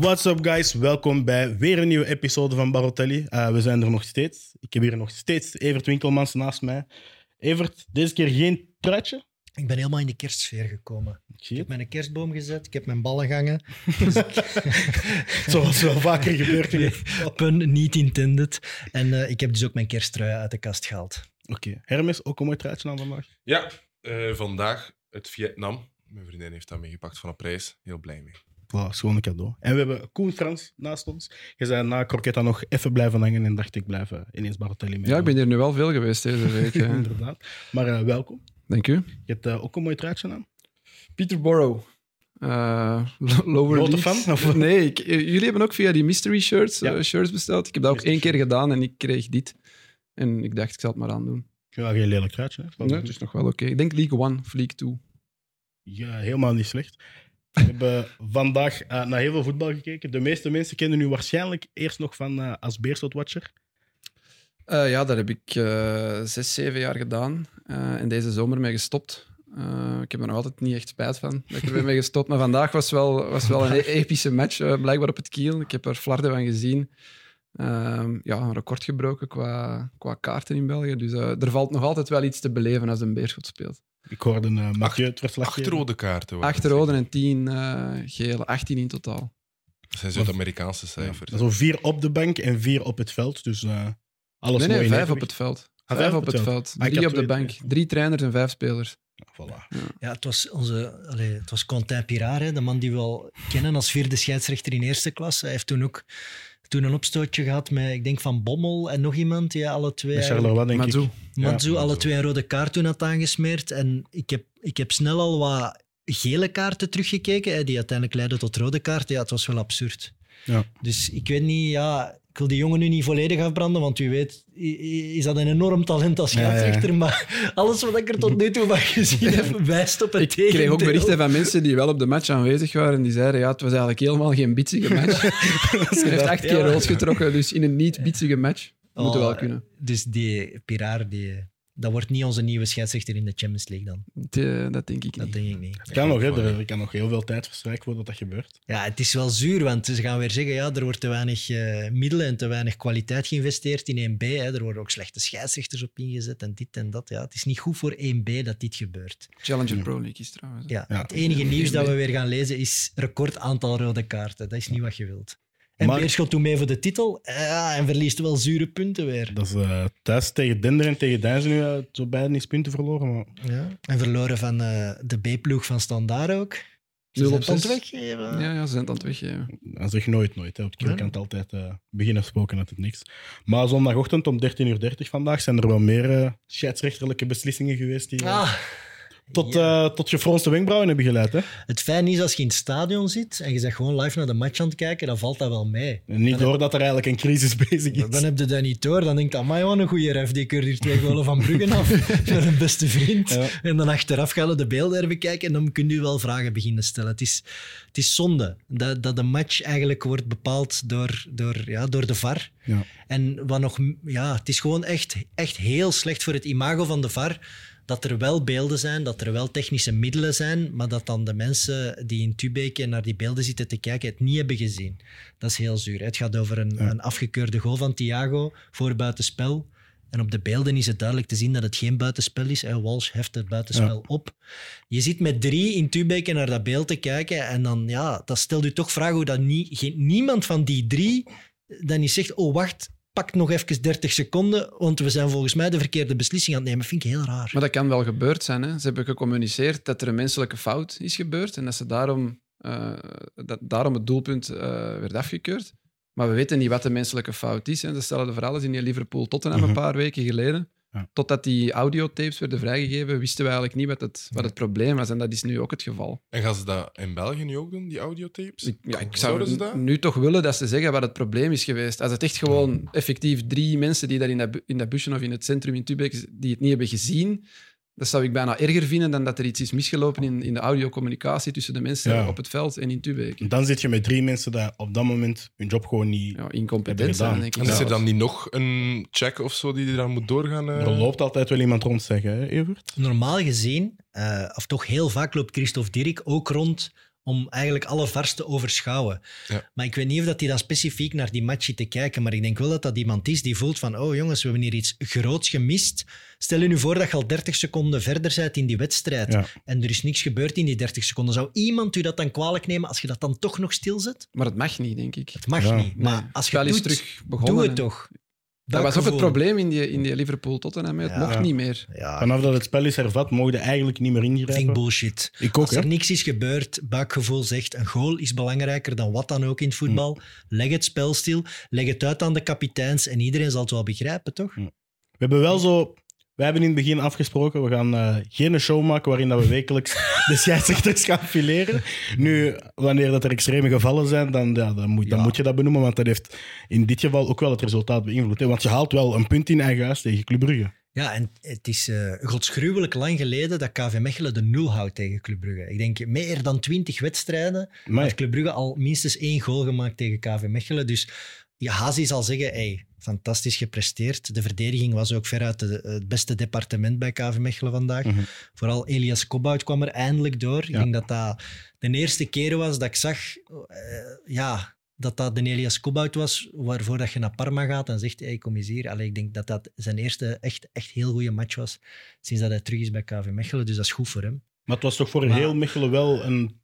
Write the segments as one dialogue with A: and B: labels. A: What's up, guys? Welkom bij weer een nieuwe episode van Barotelli. Eh, we zijn er nog steeds. Ik heb hier nog steeds Evert Winkelmans naast mij. Evert, deze keer geen truitje.
B: Ik ben helemaal in de kerstsfeer gekomen.
A: Ik
B: Ik
A: zie
B: heb
A: het.
B: mijn kerstboom gezet, ik heb mijn ballen Dus gangen.
A: Zoals wel vaker gebeurt. in-
B: Pun niet intended. En eh, ik heb dus ook mijn kersttrui uit de kast gehaald.
A: Oké, Hermes, ook een mooi truitje aan vandaag.
C: Ja, eh, vandaag uit Vietnam. Mijn vriendin heeft dat meegepakt van een prijs. Heel blij mee.
A: Wow, schoon cadeau. En we hebben Koen Frans naast ons. Je zei na Croquetta nog even blijven hangen en dacht ik blijf eh, ineens Barotelli mee.
D: Ja, ik ben hier nu wel veel geweest deze week. hè.
A: Inderdaad. Maar eh, welkom.
D: Dank u.
A: Je hebt eh, ook een mooi truitje aan.
D: Peterborough. Eh, lo- lower
A: Grote
D: leagues.
A: fan, of?
D: Nee, ik- eh, jullie hebben ook via die mystery shirts,
A: Ja.
D: eh, shirts besteld. Ik heb dat ook
A: Mystery
D: één keer gedaan en ik kreeg dit. En ik dacht, ik zal het maar aandoen.
A: Ja, geen lelijk truitje. Hè? Valt
D: Nee,
A: me
D: het is nog wel oké. Ik denk League One of League Two.
A: Ja, helemaal niet slecht. We hebben vandaag eh, naar heel veel voetbal gekeken. De meeste mensen kennen u waarschijnlijk eerst nog van eh, als Beerschot-watcher.
D: Eh, ja, daar heb ik eh, zes, zeven jaar gedaan eh, en deze zomer mee gestopt. Eh, ik heb er nog altijd niet echt spijt van dat ik er weer mee gestopt. Maar vandaag was wel, was wel een e- epische match, eh, blijkbaar op het kiel. Ik heb er flarden van gezien. Ehm, ja, een record gebroken qua, qua kaarten in België. Dus eh, er valt nog altijd wel iets te beleven als een beerschot speelt.
A: Ik hoorde eh Mathieu het verslag
C: Acht
A: geven.
C: rode kaarten. waren
D: Acht
C: het.
D: rode en tien eh, gele, 18 in totaal.
C: Dat zijn Zuid-Amerikaanse cijfers.
A: Ja, zo vier op de bank en vier op het veld. Dus eh, alles
D: nee,
A: mooi
D: nee,
A: in
D: vijf op
A: evenwicht.
D: het veld.
A: Ah,
D: Vijf op het veld.
A: Ah, ik
D: Drie
A: had
D: op de
A: twee,
D: bank.
A: twee.
D: Drie trainers en vijf spelers.
A: Voilà.
B: Ja, het was, onze, allee, het was Quentin Pirard, hè, de man die we al kennen als vierde scheidsrechter in eerste klas. Hij heeft toen ook toen een opstootje gehad met, ik denk, Van Bommel en nog iemand. die alle twee
A: Met
B: eigenlijk-
A: Charleroi, denk
D: Maar
A: ik.
D: zo.
A: Ja,
B: Manzu alle
C: Mansour.
B: twee een rode kaart toen had aangesmeerd. En ik heb, ik heb snel al wat gele kaarten teruggekeken, hè, die uiteindelijk leidden tot rode kaarten. Ja, het was wel absurd.
A: Ja.
B: Dus ik weet niet, ja, ik wil die jongen nu niet volledig afbranden, want u weet, i- i- is dat een enorm talent als
A: Ja, ja, ja.
B: scheidsrechter. Maar alles wat ik er tot nu toe van gezien heb, wijst op het
D: Ik kreeg ook
B: tegendeel.
D: berichten van mensen die wel op de match aanwezig waren. En die zeiden, ja, het was eigenlijk helemaal geen bitsige match. Ze heeft acht keer rood getrokken, dus in een niet-bitsige match moet het
B: Oh,
D: wel kunnen.
B: Dus die Pirar, die, dat wordt niet onze nieuwe scheidsrechter in de Champions League dan.
D: De- dat denk ik
B: Dat
D: niet.
B: denk ik niet.
A: Het kan nog, hè.
C: Voilà.
A: Er er kan nog heel veel tijd verstrijken voordat dat gebeurt.
B: Ja, het is wel zuur, want ze gaan weer zeggen, ja, er wordt te weinig eh, middelen en te weinig kwaliteit geïnvesteerd in 1B. Hè. Er worden ook slechte scheidsrechters op ingezet en dit en dat. Ja. Het is niet goed voor 1B dat dit gebeurt.
D: Challenger
A: Ja.
D: Pro League is trouwens.
B: Ja,
A: Ja.
B: Het enige nieuws
D: 1B.
B: dat we weer gaan lezen is record aantal rode kaarten. Dat is niet wat je wilt. En
A: Maar-
B: Beerschot doet mee voor de titel ja, en verliest wel zure punten weer.
A: Dat is eh, thuis tegen Dender en tegen Deinzen nu eh, zo beiden eens punten verloren. Maar
B: Ja. En verloren van eh, de B-ploeg van Standaard ook. Ze
D: Nul
B: zijn
D: op
B: het
D: zes.
B: weggeven.
D: Ja, ja, ze zijn het aan het weggeven.
A: Dan zeg je nooit, nooit. Hè. Op het kiel
B: Nee.
A: kan het altijd eh beginnen spoken uit het niks. Maar zondagochtend om 13.30 uur vandaag zijn er wel meer eh, scheidsrechterlijke beslissingen geweest die eh,
B: Ah.
A: tot,
B: Ja.
A: eh, tot je fronste wenkbrauwen hebben geleid. Hè?
B: Het fijn is als je in het stadion zit en je bent gewoon live naar de match aan het kijken, dan valt dat wel mee.
A: En niet door dat er eigenlijk een crisis bezig is.
B: Dan heb je dat niet door. Dan denk je, amai, wat een goede ref, die keurt hier twee golen van Bruggen af. Met een beste vriend.
A: Ja.
B: En dan achteraf gaan we de beelden even kijken en dan kun je wel vragen beginnen stellen. Het is, het is zonde dat, dat de match eigenlijk wordt bepaald door, door, ja, door de VAR.
A: Ja.
B: En wat nog, ja, het is gewoon echt, echt heel slecht voor het imago van de VAR. Dat er wel beelden zijn, dat er wel technische middelen zijn, maar dat dan de mensen die in Tubeke naar die beelden zitten te kijken het niet hebben gezien. Dat is heel zuur. Het gaat over een,
A: Ja.
B: een afgekeurde goal van Thiago voor buitenspel. En op de beelden is het duidelijk te zien dat het geen buitenspel is. En Walsh heft het buitenspel op. Je zit met drie in Tubeke naar dat beeld te kijken. En dan, ja, dat stelt u toch vragen hoe dat nie, geen- niemand van die drie dan niet zegt: Oh, wacht, pak nog even 30 seconden. Want we zijn volgens mij de verkeerde beslissing aan het nemen. Vind ik heel raar.
D: Maar dat kan wel gebeurd zijn. Hè. Ze hebben gecommuniceerd dat er een menselijke fout is gebeurd en dat ze daarom, eh, dat, daarom het doelpunt eh, werd afgekeurd. Maar we weten niet wat de menselijke fout is. Hè. Ze stellen de verhalen in Liverpool-Tottenham
A: Mhm.
D: een paar weken geleden.
A: Ja.
D: Totdat die audiotapes werden vrijgegeven, wisten we eigenlijk niet wat het, wat het probleem was. En dat is nu ook het geval.
C: En gaan ze dat in België nu ook doen, die audiotapes?
D: Dus Ik, ja, ik
C: Zouden ze
D: zou
C: dat?
D: n- nu toch willen dat ze zeggen wat het probleem is geweest. Als het echt gewoon effectief drie mensen die daar in dat, bu- in dat busje of in het centrum in Tubek die het niet hebben gezien, dat zou ik bijna erger vinden dan dat er iets is misgelopen in, in de audiocommunicatie tussen de mensen
A: Ja.
D: op het veld en in Tubek.
A: Dan zit je met drie mensen die op dat moment hun job gewoon niet...
D: Ja,
A: Hebben
D: incompetent
A: gedaan.
D: zijn, denk
C: En
D: ik.
C: is er
D: zelfs.
C: dan niet nog een check of zo die daar moet doorgaan? eh?
A: Er loopt altijd wel iemand rond, zeggen, hè, Evert?
B: Normaal gezien, eh, of toch heel vaak, loopt Christophe Dirk ook rond om eigenlijk alle vars te overschouwen.
C: Ja.
B: Maar ik weet niet of dat hij dan specifiek naar die match zit te kijken, maar ik denk wel dat dat iemand is die voelt van oh jongens, we hebben hier iets groots gemist. Stel je nu voor dat je al 30 seconden verder bent in die wedstrijd
A: Ja.
B: en er is niks gebeurd in die 30 seconden. Zou iemand u dat dan kwalijk nemen als je dat dan toch nog stilzet?
D: Maar het mag niet, denk ik.
B: Het mag
A: Ja.
B: niet, maar
D: Nee.
B: als je
D: Spel
B: het doet,
D: is terug begonnen.
B: doe het
D: hè.
B: toch.
D: Dat was ook het
B: gevoel.
D: probleem in die, in die Liverpool-Tottenham. hè. Het
B: Ja.
D: mocht niet meer.
B: Ja,
A: Vanaf dat het spel is hervat, mogen eigenlijk niet meer
B: ik vind
A: ingrijpen.
B: bullshit.
A: Ik ook,
B: Als
A: hè?
B: er niks is gebeurd, buikgevoel zegt een goal is belangrijker dan wat dan ook in het voetbal. Leg het spel stil, leg het uit aan de kapiteins en iedereen zal het wel begrijpen, toch?
A: We hebben wel zo... Wij hebben in het begin afgesproken, we gaan eh, geen show maken waarin dat we wekelijks de scheidsrechters gaan fileren. Nu, wanneer dat er extreme gevallen zijn, dan, ja, dan, moet, dan
B: Ja.
A: moet je dat benoemen, want dat heeft in dit geval ook wel het resultaat beïnvloed. Hè? Want je haalt wel een punt in eigen huis tegen Club Brugge.
B: Ja, en het is eh godsgruwelijk lang geleden dat KV Mechelen de nul houdt tegen Club Brugge. Ik denk meer dan twintig wedstrijden
A: Maar
B: heeft Club Brugge al minstens één goal gemaakt tegen KV Mechelen. Dus ja, Hazi zal zeggen, hey, fantastisch gepresteerd. De verdediging was ook veruit de- het beste departement bij KV Mechelen vandaag.
A: Mhm.
B: Vooral Elias Kobout kwam er eindelijk door. Ik
A: Ja.
B: denk dat dat de eerste keer was dat ik zag... eh, ja, dat dat de Elias Kobout was, waarvoor dat je naar Parma gaat en zegt, hey, kom eens hier. Allee, ik denk dat dat zijn eerste echt, echt heel goede match was sinds dat hij terug is bij KV Mechelen. Dus dat is goed voor hem.
A: Maar het was toch voor
B: Maar-
A: heel Mechelen wel een...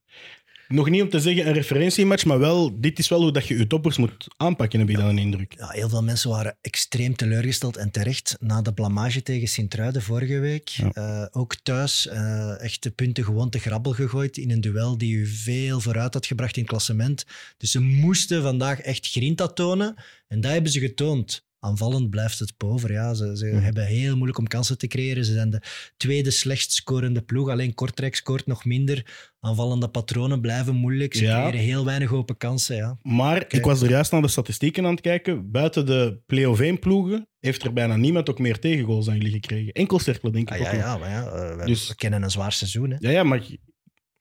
A: Nog niet om te zeggen een referentiematch, maar wel, dit is wel hoe dat je je toppers moet aanpakken, heb ik dan een indruk.
B: ja, heel veel mensen waren extreem teleurgesteld en terecht na de blamage tegen Sint-Truiden vorige week.
A: Ja.
B: Eh, ook thuis eh echt de punten gewoon te grabbel gegooid in een duel die u veel vooruit had gebracht in het klassement. Dus ze moesten vandaag echt grinta tonen en dat hebben ze getoond. Aanvallend blijft het pover. Ja. Ze, ze
A: Mhm.
B: hebben heel moeilijk om kansen te creëren. Ze zijn de tweede slechtst scorende ploeg. Alleen Kortrijk scoort nog minder. Aanvallende patronen blijven moeilijk. Ze
A: Ja.
B: creëren heel weinig open kansen. Ja.
A: Maar ik
B: Oké.
A: was er juist naar de statistieken aan het kijken. Buiten de play-off ploegen heeft er bijna niemand ook meer tegengoals dan jullie gekregen. Enkel cirkel, denk ik.
B: Ah,
A: ook
B: ja,
A: nog.
B: ja, maar ja, eh, we,
A: Dus-
B: we kennen een zwaar seizoen. Hè.
A: Ja, ja, maar ik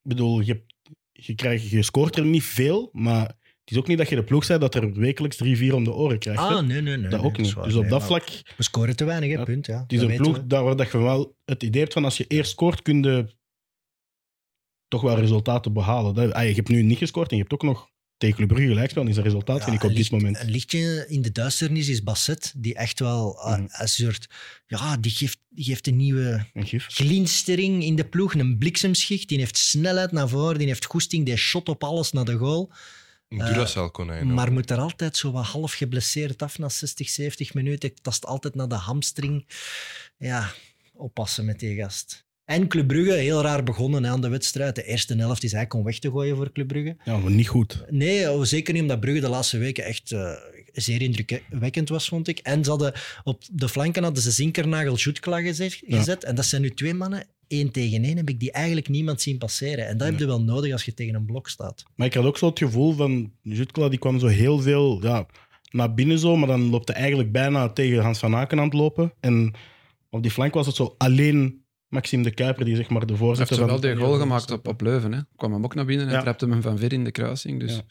A: bedoel, je, je, krijgt, je scoort er niet veel, maar het is ook niet dat je de ploeg zei dat er wekelijks drie, vier om de oren krijgt. hè.
B: Ah, nee, nee, nee.
A: dat
B: nee,
A: ook niet.
B: is waar,
A: dus op
B: nee,
A: dat
B: maar
A: vlak,
B: We scoren te weinig, hè,
A: Ja,
B: punt. Ja.
A: het is
B: Dat
A: een
B: weten
A: ploeg
B: we.
A: daar waar dat je wel het idee hebt van als je eerst scoort, kun je toch wel resultaten behalen. Dat, ah, je hebt nu niet gescoord en je hebt ook nog tegen Club Brugge gelijkspel. En is een resultaat,
B: Ja, eh.
A: vind ik,
B: een
A: op dit
B: licht-
A: moment.
B: Een lichtje in de duisternis is Basset, die echt wel ah,
A: Mhm.
B: een soort... Ja, die geeft, die geeft een nieuwe
A: Een gif.
B: glinstering in de ploeg, een bliksemschicht. Die heeft snelheid naar voren, die heeft goesting, die shot op alles naar de goal.
C: Een Duracell-konijn.
B: Maar moet er altijd zo wat half geblesseerd af na 60, 70 minuten. Tast altijd naar de hamstring. Ja, oppassen met die gast. En Club Brugge, heel raar begonnen hè, aan de wedstrijd. De eerste helft is eigenlijk om weg te gooien voor Club Brugge.
A: Ja, maar niet goed.
B: Nee, oh, zeker niet omdat Brugge de laatste weken echt eh, zeer indrukwekkend was, vond ik. En ze hadden op de flanken hadden ze Zinkernagel Schütkla gezet,
A: Ja.
B: gezet. En dat zijn nu twee mannen. Eén tegen één heb ik die eigenlijk niemand zien passeren. En dat heb je wel nodig als je tegen een blok staat.
A: Maar ik had ook zo het gevoel van Jutkla, die kwam zo heel veel ja, naar binnen zo, maar dan loopt hij eigenlijk bijna tegen Hans van Aken aan het lopen. En op die flank was het zo alleen Maxime de Kuiper die zeg maar de
D: Hij heeft
A: voorzitter
D: zo
A: van...
D: wel de
C: eh,
D: goal gemaakt op, op Leuven. Hè. Kwam hem ook naar binnen en
A: Ja.
D: trapte hem van ver in de kruising. Dus
A: Ja.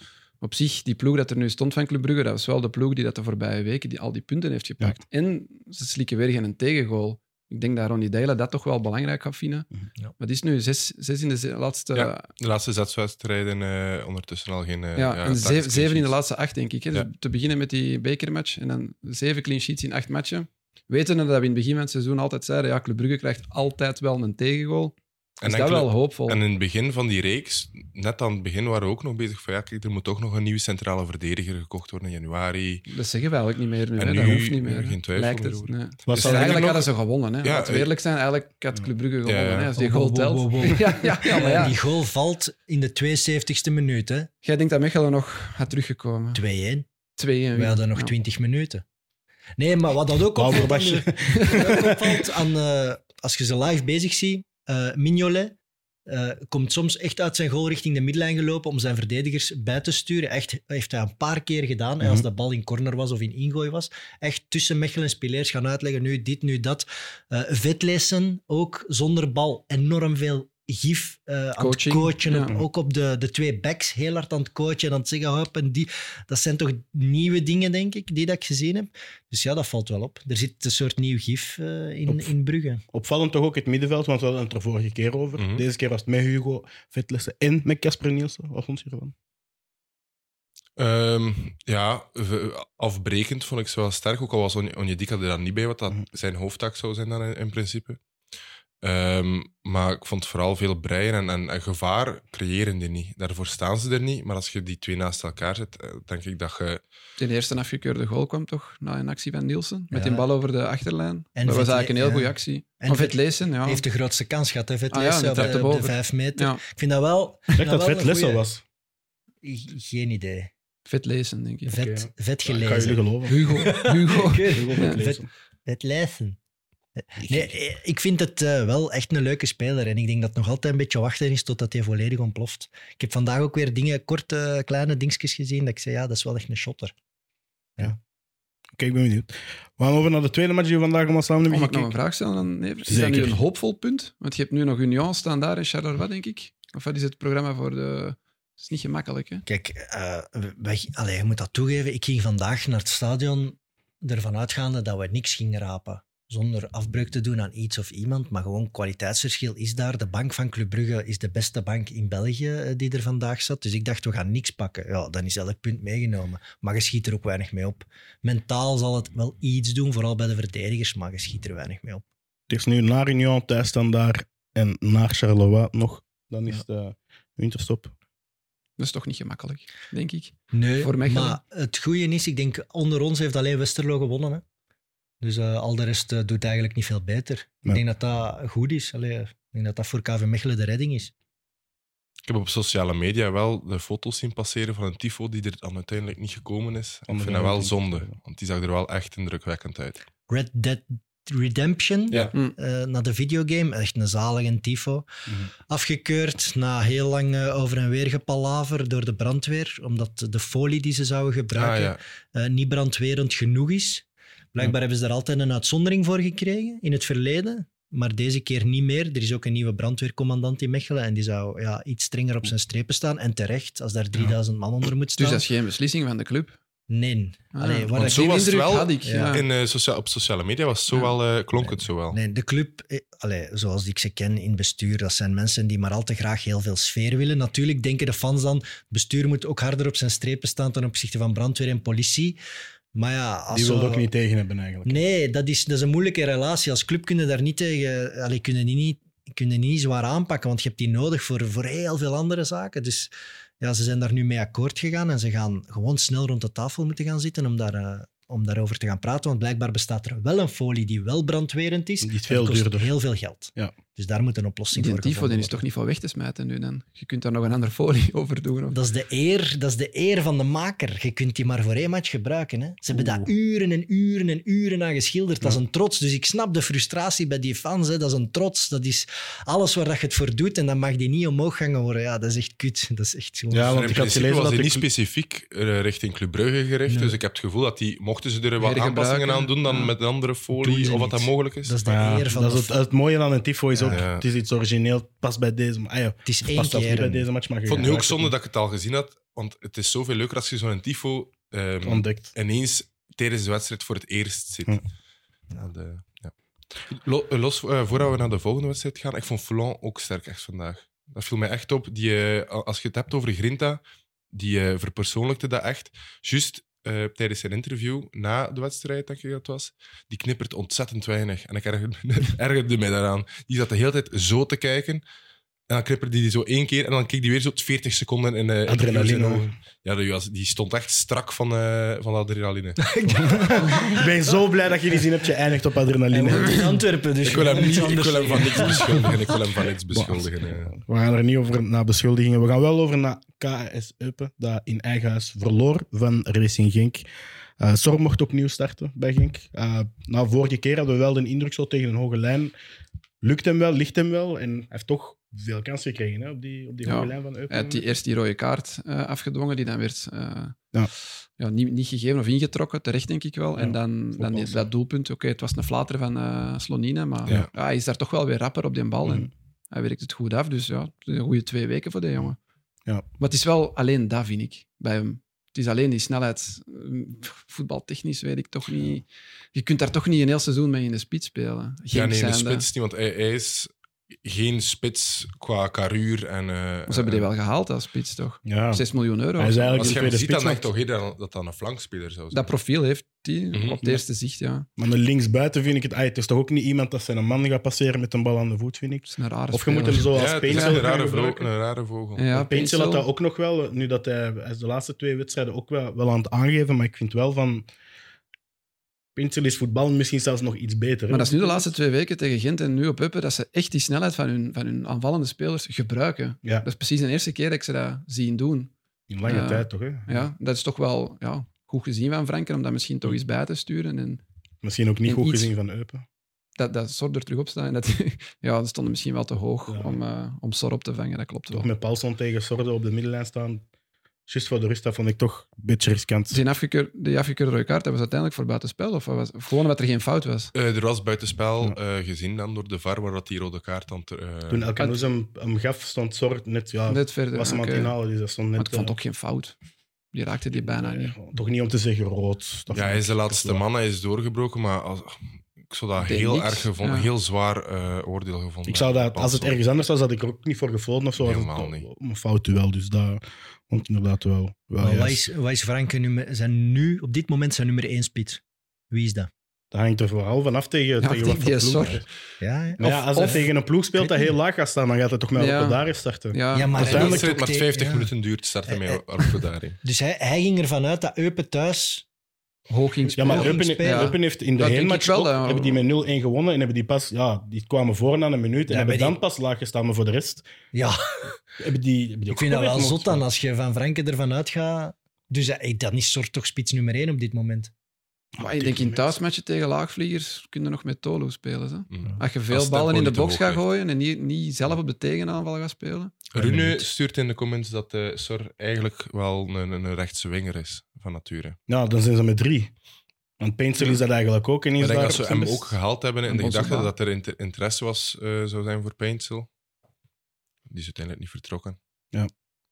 D: op zich, die ploeg dat er nu stond van Club Brugge, dat was wel de ploeg die dat de voorbije weken die al die punten heeft gepakt. En ze slikken weer geen tegengoal. Ik denk dat Ronnie Deila dat toch wel belangrijk gaat vinden.
B: Ja.
D: Wat is nu? Zes, zes in de ze- laatste...
C: Ja. De laatste zetswedstrijden eh ondertussen al geen... eh,
D: Ja, en
C: tactisch
D: zeven, zeven in de
C: sheets.
D: laatste acht, denk ik. Hè. Dus
C: Ja.
D: te beginnen met die bekermatch en dan zeven clean sheets in acht matchen. Wetende dat we in het begin van het seizoen altijd zeiden, ja, Club Brugge krijgt altijd wel een tegengoal.
C: En
D: is
C: dan
D: dat
C: Club-
D: wel hoopvol?
C: En in het begin van die reeks, net aan het begin, waren we ook nog bezig van ja, kijk, er moet toch nog een nieuwe centrale verdediger gekocht worden in januari.
D: Dat zeggen we eigenlijk niet meer nu.
C: En
D: Hè?
C: nu
D: dat hoeft niet meer.
C: geen
D: hè.
C: twijfel
D: Lijkt het,
C: meer over.
D: nee.
A: Was
D: Dus
A: dat
D: eigenlijk
C: nog-
D: hadden ze gewonnen. Hè?
C: Ja,
D: Laten we
C: eh,
D: eerlijk zijn, eigenlijk had Club Brugge gewonnen.
C: ja.
D: Hè? Als die
B: Oh,
D: goal
B: wow,
D: telt.
B: wow, wow.
D: Ja, ja, ja, maar ja.
B: Die goal valt in de 72e minuut, hè? 2-1.
D: Jij denkt dat Mechelen nog gaat teruggekomen. Twee en
B: We hadden nog 20 minuten. Nee, maar wat dat ook opvalt, aan,
A: Lauwerbasje.
B: wat ook opvalt aan, eh, als je ze live bezig ziet, eh, Mignolet eh, komt soms echt uit zijn goal richting de middenlijn gelopen om zijn verdedigers bij te sturen. Echt heeft hij een paar keer gedaan. En als
A: Mhm.
B: de bal in corner was of in ingooi was, echt tussen Mechelen en Spileers gaan uitleggen, nu dit, nu dat. Eh Vetlessen ook zonder bal enorm veel Gif eh, aan het
D: Coaching,
B: coachen.
D: ja.
B: op- Ook op de, de twee backs heel hard aan het coachen en aan het zeggen, hop, en die. Dat zijn toch nieuwe dingen, denk ik, die dat ik gezien heb. Dus ja, dat valt wel op. Er zit een soort nieuw gif eh, in,
A: Op-
B: in Brugge.
A: Opvallend toch ook het middenveld, want we hadden het er vorige keer over.
C: Mhm.
A: Deze keer was het met Hugo Vetlessen en met Casper Nielsen. Wat vond je ervan?
C: Ehm, ja, v- afbrekend vond ik ze wel sterk. Ook al was Onj- Onyedika er dan niet bij, wat dat
A: Mhm.
C: zijn hoofdtak zou zijn dan in, in principe. Ehm, maar ik vond vooral veel breien en, en, en gevaar creëren die niet. Daarvoor staan ze er niet. Maar als je die twee naast elkaar zet, eh, denk ik dat je...
D: De eerste afgekeurde goal kwam toch na een actie van Nielsen. Met
B: Ja.
D: die bal over de achterlijn.
B: En
D: dat was
B: Vetle-
D: eigenlijk een heel
B: ja.
D: goede actie.
B: En
D: Van
B: Vet-
D: Vetlezen, ja.
B: Heeft de grootste kans gehad, hè? Vetlessen
D: Ah ja, die
B: op,
D: trapt
B: de,
D: hem
B: op de
D: over.
B: vijf meter.
D: ja.
B: Ik vind dat wel...
A: Ik dacht
B: vind
A: dat het
B: wel een
A: Vetlessen
B: goeie-
A: was.
B: Ge- Geen idee.
D: Vetlezen, denk ik.
B: Vet,
A: Oké.
B: vet
A: Ja, ik kan jullie
B: gelezen.
A: geloven.
D: Hugo. Hugo.
A: Hugo Vetlessen.
B: Vet lezen. Nee, eh, ik vind het eh, wel echt een leuke speler. En ik denk dat het nog altijd een beetje wachten is totdat hij volledig ontploft. Ik heb vandaag ook weer dingen, korte, kleine dingetjes gezien dat ik zei, ja, dat is wel echt een shotter.
A: Oké, ik ben benieuwd. We gaan over naar de tweede match die we vandaag allemaal samen hebben
D: Oh, Mag ik nog een
A: gekeken.
D: vraag stellen aan Nevers? Is dat
A: Zeker.
D: nu een hoopvol punt? Want je hebt nu nog Union staan daar in Charleroi, denk ik. Of wat is het programma voor de... Het is niet gemakkelijk, hè?
B: Kijk, eh, we- wij- allee, je moet dat toegeven. Ik ging vandaag naar het stadion ervan uitgaande dat we niks gingen rapen. Zonder afbreuk te doen aan iets of iemand. Maar gewoon kwaliteitsverschil is daar. De bank van Club Brugge is de beste bank in België eh, die er vandaag zat. Dus ik dacht, we gaan niks pakken. Ja, dan is elk punt meegenomen. Maar je schiet er ook weinig mee op. Mentaal zal het wel iets doen, vooral bij de verdedigers. Maar je schiet er weinig mee op.
A: Het is nu naar Union, thuis dan daar en naar Charleroi nog. Dan is de winterstop.
D: Dat is toch niet gemakkelijk, denk ik.
B: Nee,
D: Voor Mechelen.
B: maar het goede is, ik denk, onder ons heeft alleen Westerlo gewonnen. Hè? Dus eh, al de rest eh, doet eigenlijk niet veel beter.
A: Nee.
B: Ik denk dat dat goed is. Allee, ik denk dat dat voor KV Mechelen de redding is.
C: Ik heb op sociale media wel de foto's zien passeren van een tifo die er dan uiteindelijk niet gekomen is. Ik
A: Andere
C: vind dat wel
A: mensen.
C: zonde, want die zag er wel echt indrukwekkend uit.
B: Red Dead Redemption,
C: Ja.
D: Hm.
B: eh, na de videogame, echt een zalige tifo.
C: Mhm.
B: Afgekeurd na heel lang eh, over en weer gepalaver door de brandweer, omdat de folie die ze zouden
C: Ah,
B: gebruiken
C: ja.
B: eh, niet brandwerend genoeg is. Blijkbaar
A: Ja.
B: hebben ze daar altijd een uitzondering voor gekregen in het verleden. Maar deze keer niet meer. Er is ook een nieuwe brandweercommandant in Mechelen. En die zou ja, iets strenger op zijn strepen staan. En terecht, als daar 3000 man onder moet
D: Dus
B: staan.
D: dat is geen beslissing van de club.
B: Nee.
D: Ah,
B: Allee, waar
D: want
B: dat
C: zo
D: die
C: was het
D: indruk
C: wel-
D: had ik.
B: Ja.
D: Ja.
C: In, eh, socia- op sociale media was het zo
D: Ja.
C: wel, eh, klonk het zo wel.
B: Nee, de club, eh, allee, zoals ik ze ken in bestuur, dat zijn mensen die maar al te graag heel veel sfeer willen. Natuurlijk denken de fans dan, het bestuur moet ook harder op zijn strepen staan ten opzichte van brandweer en politie. Maar ja, als
A: Die wil
B: zo-
A: ook niet tegen hebben eigenlijk.
B: Nee, dat is, dat is een moeilijke relatie. Als club kunnen daar niet tegen. Allee, kunnen die niet, kunnen die niet zwaar aanpakken, want je hebt die nodig voor, voor heel veel andere zaken. Dus ja, ze zijn daar nu mee akkoord gegaan en ze gaan gewoon snel rond de tafel moeten gaan zitten om daar. eh, om daarover te gaan praten, want blijkbaar bestaat er wel een folie die wel brandwerend is.
A: Die is
B: en
A: veel
B: die kost
A: duurder.
B: heel veel geld.
A: Ja.
B: Dus daar moet een oplossing
D: Die
B: voor
D: tifo die
B: gevonden
D: is toch niet van weg te smijten nu dan? Je kunt daar nog een andere folie over doen. Of...
B: Dat is, de eer, dat is de eer van de maker. Je kunt die maar voor één match gebruiken. Hè. Ze hebben daar uren en uren en uren aan geschilderd. Dat is een trots. Dus ik snap de frustratie bij die fans. Hè. Dat is een trots. Dat is alles waar dat je het voor doet. En dan mag die niet omhoog gangen worden. Ja, dat is echt kut. Dat is echt gewoon...
A: Ja,
C: Maar
A: Ah, want
C: in
A: ik had
C: principe
A: gelezen
C: was
A: dat
C: die
A: de
C: niet
A: cl-
C: specifiek eh, richting Club Brugge gericht.
B: Nee.
C: Dus ik heb het gevoel dat die, mochten ze er wat
D: Hergebruiken,
C: aanpassingen aan doen dan
D: ja.
C: met een andere
B: Doen
C: folie
B: ze
C: of wat dat
B: niet.
C: mogelijk is.
B: Dat is de
A: Ja,
B: eer van
A: dat
B: de
A: is het,
B: fan.
A: het mooie aan een tifo is
C: Ja,
A: ook,
C: ja.
A: het is iets origineel, het past bij deze. Maar ah ja,
B: Het is
A: het
B: één
A: past zelfs niet
B: keer.
A: bij
B: hè.
A: deze match. Maar
C: Ik vond het nu ook zonde dat ik het al gezien had, want het is zoveel leuker als je zo'n tifo ehm,
A: ontdekt.
C: ineens tijdens de wedstrijd voor het eerst zit.
A: Hm.
C: Dat, eh, ja. Lo- eh, los, eh, voordat we naar de volgende wedstrijd gaan, ik vond Foulan ook sterk echt vandaag. Dat viel mij echt op. Die, eh, a- als je het hebt over Grinta, die eh, verpersoonlijkte dat echt. Juist eh, tijdens zijn interview, na de wedstrijd, denk ik dat het was, die knippert ontzettend weinig. En ik ergerde, me- ergerde mij daaraan. Die zat de hele tijd zo te kijken. En dan knipperde die zo één keer en dan keek die weer zo 40 seconden in eh interviews in
A: Adrenaline.
C: ogen. Ja, die, was- die stond echt strak van, eh, van de adrenaline.
A: Ik ben zo blij dat je die zin hebt. Je eindigt op
B: Hij
A: adrenaline.
B: woont in Antwerpen, dus
C: Ik wil hem,
B: je moet
C: niet,
B: iets
C: ik
B: anders
C: wil hem van
B: zeggen.
C: niks beschuldigen. Ik wil hem van niks beschuldigen. eh.
A: We gaan er niet over naar beschuldigingen. We gaan wel over naar KS Eupen, dat in eigen huis verloor van Racing Genk. Eh Sor mocht opnieuw starten bij Genk. Eh nou, vorige keer hadden we wel de indruk zo tegen een hoge lijn. Lukt hem wel, ligt hem wel. En hij heeft toch veel kansen gekregen hè, op die, op die
D: Ja.
A: hoge lijn van Eupen.
D: Hij had die eerst die rode kaart eh, afgedwongen, die dan werd eh,
A: Ja.
D: ja. niet, niet gegeven of ingetrokken, terecht denk ik wel.
A: Ja,
D: en dan, dan
A: wel
D: die-
A: zo.
D: dat doelpunt, oké, het was een flater van eh Slonina, maar
C: Ja.
A: Mm.
D: ja. hij is daar toch wel weer rapper op die bal. En, Hij werkt het goed af, dus ja, het is een goede twee weken voor de jongen.
A: Ja.
D: Maar het is wel alleen dat, vind ik, bij hem. Het is alleen die snelheid. mm, Voetbaltechnisch weet ik toch niet. Je kunt daar toch niet een heel seizoen mee in de spits spelen. Geen
C: Ja, nee, in de
D: zijnde.
C: spits niet, want hij, hij is geen spits qua karuur. En, eh,
D: Maar Ze hebben die
C: eh,
D: wel gehaald als spits, toch?
A: Ja.
D: 6 miljoen euro.
A: Hij is eigenlijk
C: Als
A: de
C: je hem
A: tweede
C: ziet, dan
A: spits.
C: denk ik
A: maar-
C: toch eerder dat dat dan een flankspeler zou zijn.
D: Dat profiel heeft hij
C: Mhm.
D: op het eerste zicht, ja.
A: Maar de linksbuiten vind ik het... ah, het is toch ook niet iemand dat zijn man gaat passeren met een bal aan de voet, vind ik.
D: Dat is een rare
A: Of je moet hem
D: speler.
A: zo
C: ja,
A: als
C: het is
A: paintseller
C: een
A: gaan
C: rare, vogel,
A: gebruiken.
C: een rare vogel.
D: Ja,
A: Pencil had
D: Pencil.
A: dat ook nog wel, nu dat hij, hij is de laatste twee wedstrijden ook wel, wel aan het aangeven, maar ik vind wel van... Pencil is voetbal misschien zelfs nog iets beter. hè?
D: Maar dat is nu de laatste twee weken tegen Gent en nu op Uppen, dat ze echt die snelheid van hun, van hun aanvallende spelers gebruiken.
A: Ja.
D: Dat is precies de eerste keer dat ik ze dat zien doen.
A: In lange
D: Ja.
A: tijd toch, hè?
D: Ja, dat is toch wel ja, goed gezien van Franken om dat misschien
A: Mhm.
D: toch eens bij te sturen. En
A: Misschien ook niet
D: En
A: goed
D: iets-
A: gezien van Eupen.
D: dat, dat Sor er terug op staan. En dat, ja, dat stond misschien wel te hoog
A: Ja.
D: om, eh, om Sor op te vangen, dat klopt wel.
A: Toch met Paulson tegen Sordo op de middenlijn staan. Just voor de rust, dat vond ik toch een beetje riskant.
D: Die afgekeurde, die afgekeurde rode kaart, dat was uiteindelijk voor buitenspel? Of wat was, of gewoon omdat er geen fout was?
C: Eh, er was buitenspel eh, gezien dan door de VAR, waar dat die rode kaart dan... Ter, eh,
A: Toen El
D: het-
A: Canoes hem, hem gaf, stond Sor net... Ja,
D: Net verder.
A: was hem aan
D: oké.
A: het inhalen, dus dat stond net...
D: Maar ik vond
A: eh,
D: ook geen fout. Die raakte die bijna
A: nee,
D: niet.
A: Toch niet om te zeggen rood. Dat
C: ja,
A: vond
C: hij is
A: ik-
C: de
A: dat
C: laatste
A: is wel-
C: man, hij is doorgebroken, maar als, ik zou dat
D: Deed
C: heel
D: niks,
C: erg gevonden,
D: ja.
C: heel zwaar eh, oordeel gevonden.
A: Ik zou dat, als het
C: Paulson.
A: ergens anders was, had ik er ook niet voor gefloten of zo. Als het
C: Helemaal
A: om-
C: niet.
A: Om een fout wel, dus dat vond ik inderdaad wel. wel
B: Maar wat
A: juist.
B: is, wat is Franken nummer, zijn nu, op dit moment zijn nummer één spits? Wie is dat?
A: Dat hangt er vooral vanaf tegen,
D: Ja,
A: tegen
D: die-
A: wat voor
D: die
A: ploeg.
D: Sor.
B: Ja, ja.
A: Maar ja,
D: Of-
A: als hij
D: of-
A: tegen een ploeg speelt dat heel laag gaat staan, dan gaat hij toch met
D: Ja.
A: ja. daar starten.
D: Ja,
B: Ja, maar
C: Als de
A: Uiteindelijk
C: wedstrijd maar
B: ook
C: 50
B: tegen- ja.
C: minuten duurt, starten
B: Eh,
C: mee
B: eh.
C: op daarin.
B: Dus hij, hij ging ervan uit dat Eupen thuis...
D: hoog ging
A: Ja,
D: spelen.
A: maar
B: Hoog ging
A: Eupen,
B: spelen.
D: Ja.
A: Eupen heeft in de
D: Dat denk
A: heenmatch
D: ik wel,
A: ook-
D: hè.
A: hebben die met 0-1 gewonnen en hebben die pas, ja, die kwamen voor na een minuut en
B: Ja,
A: hebben
B: maar
A: dan
B: die-
A: pas laag gestaan, maar voor de rest
B: Ja,
A: hebben die, hebben die
B: ik
A: ook
B: vind dat wel
A: geprobeerd,
B: zot dan,
A: maar-
B: als je van Franken ervan uitgaat. Dus dat, eh, dan is soort toch spits nummer één op dit moment.
D: Maar ik denk in thuismatchen tegen laagvliegers kun je nog met Tolo spelen. Hè?
C: Mm.
D: Als je
C: Als
D: veel
C: het
D: ballen
C: tempo
D: in de
C: niet te
D: box
C: hoog
D: gaat
C: ligt.
D: gooien en niet, niet zelf op de tegenaanval gaat spelen.
C: Rune
B: minuut.
C: stuurt in de comments dat eh, Sor eigenlijk wel een, een rechtse winger is van nature.
A: Ja, dan zijn ze met drie. Want Pencil is dat eigenlijk ook. En
C: Ik
A: is
C: denk
A: daar
C: dat ze
A: op zijn
C: hem
A: best.
C: ook gehaald hebben
D: En
C: in de
D: onze
C: gedachte
D: baan.
C: dat er inter- interesse was, eh, zou zijn voor Paintsel. Die is uiteindelijk niet vertrokken.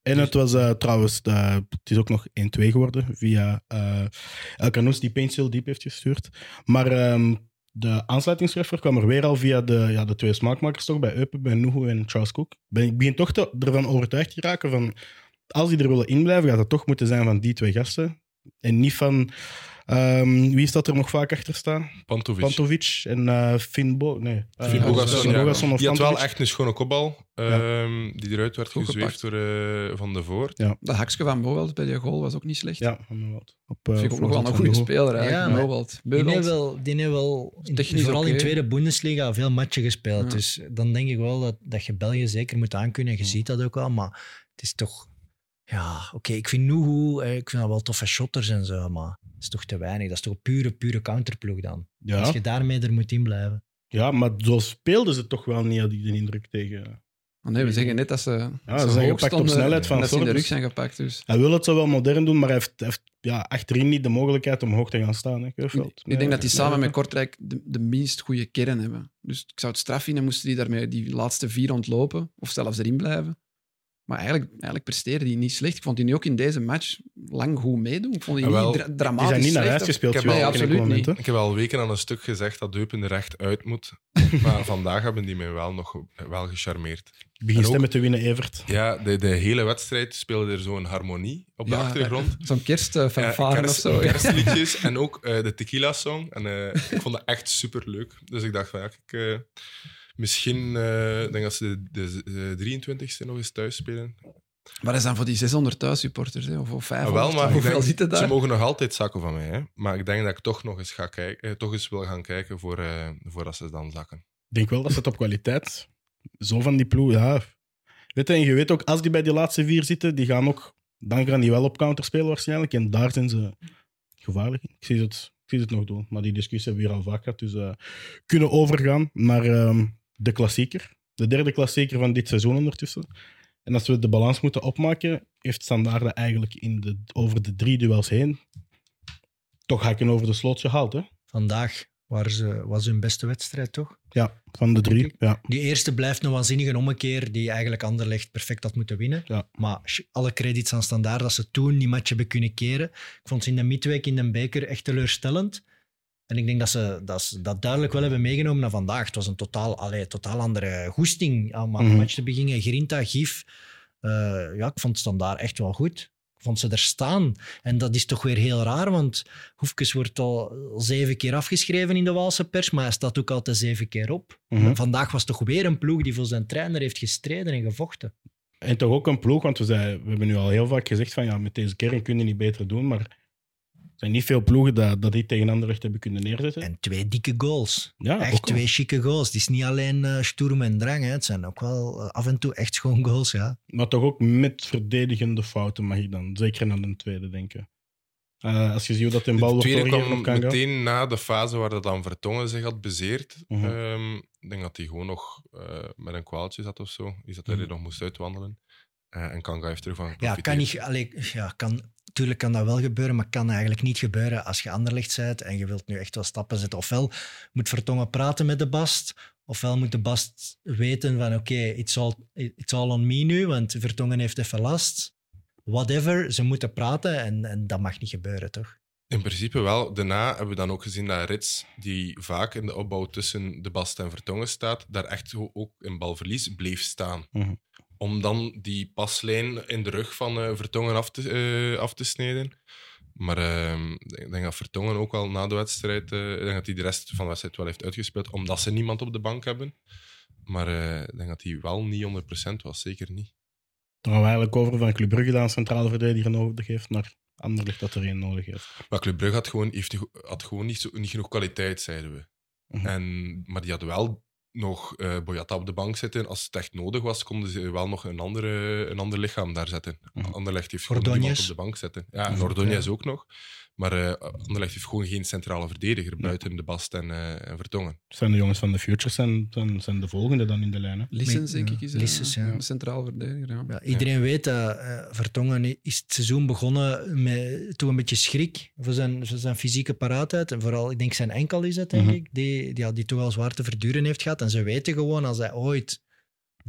A: En het was eh, trouwens, eh, het is ook nog 1-2 geworden via eh El Canoes die Paintsail diep heeft gestuurd. Maar ehm, de aansluitingsreffer kwam er weer al via de, ja, de twee smaakmakers toch, bij Eupen, bij Nuhu en Charles Cook. Ben, ik begin toch te, ervan overtuigd te raken van, als die er willen inblijven, gaat dat toch moeten zijn van die twee gasten. En niet van, ehm, wie staat er nog vaak achter staan?
C: Pantovic.
A: Pantovic en eh Finn Bo... Nee, eh,
C: Finn Bogason,
A: Finn
C: ja.
A: Bogason of
C: Die had wel
A: Pantovic.
C: echt een schone kopbal ehm, die eruit werd
D: Goed
C: gezweefd door eh, Van de Voort.
D: Dat haksje van Bowelt bij die goal was ook niet slecht.
A: Ja, inderdaad. Op, eh,
D: Vind ik ook
A: voorzet
D: nog wel een
A: van
D: goede
A: Nuhu.
D: speler
B: Ja,
D: eigenlijk.
B: maar-
D: Bowelt.
B: Die heeft
D: Bowelt.
B: wel, die heeft wel in-
D: Technisch
B: vooral in
D: oké.
B: tweede Bundesliga veel matchen gespeeld.
D: Ja.
B: Dus dan denk ik wel dat, dat je België zeker moet aankunnen. En je ziet dat ook wel, maar het is toch... Ja, oké, ik vind Nuhu, eh, ik vind dat wel toffe shotters en zo, maar dat is toch te weinig. Dat is toch een pure, pure counterploeg dan. Als
A: Ja.
B: je daarmee er moet in blijven.
A: Ja, maar zo speelden ze toch wel niet, had ik de indruk tegen.
D: Ah, nee, we zeggen net dat ze,
A: Ja, ze zijn gepakt op snelheid van
D: en dat ze in de
A: Sordos.
D: rug zijn gepakt. Dus.
A: Hij wil het zo wel modern doen, maar hij heeft, hij heeft ja, achterin niet de mogelijkheid om hoog te gaan staan. Hè,
D: Ik,
A: Keurveld.
D: ik denk dat die
A: Nee,
D: samen
A: nee.
D: met Kortrijk de, de minst goede kern hebben. Dus ik zou het straf vinden moesten die daarmee die laatste vier ontlopen of zelfs erin blijven. Maar eigenlijk, eigenlijk presteren die niet slecht. Ik vond die nu ook in deze match lang goed meedoen. Ik vond die
C: Ah, wel,
D: niet dra-
A: Die
D: dramatisch
A: zijn niet naar
D: slecht.
A: huis gespeeld.
C: Ik heb
A: joh,
C: mij
A: op een
D: absoluut
A: moment,
D: niet.
A: hè.
C: Ik heb al weken aan een stuk gezegd dat Deupen er recht uit moet. Maar vandaag hebben die mij wel nog wel gecharmeerd.
A: Ik Begin
C: En ook-
A: stemmen te winnen, Evert.
C: Ja, de, de hele wedstrijd speelde er zo'n harmonie op de
D: Ja,
C: achtergrond. Eh,
D: Zo'n kerstfanfare
C: kerst-
D: of zo. ja.
C: kerstliedjes en ook eh, de tequila-song. En eh, ik vond dat echt superleuk. Dus ik dacht van, ja, ik, eh, misschien eh, ik denk dat ze de, de, 23ste nog eens thuis spelen.
D: Maar dat is dan voor die 600 thuissupporters, hè, of voor
C: Ah,
D: 500.
C: wel, maar ik
D: hoeveel
C: denk-
D: zitten
C: ze
D: daar?
C: mogen nog altijd zakken van mij. Hè? Maar ik denk dat ik toch nog eens, ga kijken, eh, toch eens wil gaan kijken voor, eh voordat ze dan zakken.
A: Ik denk wel dat ze het op kwaliteit. Zo van die ploeg, ja. Weet je, en je weet ook, als die bij die laatste vier zitten, die gaan ook, dan gaan die wel op counter spelen waarschijnlijk. En daar zijn ze gevaarlijk in. Ik zie het, ik zie het nog doen. Maar die discussie hebben we hier al vaak gehad. Dus eh, kunnen overgaan naar ehm, de klassieker. De derde klassieker van dit seizoen ondertussen. En als we de balans moeten opmaken, heeft Standaard dat eigenlijk in de, over de drie duels heen toch hakken over de sloot gehaald. Hè?
B: Vandaag waar ze, was hun beste wedstrijd, toch?
A: Ja, van de drie.
B: Denk
A: Ja.
B: Die eerste blijft een waanzinnige ommekeer die eigenlijk Anderlecht perfect had moeten winnen.
A: Ja.
B: Maar sh- alle credits aan standaard dat ze toen die match hebben kunnen keren. Ik vond ze in de midweek in den beker echt teleurstellend. En ik denk dat ze dat, ze dat duidelijk wel hebben meegenomen naar vandaag. Het was een totaal, allee, totaal andere goesting om aan de
A: Mhm.
B: match te beginnen. Grinta, gif. Eh, ja, ik vond standaard echt wel goed. Ik vond ze er staan. En dat is toch weer heel raar, want Hoefkes wordt al zeven keer afgeschreven in de Waalse pers, maar hij staat ook altijd zeven keer op.
A: Mhm.
B: Vandaag was toch weer een ploeg die voor zijn trainer heeft gestreden en gevochten.
A: En toch ook een ploeg, want we, zei, we hebben nu al heel vaak gezegd van ja, met deze kern kun je niet beter doen, maar er zijn niet veel ploegen dat, dat die tegen Anderlecht hebben kunnen neerzetten.
B: En twee dikke goals.
A: ja,
B: echt
A: ook al.
B: twee chique goals. Het is niet alleen eh stoerm en drang. Hè. Het zijn ook wel eh, af en toe echt schoon goals. Ja.
A: Maar toch ook met verdedigende fouten mag ik dan zeker aan de tweede denken. Eh, als je ziet hoe dat een bal
C: De
A: wordt
C: tweede
A: doorgegeven op
C: kwam
A: Kanga.
C: meteen na de fase waar dat dan Vertongen zich had bezeerd.
A: Mhm.
C: Ehm, ik denk dat hij gewoon nog eh, met een kwaaltje zat of zo. Is dat hij
A: Mhm.
C: er nog moest uitwandelen. Eh, en Kanga heeft er gewoon
B: Ja, kan niet, allee, ja, kan, tuurlijk kan dat wel gebeuren, maar kan eigenlijk niet gebeuren als je anderlicht bent en je wilt nu echt wel stappen zetten. Ofwel moet Vertongen praten met de Bast, ofwel moet de Bast weten van oké, it's, all, it's all on me nu, want Vertongen heeft even last. Whatever, ze moeten praten en, en dat mag niet gebeuren, toch?
C: In principe wel. Daarna hebben we dan ook gezien dat Rits, die vaak in de opbouw tussen de Bast en Vertongen staat, daar echt zo ook in balverlies bleef staan.
A: Mhm.
C: Om dan die paslijn in de rug van eh, Vertongen af te, eh, af te snijden. Maar ehm, ik denk dat Vertongen ook al na de wedstrijd, eh, ik denk dat hij de rest van de wedstrijd wel heeft uitgespeeld, omdat ze niemand op de bank hebben. Maar eh, ik denk dat hij wel niet 100% was, zeker niet.
A: Dan gaan we eigenlijk over van Club Brugge dat een centrale verdediger nodig heeft naar Anderlecht dat er één nodig heeft.
C: Maar Club Brugge had gewoon, heeft, had gewoon niet, zo, niet genoeg kwaliteit, zeiden we.
A: Mhm.
C: En, maar die hadden wel nog eh Boyata op de bank zitten. Als het echt nodig was, konden ze wel nog een, andere, een ander lichaam daar zetten.
A: Mhm.
C: Anderlecht heeft gewoon
B: Ordóñez.
C: niemand op de bank zitten. Ja, en
A: Mhm.
C: Ordóñez ook nog. Maar eh Anderlecht heeft gewoon geen centrale verdediger buiten de Bast en, eh, en Vertongen.
A: Het zijn de jongens van de Futures en zijn, zijn de volgende dan in de lijnen.
D: Lissens, denk ik, is
B: Ja,
D: eh,
B: Lissens, ja.
D: een centraal verdediger. Ja.
B: Ja, iedereen weet dat eh, Vertongen is het seizoen begonnen met toen een beetje schrik voor zijn, voor zijn fysieke paraatheid. En vooral, ik denk zijn enkel is het, denk
A: Mhm.
B: ik, die, die, ja, die toch al zwaar te verduren heeft gehad. En ze weten gewoon, als hij ooit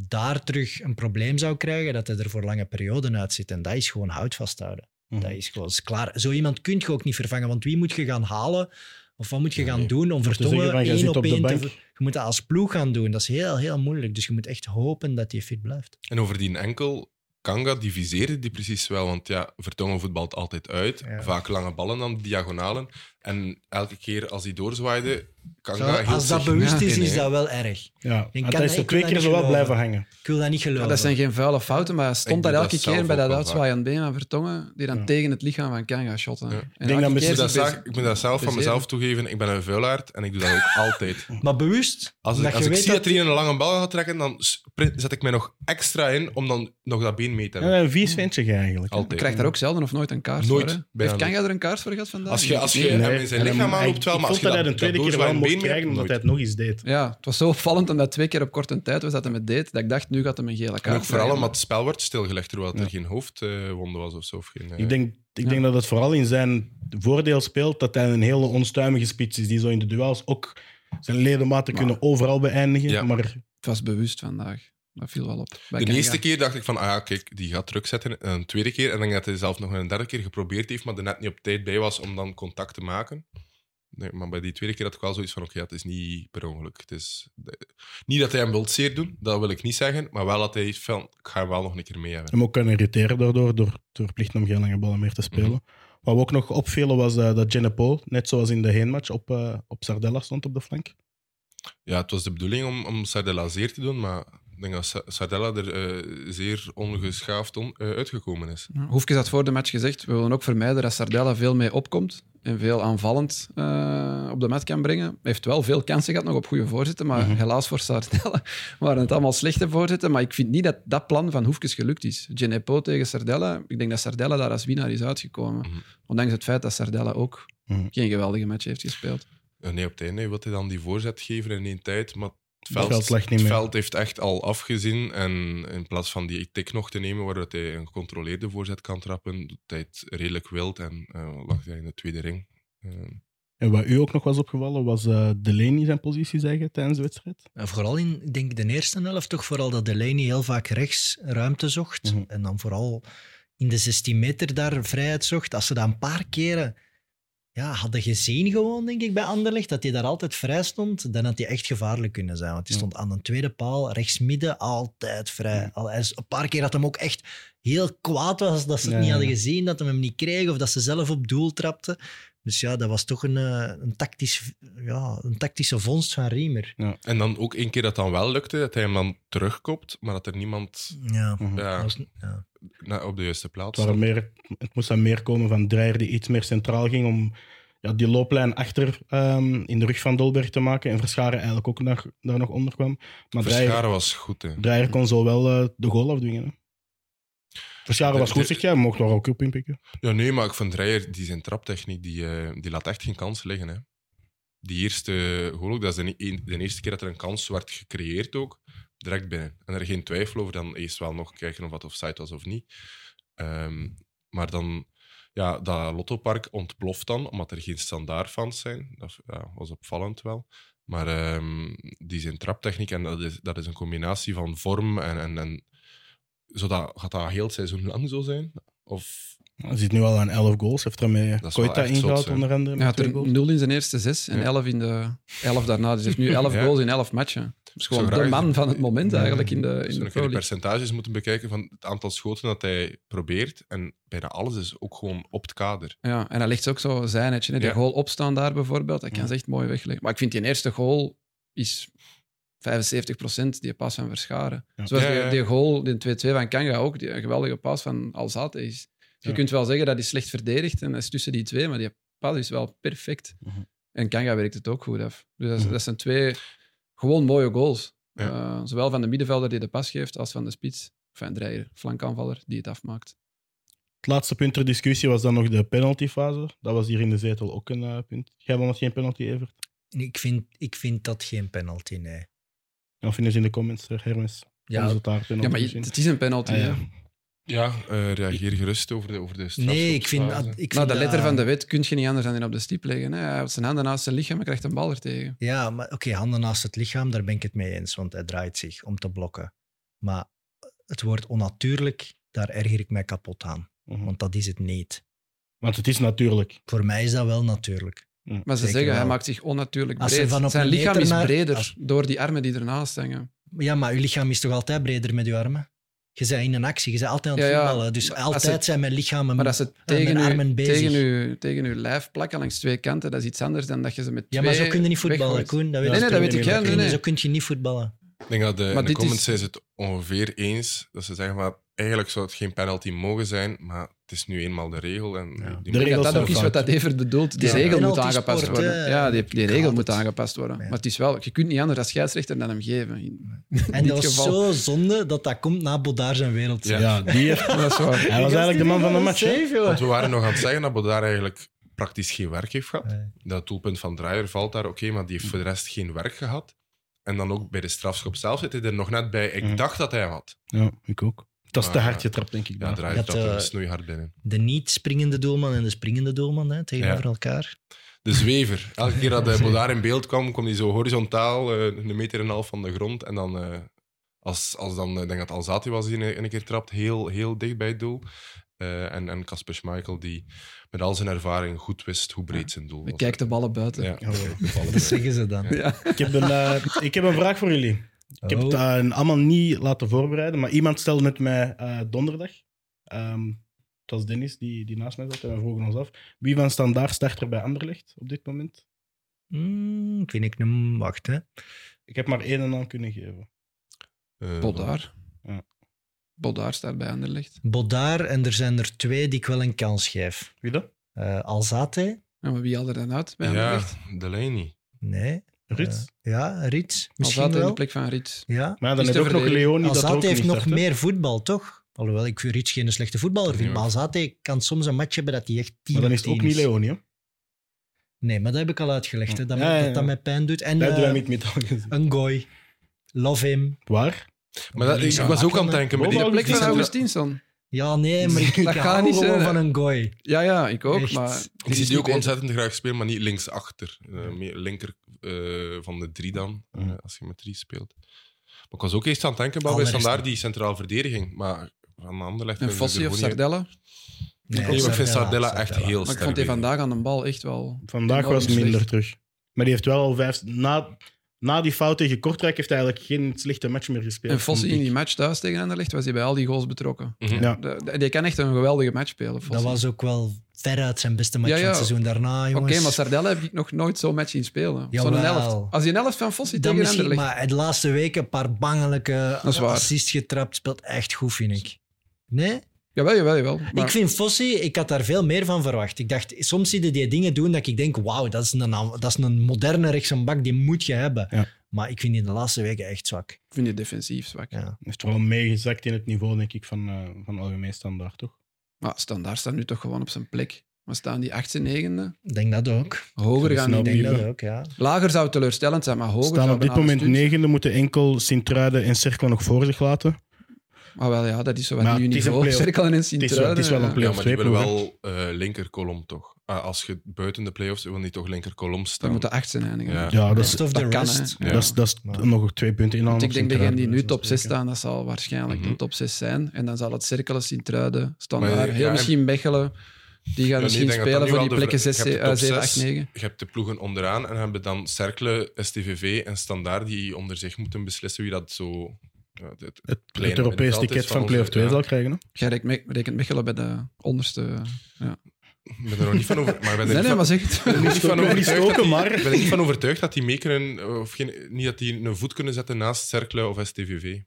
B: daar terug een probleem zou krijgen, dat hij er voor lange perioden uit zit. En dat is gewoon hout vasthouden.
A: Mhm.
B: Dat is gewoon is klaar. Zo iemand kun je ook niet vervangen, want wie moet je gaan halen of wat moet je
C: Ja,
B: gaan
C: nee.
B: doen om
A: Te zeggen
B: Vertongen
A: van, jij
B: één
A: zit
B: op
A: op de
B: één te...
A: bank.
B: ver- Je moet dat als ploeg gaan doen. Dat is heel, heel moeilijk. Dus je moet echt hopen dat hij fit blijft.
C: En over die enkel, Kanga diviseerde die precies wel. Want ja, Vertongen voetbalt altijd uit.
B: Ja.
C: Vaak lange ballen aan de diagonalen. En elke keer als hij doorzwaaide, Kanga
B: Zo,
C: hield
B: als dat
C: zich
B: bewust
C: niet
B: is,
C: in,
B: is
C: hè.
B: dat wel erg.
A: Ja,
B: Ik
A: want
B: kan-
A: hij is er
B: ik
A: twee
B: kan
A: keer
B: dat
A: zo
B: niet
A: wel blijven
B: geloven.
A: hangen.
B: Ik wil dat niet
D: Ja,
B: geloven.
D: dat zijn geen vuile fouten, maar hij stond
C: Ik
D: daar
C: doe
D: elke
C: dat zelf
D: keer bij
C: ook
D: dat
C: wel
D: uitzwaaiend been aan Vertongen, die dan
A: Ja.
D: tegen het lichaam van Kanga shotten.
C: Ja.
D: En
C: Ik
A: denk dat
D: elke keer
A: mensen
C: Ik
A: Eerst
C: moet, dat
D: is het
C: zelf, ik moet dat zelf van
D: bezeren.
C: mezelf toegeven. Ik ben een vuilaard en ik doe dat ook altijd.
B: Maar bewust,
C: Als,
B: omdat
C: ik, als
B: je
C: ik
B: weet
C: zie dat
B: dat...
C: er een lange bal gaat trekken, dan sprint- zet ik mij nog extra in om dan nog dat been mee te hebben.
A: Ja, een vies ventje jij eigenlijk. hè.
C: Altijd.
D: Je krijgt daar ook zelden of nooit een kaart
C: Nooit,
D: voor. hè?
C: bijna
D: Heeft Kanga er een kaart voor gehad vandaag?
C: Als je, als je
A: Nee.
C: hem in zijn
A: En
C: lichaam
A: dan-
C: aanloopt, wel,
A: ik
C: maar als
A: vond dat
C: je
A: hij
C: dat,
A: de tweede
C: dat
A: keer wel
C: doorzwaaiend
A: mocht
C: been mee
A: krijgen,
C: hebt,
A: omdat hij
C: nooit.
A: het nog eens deed.
D: Ja, het was zo opvallend omdat dat twee keer op korte tijd was dat hij het deed, dat ik dacht, nu gaat hij een gele kaart
C: En ook vooral
D: krijgen.
C: omdat het spel werd stilgelegd, terwijl er
A: Ja.
C: geen hoofdwonde was of zo. Of geen, eh,
A: Ik denk, ik denk dat het vooral in zijn voordeel speelt dat hij een hele onstuimige spits is, die zo in de duels ook zijn ledematen
D: Maar-
A: kunnen overal beëindigen.
C: Ja.
A: Maar
D: Het was bewust vandaag. Dat viel wel op. bij
C: de
D: Kanga.
C: eerste keer dacht ik van, ah ja, kijk, die gaat druk zetten. En een tweede keer, en ik denk dat hij zelf nog een derde keer geprobeerd heeft, maar er net niet op tijd bij was om dan contact te maken. Nee, maar bij die tweede keer had ik wel zoiets van, oké, ja, het is niet per ongeluk. Het is, de- niet dat hij hem wilt zeer doen, dat wil ik niet zeggen, maar wel dat hij heeft van, ik ga hem wel nog een keer mee hebben.
A: hem ook kan irriteren daardoor, door te verplichten om geen lange ballen meer te spelen.
C: Mhm.
A: Wat we ook nog opvielen was eh, dat Jenna Paul, net zoals in de heenmatch, op, eh, op Sardella stond op de flank.
C: Ja, het was de bedoeling om, om Sardella zeer te doen, maar ik denk dat Sa- Sardella er eh, zeer ongeschaafd on- eh, uitgekomen is.
D: Ja. Hoefkes had voor de match gezegd, we willen ook vermijden dat Sardella veel mee opkomt en veel aanvallend eh, op de mat kan brengen. Hij heeft wel veel kansen gehad nog op goede voorzitten, maar
C: Mhm.
D: helaas voor Sardella waren het allemaal slechte voorzitten. Maar ik vind niet dat dat plan van Hoefkes gelukt is. Genepo tegen Sardella, ik denk dat Sardella daar als winnaar is uitgekomen.
C: Mhm.
D: Ondanks het feit dat Sardella ook
A: Mhm.
D: geen geweldige match heeft gespeeld.
C: Eh, Nee, op het einde wil hij dan die voorzet geven in één tijd, maar het
A: Het
C: veld,
A: veld lag niet
C: het
A: meer.
C: veld heeft echt al afgezien. En in plaats van die tik nog te nemen, waardoor hij een gecontroleerde voorzet kan trappen, doet hij het redelijk wild en eh, lag hij in de tweede ring. Eh,
A: En wat u ook nog was opgevallen, was eh Delaney zijn positie zeggen tijdens de wedstrijd.
B: En vooral in, ik denk de eerste helft toch, vooral dat Delaney heel vaak rechts ruimte zocht.
A: Mhm.
B: En dan vooral in de 16 meter daar vrijheid zocht. Als ze dat een paar keren ja, hadden gezien gewoon, denk ik, bij Anderlecht, dat hij daar altijd vrij stond, dan had hij echt gevaarlijk kunnen zijn. Want hij
A: Ja.
B: stond aan een tweede paal, rechts midden, altijd vrij.
A: Mhm.
B: Al, hij is- een paar keer had hem ook echt heel kwaad was dat ze het
A: Ja,
B: niet
A: ja,
B: hadden
A: ja.
B: gezien, dat hem hem niet kregen of dat ze zelf op doel trapten. Dus ja, dat was toch een, eh, een, tactisch, ja, een tactische vondst van Riemer.
C: En dan ook één keer dat dan wel lukte, dat hij hem dan terugkoopt, maar dat er niemand
B: Ja.
A: Mhm.
C: ja,
B: Dat was n- ja.
C: na- op de juiste plaats
A: Het, waren meer, het moest dan meer komen van Dreyer die iets meer centraal ging om ja, die looplijn achter ehm, in de rug van Dolberg te maken. En Verscharen eigenlijk ook nog, daar nog onder kwam. Maar Dreyer,
C: Verscharen was goed, hè.
A: Dreyer kon zo wel eh, de goal afdwingen. hè. Verscharen was goed, zeg jij. Mocht daar ook op inpikken.
C: Ja, nee, maar ik vind Dreyer, die zijn traptechniek, die, eh, die laat echt geen kans liggen. Hè. Die eerste goal ook, dat is de, e- de eerste keer dat er een kans werd gecreëerd ook, direct binnen. En er geen twijfel over, dan eerst wel nog kijken of dat offside was of niet. Ehm, maar dan, ja, dat Lottopark ontploft dan, omdat er geen standaardfans zijn. Dat ja, was opvallend wel. Maar ehm, die zijn traptechniek, en dat is, dat is een combinatie van vorm en... en, en zodat, gaat dat heel het seizoen lang zo zijn? Of
A: Hij zit nu al aan 11 goals. Heeft er met
C: Dat is wel
A: Koita
C: echt zot,
A: ingehaald,
C: hè.
A: onder andere.
D: Hij
A: met
D: had
A: twee
D: er
A: goals.
D: 0 in zijn eerste zes en
C: Ja.
D: 11 in de 11 daarna. Dus hij heeft nu 11
C: Ja.
D: goals in 11 matchen. Dat is gewoon
C: Zo Dus graag
D: de
C: is
D: man
C: dat.
D: van het moment
A: Ja.
D: eigenlijk in de, in
C: Zo
D: de
C: een keer
D: Pro
C: de
D: League.
C: percentages moeten bekijken van het aantal schoten dat hij probeert. En bijna alles is ook gewoon op het kader.
D: Ja, en hij legt ze ook zo zijn netje. hè. Die
C: Ja.
D: goal opstaan daar bijvoorbeeld, dat kan
A: Ja.
D: ze echt mooi wegleggen. Maar ik vind die eerste goal is 75% die pas van Verscharen.
A: Ja.
D: Zoals
C: Ja, ja,
D: Die,
C: ja.
D: die goal, die 2-2 van Kanga ook, die geweldige pas van Alzate is. Dus
A: Ja.
D: Je kunt wel zeggen dat is slecht verdedigd en dat is tussen die twee, maar die pas is wel perfect.
A: Mhm.
D: En Kanga werkt het ook goed af. Dus dat, is-
A: Mhm.
D: dat zijn twee gewoon mooie goals.
C: Ja.
D: Eh, zowel van de middenvelder die de pas geeft, als van de spits, van Dreyer, flankaanvaller, die het afmaakt.
A: Het laatste punt ter discussie was dan nog de penaltyfase. Dat was hier in de zetel ook een eh, punt. Jij wil nog geen penalty, Evert?
B: Ik, vind, ik vind dat geen penalty, nee.
A: Dan vinden ze in de comments, eh, Hermes. Ja,
B: Ja,
A: het daar penalty
D: Ja, maar je-
A: misschien?
D: het is een penalty.
A: Ah, ja.
D: hè.
C: Ja, eh, reageer gerust over de, over de
B: nee, ik vind...
C: strafschopsfase.
B: Ik vind
D: Nou, de
B: dat-
D: letter van de wet kun je niet anders dan in op de stip leggen. Hè. Hij houdt zijn handen naast zijn lichaam en krijgt een bal er tegen.
B: Ja, maar oké, handen naast het lichaam, daar ben ik het mee eens, want hij draait zich om te blokken. Maar het woord onnatuurlijk, daar erger ik mij kapot aan,
A: Mhm.
B: want dat is het niet.
A: Want het is natuurlijk.
B: Voor mij is dat wel natuurlijk.
D: Maar ze
B: Zeker
D: zeggen, hij
B: wel.
D: maakt zich onnatuurlijk
B: Als
D: breed.
B: hij van op
D: zijn
B: een
D: lichaam
B: meter
D: is
B: naar-
D: breder
B: als-
D: door die armen die ernaast hangen.
B: Ja, maar uw lichaam is toch altijd breder met uw armen? Je bent in een actie, je bent altijd aan het
D: Ja, ja,
B: voetballen. Dus
D: maar als
B: altijd
D: het-
B: zijn mijn lichamen...
D: Maar als ze
B: met
D: tegen,
B: armen
D: u,
B: bezig.
D: tegen, u, tegen uw lijf plakken langs twee kanten, dat is iets anders dan dat je ze met
B: ja,
D: twee
B: maar zo kun je niet voetballen,
D: weggooit.
B: Koen. Dat
A: Ja,
B: weet
D: Nee,
B: ik.
D: nee, dat weet ik.
A: Ja,
D: hè.
A: nee,
D: Nee,
B: Zo
D: nee.
B: kun je niet voetballen.
C: Ik denk dat de, in de
D: dit is-
C: comments zijn ze het ongeveer eens. Dat ze zeggen, maar eigenlijk zou het geen penalty mogen zijn. Maar het is nu eenmaal de regel. En
A: Ja.
C: die
A: De
D: Ik denk
A: regels
D: dat dat
A: zijn
D: ook is wat
A: fout.
D: dat Evert bedoelt. Die
B: Ja.
D: regel moet
B: Penalty
D: aangepast
B: sport,
D: worden.
B: hè.
D: Ja, die, die
B: Ik
D: regel
B: haat
D: moet
B: het.
D: aangepast worden.
B: Ja.
D: Maar het is wel, je kunt niet anders als scheidsrechter dan hem geven. In- in
B: En
D: dit
B: dat was
D: geval.
B: zo zonde dat dat komt na Bodaar zijn wereld.
A: Ja,
C: Ja.
A: die heeft,
D: Dat is waar.
A: hij was eigenlijk de man van de match. hè?
C: Want we waren nog aan het zeggen dat Bodaar eigenlijk praktisch geen werk heeft gehad.
B: Nee.
C: Dat doelpunt van Draaier valt daar, oké, maar
B: Hm.
C: die heeft voor de rest geen werk gehad. En dan ook bij de strafschop zelf zit hij er nog net bij. Ik
B: Hm.
A: Mhm.
C: dacht dat hij hem had.
A: Ja, ik ook. Dat is te
C: Maar,
A: hard getrapt, denk ik.
C: Ja,
A: daar.
C: Draaier
B: Dat,
C: trapt hem
B: eh,
C: snoeihard binnen.
B: De niet-springende doelman en de springende doelman hè, tegenover elkaar.
C: De zwever. Elke keer dat eh, Bodaar in beeld kwam, kwam hij zo horizontaal, eh, een meter en een half van de grond. En dan, eh, als, als dan, eh, ik denk dat Alzati was die een, een keer trapt, heel, heel dicht bij het doel. Eh, en en Kasper Schmeichel, die met al zijn ervaring goed wist hoe breed zijn doel was.
D: Ik kijk de Oh, ballen buiten.
C: Ja. Eh,
B: Dat zeggen ze dan.
D: Ja.
A: Ik, heb een, eh, ik heb een vraag voor jullie. Ik heb het
B: Oh.
A: eh, allemaal niet laten voorbereiden, maar iemand stelde het mij eh, donderdag. Ehm, het was Dennis die, die naast mij zat en we vroegen ons af. Wie van standaard start er bij Anderlecht op dit moment?
B: Hmm, ik weet niet, hmm, wacht hè.
A: Ik heb maar één en naam kunnen geven.
C: Eh,
D: Bodaar.
A: Ja.
D: Bodaar staat bij Anderlecht.
B: Bodaar en er zijn er twee die ik wel een kans geef.
A: Wie dat?
B: Eh, Alzate?
D: Ja, maar wie had er dan uit bij
C: Ja,
D: Anderlecht?
C: Delaney.
B: Nee.
A: Ruts.
B: Eh, ja, Rits.
D: Misschien
B: Misschien
D: Alzate in
B: wel.
D: de plek van Riet.
B: Ja.
A: maar ja, dan heb
D: Is te
A: je ook nog
D: verdedigen.
A: Leonie. dat er ook
B: Alzate heeft
A: niet
B: nog
A: start, hè?
B: meer voetbal, toch? Alhoewel, ik vind Rits geen slechte voetballer
C: Nee,
B: vind, maar
C: maar-
B: Alzate kan soms een match hebben dat hij echt 10
A: Maar dan
B: op
A: is het ook
B: 10
A: niet Leonie. Hè?
B: Nee, maar dat heb ik al uitgelegd, hè, dat,
A: Ja,
B: me-
A: ja, ja.
B: dat dat mij pijn doet. En
A: Dat hebben wij
B: eh,
A: met al gezien.
B: een gooi. Love him.
A: Waar?
C: Maar dat, ik, ik was ook aan het denken. Maar
A: Boven
D: De
A: Augustinson.
C: die,
D: plek
C: die
D: van
C: centra-
D: Augustinsson.
B: Ja, nee, maar ik, ik
D: Dat gaat
B: hou
D: niet
B: gewoon
D: zijn, hè.
B: van een gooi.
D: Ja, ja, ik ook.
B: Echt.
D: Maar
C: Ik zie
D: is
C: die ook
D: niet
C: ontzettend graag spelen, maar niet linksachter. Eh, meer linker eh, van de drie dan, eh,
A: Mm.
C: als je met drie speelt. Maar ik was ook eerst aan het denken, maar
B: Aller
C: bij
B: is
C: standaard
B: dat.
C: die centraal verdediging. Maar van Anderlecht...
D: een
C: kunnen ze er
D: Fossi of
C: gewoon niet uit.
D: Sardella.
C: Nee, maar ik vind Sardella echt heel
D: Maar ik
C: sterk.
D: vond die
C: bezig.
D: vandaag aan de bal echt wel.
A: Vandaag
D: Enorm
A: was het minder
D: slecht.
A: terug. Maar die heeft wel al vijf... Na, na die fout tegen Kortrijk heeft hij eigenlijk geen slechte match meer gespeeld.
D: En Fossi in
A: vond ik.
D: die match thuis tegen Anderlecht was hij bij al die goals betrokken.
C: Mhm.
A: Ja.
D: De- de- die kan echt een geweldige match spelen. Fossi.
B: Dat was ook wel veruit zijn beste match
D: Ja,
B: van het
D: ja.
B: seizoen daarna,
D: Oké,
B: jongens.
D: maar Sardella heb ik nog nooit zo'n match zien spelen. Zo'n
B: Jawel.
D: elft. Als je een elft van Fossi
B: dan
D: tegen
B: misschien,
D: Anderlecht.
B: maar de laatste weken een paar bangelijke
D: Dat is waar.
B: assists getrapt. Speelt echt goed, vind ik. Nee?
D: Jawel, jawel, jawel. Maar
B: Ik vind Fossi, ik had daar veel meer van verwacht. Ik dacht, soms zie je die dingen doen dat ik denk, wauw, dat, is een- dat is een moderne rechtsaanbak, die moet je hebben.
A: Ja.
B: Maar ik vind die de laatste weken echt zwak.
D: ik vind je defensief zwak.
B: Ja.
A: Hij heeft wel meegezakt in het niveau, denk ik, van, eh, van algemeen standaard, toch?
D: Maar Standaard staat nu toch gewoon op zijn plek. Maar staan die 8e, 9e?
B: Ik denk dat ook.
A: Dat
D: Hoger
A: is
D: gaan
A: nou
D: die
B: Ik denk
A: opnieuw,
B: dat
A: hè.
B: ook, ja.
D: Lager zou teleurstellend zijn, maar hoger
A: staan
D: zou
A: op dit
D: bijna
A: moment
D: gestuurd zijn.
A: negende, moeten enkel Sint-Truiden en Cerkel nog voor zich laten.
D: Maar wel, ja, dat is zo wat
A: Maar
D: nu
A: het is een
D: niveau.
A: play-off.
D: Cirkel en
A: Het is wel- het is wel een
D: Sint-Truiden,
A: play-
C: Ja,
A: Playoff
C: maar die
A: twee
C: willen wel eh linkerkolom, toch? Ah, als je buiten de play-offs wil niet toch linkerkolom
D: Dan
C: staan.
D: moeten 8 zijn eindigen.
C: Ja.
A: Ja, Oh, dat is,
B: Best of
D: dat
B: the
D: kan,
B: rest.
D: hè.
C: Ja.
A: dat is, dat is
B: Ja.
A: nog twee punten in aan.
D: Want
A: op
D: ik denk degenen
A: Sint-Truiden,
D: die nu
A: bij wijze van
D: top 6
A: spreken.
D: staan, dat zal waarschijnlijk
C: Mhm.
D: de top 6 zijn. En dan zal het Cirkelen, Sint-Truiden, Standaard,
C: Maar ja,
D: heel
C: ja, en-
D: misschien Mechelen. Die gaan
C: nee, ik
D: misschien
C: denk dat dat
D: spelen
C: nu
D: voor
C: wel
D: die
C: de
D: plekken eh,
C: ver-
D: 6,
C: je hebt de top
D: 7, 8,
C: zes.
D: 9.
C: Je hebt de ploegen onderaan en hebben dan Cercle, STVV en Standaard die onder zich moeten beslissen wie dat zo... ja, het- het-
A: Het,
C: Kleiner
A: het Europees
C: middenveld is
A: ticket
C: van
A: van
C: onze-
A: Play-off 2
C: ja.
A: zal krijgen. Hè?
D: Jij rekent Me- rekent Mechelen bij de onderste.
C: Ik ben er nog niet van over... Maar ik ben er
D: Nee,
C: niet
D: nee,
C: van-
D: maar zeg het.
C: ik ben er niet van
A: Niet
C: overtuigd dat
A: stoken,
C: die-
A: maar.
C: ik ben er niet van overtuigd dat die mee kunnen, of geen, niet dat die een voet kunnen zetten naast Cercle of STVV.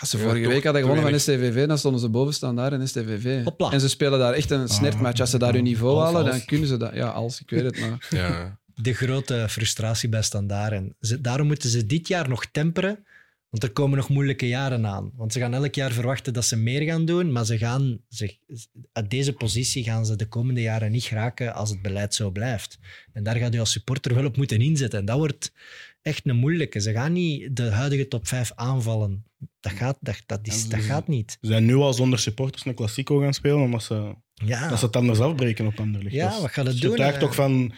D: Als Ah, ze
C: Ja,
D: vorige
C: toch,
D: week hadden
C: te
D: gewonnen van STVV, dan stonden ze bovenaan daar in STVV.
B: Hopla.
D: En ze spelen daar echt
C: Ah,
D: een snertmatch. Als ze daar hun niveau
B: Half,
D: halen, dan
B: half.
D: kunnen ze dat. Ja, als, ik weet het. Maar
C: Ja.
B: de grote frustratie bij Standaard. En ze- daarom moeten ze dit jaar nog temperen, want er komen nog moeilijke jaren aan. Want ze gaan elk jaar verwachten dat ze meer gaan doen, maar ze gaan zich, uit deze positie gaan ze de komende jaren niet geraken als het beleid zo blijft. En daar gaat u als supporter wel op moeten inzetten. En dat wordt echt een moeilijke. Ze gaan niet de huidige top 5 aanvallen. Dat gaat, dat, dat
A: Ja,
B: is,
A: ze-
B: dat gaat niet.
A: Ze zijn nu al zonder supporters een Classico gaan spelen, omdat ze,
B: Ja.
A: dat ze het anders afbreken op Anderlecht.
B: Ah. Ja,
A: Dus
B: wat gaat het
A: het
B: doen, eh?
A: getuigt
B: hè?
A: toch van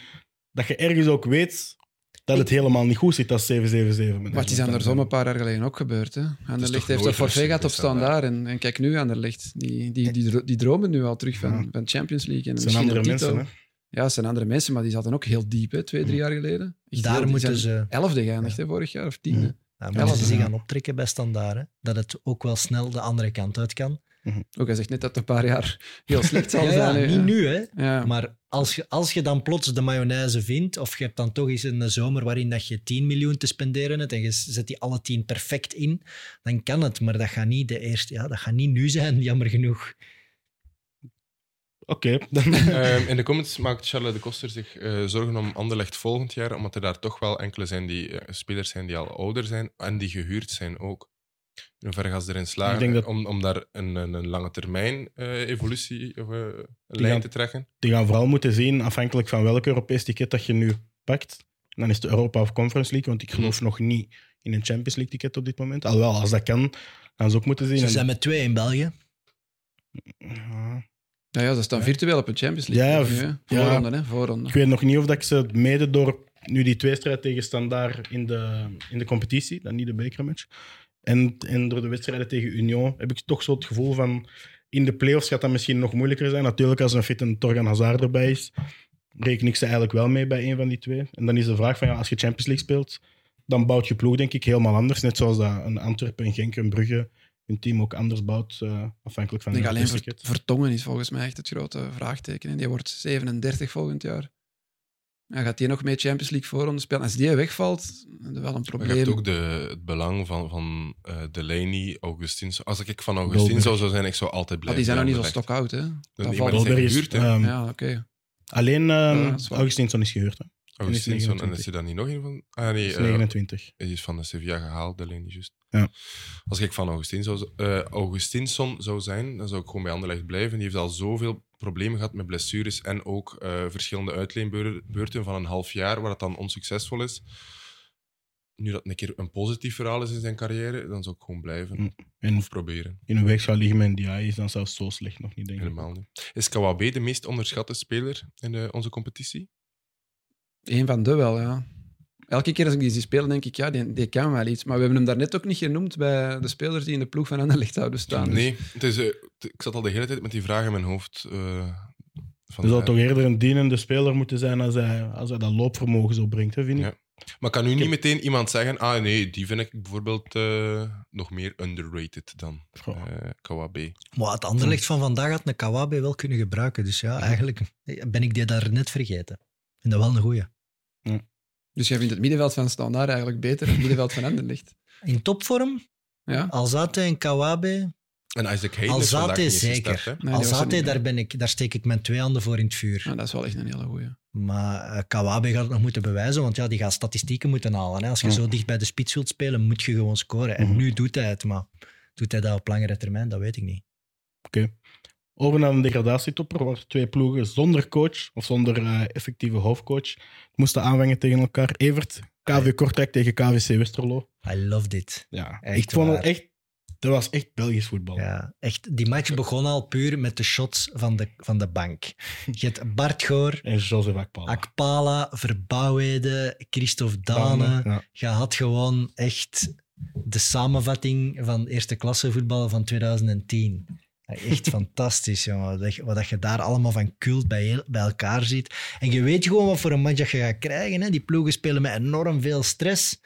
A: dat je ergens ook weet dat het helemaal niet goed zit als 777. met
D: maar het is
A: Anderlecht.
D: andersom een paar jaar geleden ook gebeurd. Hè. Anderlicht heeft
C: nooit
D: een forfait gehad op
C: rustig gestaan,
D: standaard. En, en kijk nu, Anderlicht. Die, die, die, dro- die dromen nu al terug van,
A: Ja.
D: van Champions League. En
A: Het zijn
D: misschien
A: andere
D: een titel.
A: mensen. Hè?
D: Ja, het zijn andere mensen, maar die zaten ook heel diep, hè, twee, drie jaar geleden. Echt heel
B: daar
D: diep.
B: moeten
D: zijn
B: ze,
D: Elfde geëindigd hè, vorig jaar, of tiende.
B: daar moeten ze
D: Ja.
B: zich Nou, gaan optrekken bij standaard. hè. Dat het ook wel snel de andere kant uit kan.
D: Ook hij zegt net dat het een paar jaar heel slecht zal
B: Ja, ja,
D: zijn. hè.
B: niet nu, hè.
D: Ja.
B: Maar als je, als je dan plots de mayonaise vindt, of je hebt dan toch eens een zomer waarin dat je 10 miljoen te spenderen hebt en je zet die alle 10 perfect in, dan kan het. Maar dat gaat niet, de eerste, ja, dat gaat niet nu zijn, jammer genoeg.
A: Oké, dan
C: Ehm, in de comments maakt Charlotte de Koster zich eh, zorgen om Anderlecht volgend jaar, omdat er daar toch wel enkele zijn die, eh, spelers zijn die al ouder zijn en die gehuurd zijn ook. In hoeverre gaan ze erin slagen
A: Ik denk dat-
C: om, om daar een, een, een lange termijn eh, evolutie of eh, lijn
A: gaan-
C: te trekken?
A: die gaan vooral moeten zien, afhankelijk van welk Europees ticket dat je nu pakt. Dan is het Europa of Conference League, want ik geloof
B: Hm.
A: nog niet in een Champions League ticket op dit moment. Alhoewel, als dat kan, gaan ze ook moeten zien.
B: Ze
A: En-
B: zijn met twee in België.
A: Ja.
D: Ja, ja, ze staan virtueel op een Champions League.
A: Ja,
D: Ja,
A: v- ja.
D: Voorronde, hè? Voorronde.
A: Ik weet nog niet of dat ik ze mede door nu die tweestrijd tegen Standaard in de, in de competitie, dan niet de bekermatch, en, en door de wedstrijden tegen Union, heb ik toch zo het gevoel van in de playoffs gaat dat misschien nog moeilijker zijn. Natuurlijk, als een fit en Torgan Hazard erbij is, reken ik ze eigenlijk wel mee bij een van die twee. En dan is de vraag van ja, als je Champions League speelt, dan bouwt je ploeg denk ik helemaal anders. Net zoals dat een Antwerpen, een Genk, een Brugge hun team ook anders bouwt, eh, afhankelijk van
D: Ik denk alleen
A: Europees
D: Ver-
A: ticket.
D: Vertongen is volgens mij echt het grote vraagteken. En die wordt 37 volgend jaar. Ja, gaat die nog mee Champions League voorronde spelen? Als die wegvalt, dan hebben we wel een
C: Maar je hebt
D: probleem.
C: ook de, het belang van, van eh Delaney, Augustins. Als ik van Augustins
A: Dolberg.
C: zou zijn, ik zou altijd
D: Maar
C: blijven.
D: Ah, die zijn nog niet zo
C: bij Anderlecht.
D: stokoud, hè?
C: Nee,
D: Dat
C: maar
D: valt
C: die zijn
A: Dolberg is,
C: gehuurd, hè.
A: ehm,
D: Ja, oké.
A: Alleen ehm
D: Ja, dat is waar.
A: Augustinsson is gehuurd. Hè?
C: Augustinsson, en
A: 29.
C: is er dan niet nog een van? Ah nee,
A: Is
C: eh,
A: 29.
C: Hij is van de Sevilla gehaald, de lijn juist.
A: Ja.
C: Als ik van Augustin zou, eh, Augustinsson zou zijn, dan zou ik gewoon bij Anderlecht blijven. Die heeft al zoveel problemen gehad met blessures en ook eh, verschillende uitleenbeurten van een half jaar, waar dat dan onsuccesvol is. nu dat een keer een positief verhaal is in zijn carrière, dan zou ik gewoon
D: Mm.
C: blijven.
A: En
C: Of proberen.
A: in een weg zou liggen met NDI is dan zelfs zo slecht nog niet, denk ik.
C: Mm-hmm. Helemaal niet. Is Kawabe de meest onderschatte speler in eh, onze competitie?
D: Eén van de wel, ja. Elke keer als ik die zie spelen, denk ik, ja, die, die kan wel iets. Maar we hebben hem daarnet ook niet genoemd bij de spelers die in de ploeg van Anderlecht zouden staan. Dus-
C: Nee, het is, eh, t- ik zat al de hele tijd met die vraag in mijn hoofd. eh van,
A: Er
B: Dus
A: zou
C: eh,
A: toch eerder een dienende speler moeten zijn als hij, als hij dat loopvermogen zo brengt, hè, vind ik.
C: Ja. Maar kan u niet meteen iemand zeggen, ah nee, die vind ik bijvoorbeeld eh, nog meer underrated dan
A: Goh.
C: eh Kawabe.
B: Maar het andere licht van vandaag had een Kawabe wel kunnen gebruiken. Dus ja, eigenlijk ben ik die daar net vergeten. En dat wel een goeie.
D: Dus jij vindt het middenveld van Standaard eigenlijk beter dan het middenveld van Anderlecht.
B: In topvorm,
D: Ja?
B: Alzate en Kawabe.
C: En Isaac Hayden is vandaag
B: Alzate
C: niet eens
B: zeker.
C: gestart, hè?
D: Nee, die was er
B: Alzate,
D: niet bij.
B: daar, ben ik, daar steek ik mijn twee handen voor in het vuur.
D: Ja, dat is wel echt een hele goeie.
B: Maar eh, Kawabe gaat het nog moeten bewijzen, want ja, die gaat statistieken moeten halen. Hè. Als je
A: Ja.
B: zo dicht bij de spits wilt spelen, moet je gewoon scoren. En
A: Mhm.
B: nu doet hij het, maar doet hij dat op langere termijn? Dat weet ik niet.
A: Over naar een degradatietopper, waar twee ploegen zonder coach of zonder eh, effectieve hoofdcoach moesten aanvangen tegen elkaar. Evert, KV Kortrijk tegen KVC Westerlo.
B: I loved it.
A: Ja,
B: Echt
A: ik vond het
B: waar.
A: echt... Dat was echt Belgisch
D: Oh.
A: voetbal.
B: Ja, echt, die match begon al puur met de shots van de, van de bank. Je hebt Bart
D: Oh.
B: Goor,
A: En Joseph Akpala.
B: Akpala, Verbouwede, Christophe Dane.
A: Ja.
B: Je had gewoon echt de samenvatting van eerste klasse voetbal van 2010. Echt fantastisch, jongen. Dat- Wat dat je daar allemaal van cult bij, heel- bij elkaar ziet. En je weet gewoon wat voor een match dat je gaat krijgen. Hè? Die ploegen spelen met enorm veel stress.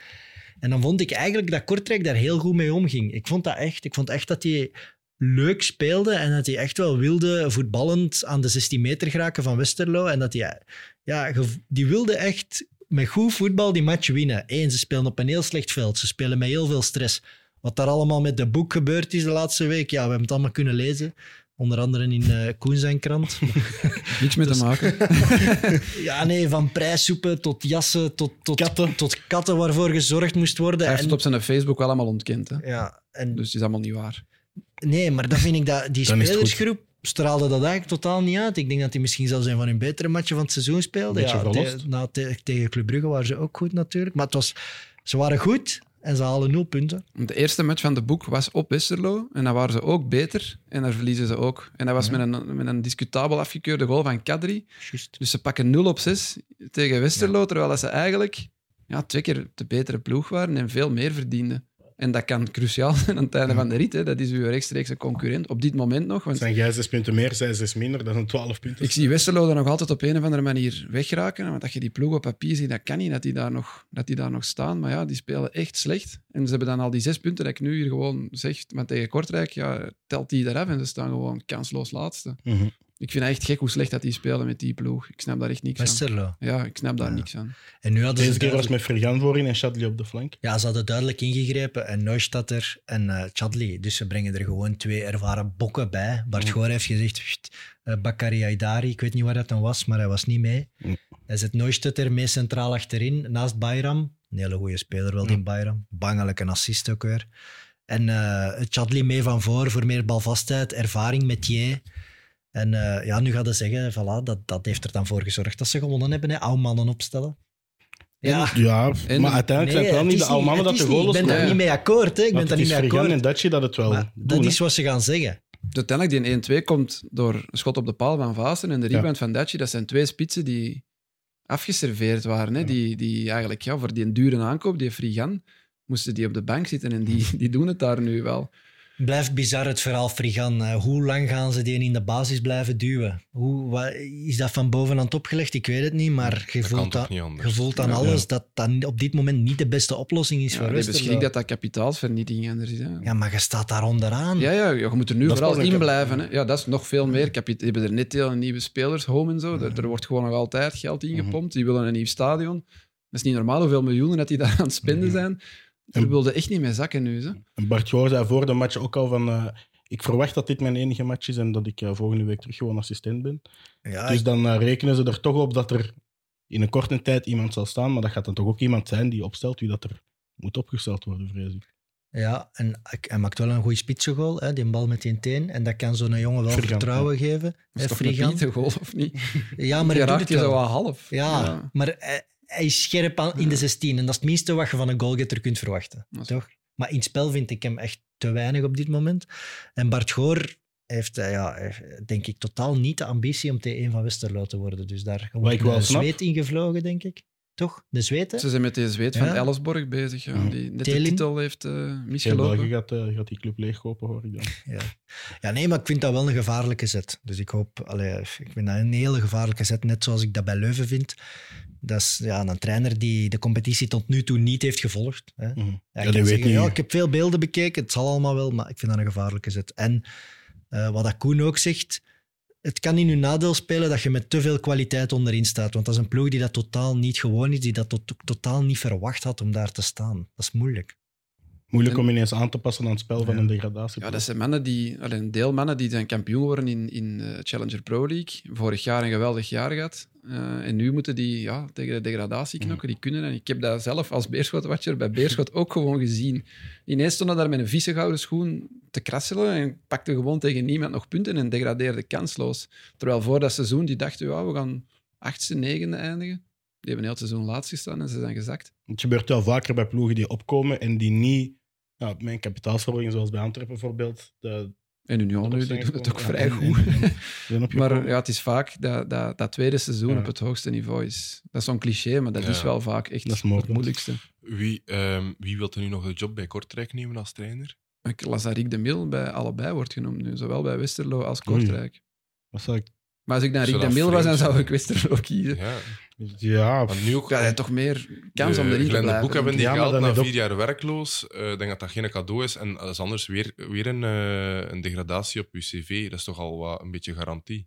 B: En dan vond ik eigenlijk dat Kortrijk daar heel goed mee omging. Ik vond dat echt. Ik vond echt dat die leuk speelde en dat hij echt wel wilde voetballend aan de 16 meter geraken van Westerlo. En dat hij, ja, ge- die wilde echt met goed voetbal die match winnen. Eén, ze spelen op een heel slecht veld. Ze spelen met heel veel stress. Wat daar allemaal met de boek gebeurd is de laatste week, ja, we hebben het allemaal kunnen lezen. Onder andere in eh Koen zijn krant.
D: Niks mee te maken.
B: Ja, nee, van prijssoepen tot jassen, tot, tot,
A: Katten.
B: tot katten waarvoor gezorgd moest worden.
D: Hij heeft
B: En-
D: het op zijn Facebook wel allemaal ontkend. Hè?
B: ja, en
D: Dus het is allemaal niet waar.
B: Nee, maar dat vind ik dat die
A: Dan is het goed.
B: spelersgroep straalde dat eigenlijk totaal niet uit. Ik denk dat die misschien zelfs een van hun betere matchen van het seizoen speelden.
A: Beetje
B: Ja,
A: verlost.
B: te- nou, te- tegen Club Brugge waren ze ook goed natuurlijk. Maar het was, ze waren goed en ze halen nul punten.
D: De eerste match van de boek was op Westerlo. En daar waren ze ook beter. En daar verliezen ze ook. En dat was met, een, met een discutabel afgekeurde goal van Kadri.
B: Juist.
D: Dus ze pakken 0 op 6 tegen Westerlo. Terwijl dat ze eigenlijk ja, twee keer de betere ploeg waren. En veel meer verdienden. En dat kan cruciaal zijn aan het einde van de rit. Hè. Dat is uw rechtstreekse concurrent. Op dit moment nog. Want
A: Zijn jij zes punten meer, zij zes minder, dat zijn twaalf punten.
D: Ik zie Westerlo er nog altijd op een of andere manier wegraken. Want dat je die ploeg op papier ziet, dat kan niet dat die, daar nog, dat die daar nog staan. Maar ja, die spelen echt slecht. En ze hebben dan al die zes punten dat ik nu hier gewoon zeg. Maar tegen Kortrijk, ja, telt die eraf en ze staan gewoon kansloos laatste.
B: Dus
A: Mhm.
D: Ik vind het echt gek hoe slecht dat die spelen met die ploeg. Ik snap daar echt niks
B: Westerlo.
D: aan. Ja, ik snap daar
B: Ja.
D: niks aan.
B: En nu hadden
A: Deze
B: ze
A: keer was
B: duidelijk-
A: het met Fergan voorin en Shadley op de flank.
B: Ja, ze hadden duidelijk ingegrepen. En Neustadter en eh Chadli. Dus ze brengen er gewoon twee ervaren bokken bij. Bart
A: Mm.
B: Goor heeft gezegd, "Sst, eh, Bakari Aydari, ik weet niet waar dat dan was, maar hij was niet mee.
A: Mm.
B: Hij zet Neustadter mee centraal achterin, naast Bayram. Een hele goede speler
A: Mm.
B: wel, die Bayram. Bangelijk een assist ook weer. En eh Chadli mee van voor voor meer balvastheid, ervaring met je. En eh, ja, nu gaat hij zeggen, voilà, dat, dat heeft er dan voor gezorgd dat ze gewonnen hebben. Hè. Oude mannen opstellen. Ja,
A: Ja,
D: En-
A: maar uiteindelijk zijn het wel
B: het
A: niet
B: is
A: de oude mannen dat
B: het
A: de
B: is
A: goal
B: niet. Ik ben daar
D: scoren.
B: niet mee akkoord. Hè. Ik ben
A: Want
B: daar
A: het
B: niet
A: is
B: mee
A: Fergan en
B: akkoord.
A: Dutchie dat het wel
B: Maar
A: doen.
B: dat
A: hè.
B: is wat ze gaan zeggen.
D: Uiteindelijk, die 1-2 komt door een schot op de paal van Vaassen en de
A: Ja.
D: rebound van Daci. Dat zijn twee spitsen die afgeserveerd waren. Hè?
A: Ja.
D: Die, die eigenlijk ja, voor die dure aankoop, die Frigan, moesten die op de bank zitten en die, die doen het daar nu wel.
B: Blijft bizar het verhaal Frigan. Eh, Hoe lang gaan ze die in de basis blijven duwen? Hoe, wa- is dat van boven aan het opgelegd? Ik weet het niet, maar je
C: Dat kan
B: voelt,
C: toch
B: dat,
C: niet
B: je
C: anders.
B: voelt aan
A: Ja.
B: alles dat dat op dit moment niet de beste oplossing is
D: Ja,
B: voor
D: die
B: Westerlo.
D: beschrik dat dat kapitaalsvernietiging anders is. Hè? Ja.
B: Ja, maar je staat daar onderaan.
D: Ja, ja, je moet er nu
A: Dat is
D: vooral
A: pas een
D: in
A: kap-
D: blijven. Hè? Ja, dat is nog veel meer. Kapit die hebben er net heel nieuwe spelers, home en zo. Er, er wordt gewoon nog altijd geld
A: Mhm.
D: ingepompt. Die willen een nieuw stadion. Dat is niet normaal hoeveel miljoenen dat die daar aan het spenden zijn. Daar
A: En-
D: wilden echt niet mee zakken nu. Hè?
A: En Bart Goor zei voor de match ook al van... eh, ik verwacht dat dit mijn enige match is en dat ik eh, volgende week terug gewoon assistent ben.
B: Ja,
A: dus dan eh, rekenen ze er toch op dat er in een korte tijd iemand zal staan. Maar dat gaat dan toch ook iemand zijn die opstelt wie dat er moet opgesteld worden, vrees ik.
B: Ja, en hij maakt wel een goede spitsengoal, hè, die bal met die teen. En dat kan zo'n jongen wel
A: Frigan,
B: vertrouwen geven.
D: Dat is
B: hè,
D: toch een
B: Frigan.
D: Pieter goal, of niet?
B: Ja,
D: Maar
B: maar
D: je
B: hij doet
D: raakt
B: het
D: je zo
B: wel.
D: wel half.
B: Ja, maar hij, hij is scherp aan, in de 16. En dat is het minste wat je van een goalgetter kunt verwachten.
D: Dat is-
B: Toch? Maar in het spel vind ik hem echt te weinig op dit moment. En Bart Goor heeft, eh, ja, heeft, denk ik, totaal niet de ambitie om T1 van Westerlo te worden. Dus daar wordt
A: ik wel
B: een
A: snap.
B: zweet ingevlogen, denk ik. Toch? De zweet,
D: Ze
B: hè?
D: zijn met deze zweet
B: Ja.
D: van Ellisborg bezig, ja,
A: Ja.
D: die net
B: Telin?
D: de titel heeft eh,
A: Heel België
D: misgelopen.
A: gaat, eh, gaat die club leegkopen, hoor ik dan.
B: Ja, nee, maar ik vind dat wel een gevaarlijke zet. Dus ik hoop... Allee, ik vind dat een hele gevaarlijke zet, net zoals ik dat bij Leuven vind. Dat is ja, een trainer die de competitie tot nu toe niet heeft gevolgd. Hè?
A: Mhm. Ja, die
B: Ja, ik, kan
A: weet
B: zeggen,
A: niet.
B: ja, ik heb veel beelden bekeken, het zal allemaal wel, maar ik vind dat een gevaarlijke zet. En eh, wat dat Koen ook zegt, het kan in hun nadeel spelen dat je met te veel kwaliteit onderin staat. Want dat is een ploeg die dat totaal niet gewoon is, die dat tot- totaal niet verwacht had om daar te staan. Dat is moeilijk.
A: Moeilijk
D: En-
A: om ineens aan te passen aan het spel van
B: Ja.
A: een degradatie.
D: Ja, dat zijn mannen die, allee, een deel mannen die zijn kampioen worden in, in eh, Challenger Pro League. Vorig jaar een geweldig jaar gehad. Eh, en nu moeten die ja, tegen de degradatie
A: Mhm.
D: knokken. Die kunnen. En ik heb dat zelf als Beerschot-watcher bij Beerschot ook gewoon gezien. Ineens stonden daar met een vieze gouden schoen te krasselen en pakte gewoon tegen niemand nog punten en degradeerde kansloos. Terwijl voor dat seizoen die dachten, ja, we gaan achtste, negende eindigen. Die hebben heel het seizoen laatst gestaan en ze zijn gezakt.
A: Het gebeurt wel vaker bij ploegen die opkomen en die niet... nou, Ja, mijn kapitaalsverhoging, zoals bij Antwerpen bijvoorbeeld, de,
D: En Union
A: Dat
D: nu,
A: is
D: die doen het ook
A: eigenlijk
D: vrij
A: wel- ja,
D: goed.
A: en- en- zijn
D: Maar
A: opgekomen.
D: ja, het is vaak dat, dat, dat tweede seizoen
A: Ja.
D: op het hoogste niveau is. Dat is zo'n cliché, maar dat
C: Ja.
D: is wel vaak echt
A: Dat is
D: het
A: mogelijk.
D: moeilijkste.
C: Wie, ehm, wie wil er nu nog de job bij Kortrijk nemen als trainer?
D: Ik las dat Riek de Mil bij allebei wordt genoemd nu, zowel bij Westerlo als
A: Oei.
D: Kortrijk.
A: Wat zou ik...
D: Maar als ik dan
C: Zou
D: Riek de
C: dat
D: Mil was, dan
C: vreemd
D: zou
C: zijn?
D: ik Westerlo kiezen.
C: Ja,
A: Ja,
C: want nu ook...
D: Ik had hij toch meer kans om erin te
C: Eh, Glenn de Boek hebben
D: blijven.
C: die
A: Ja, maar
C: gehaald
A: dan
C: na
A: heeft ook-
C: vier jaar werkloos. Eh, Ik denk dat dat geen cadeau is. En dat is anders weer, weer een, eh, een degradatie op uw cv. Dat is toch al wat, een beetje garantie.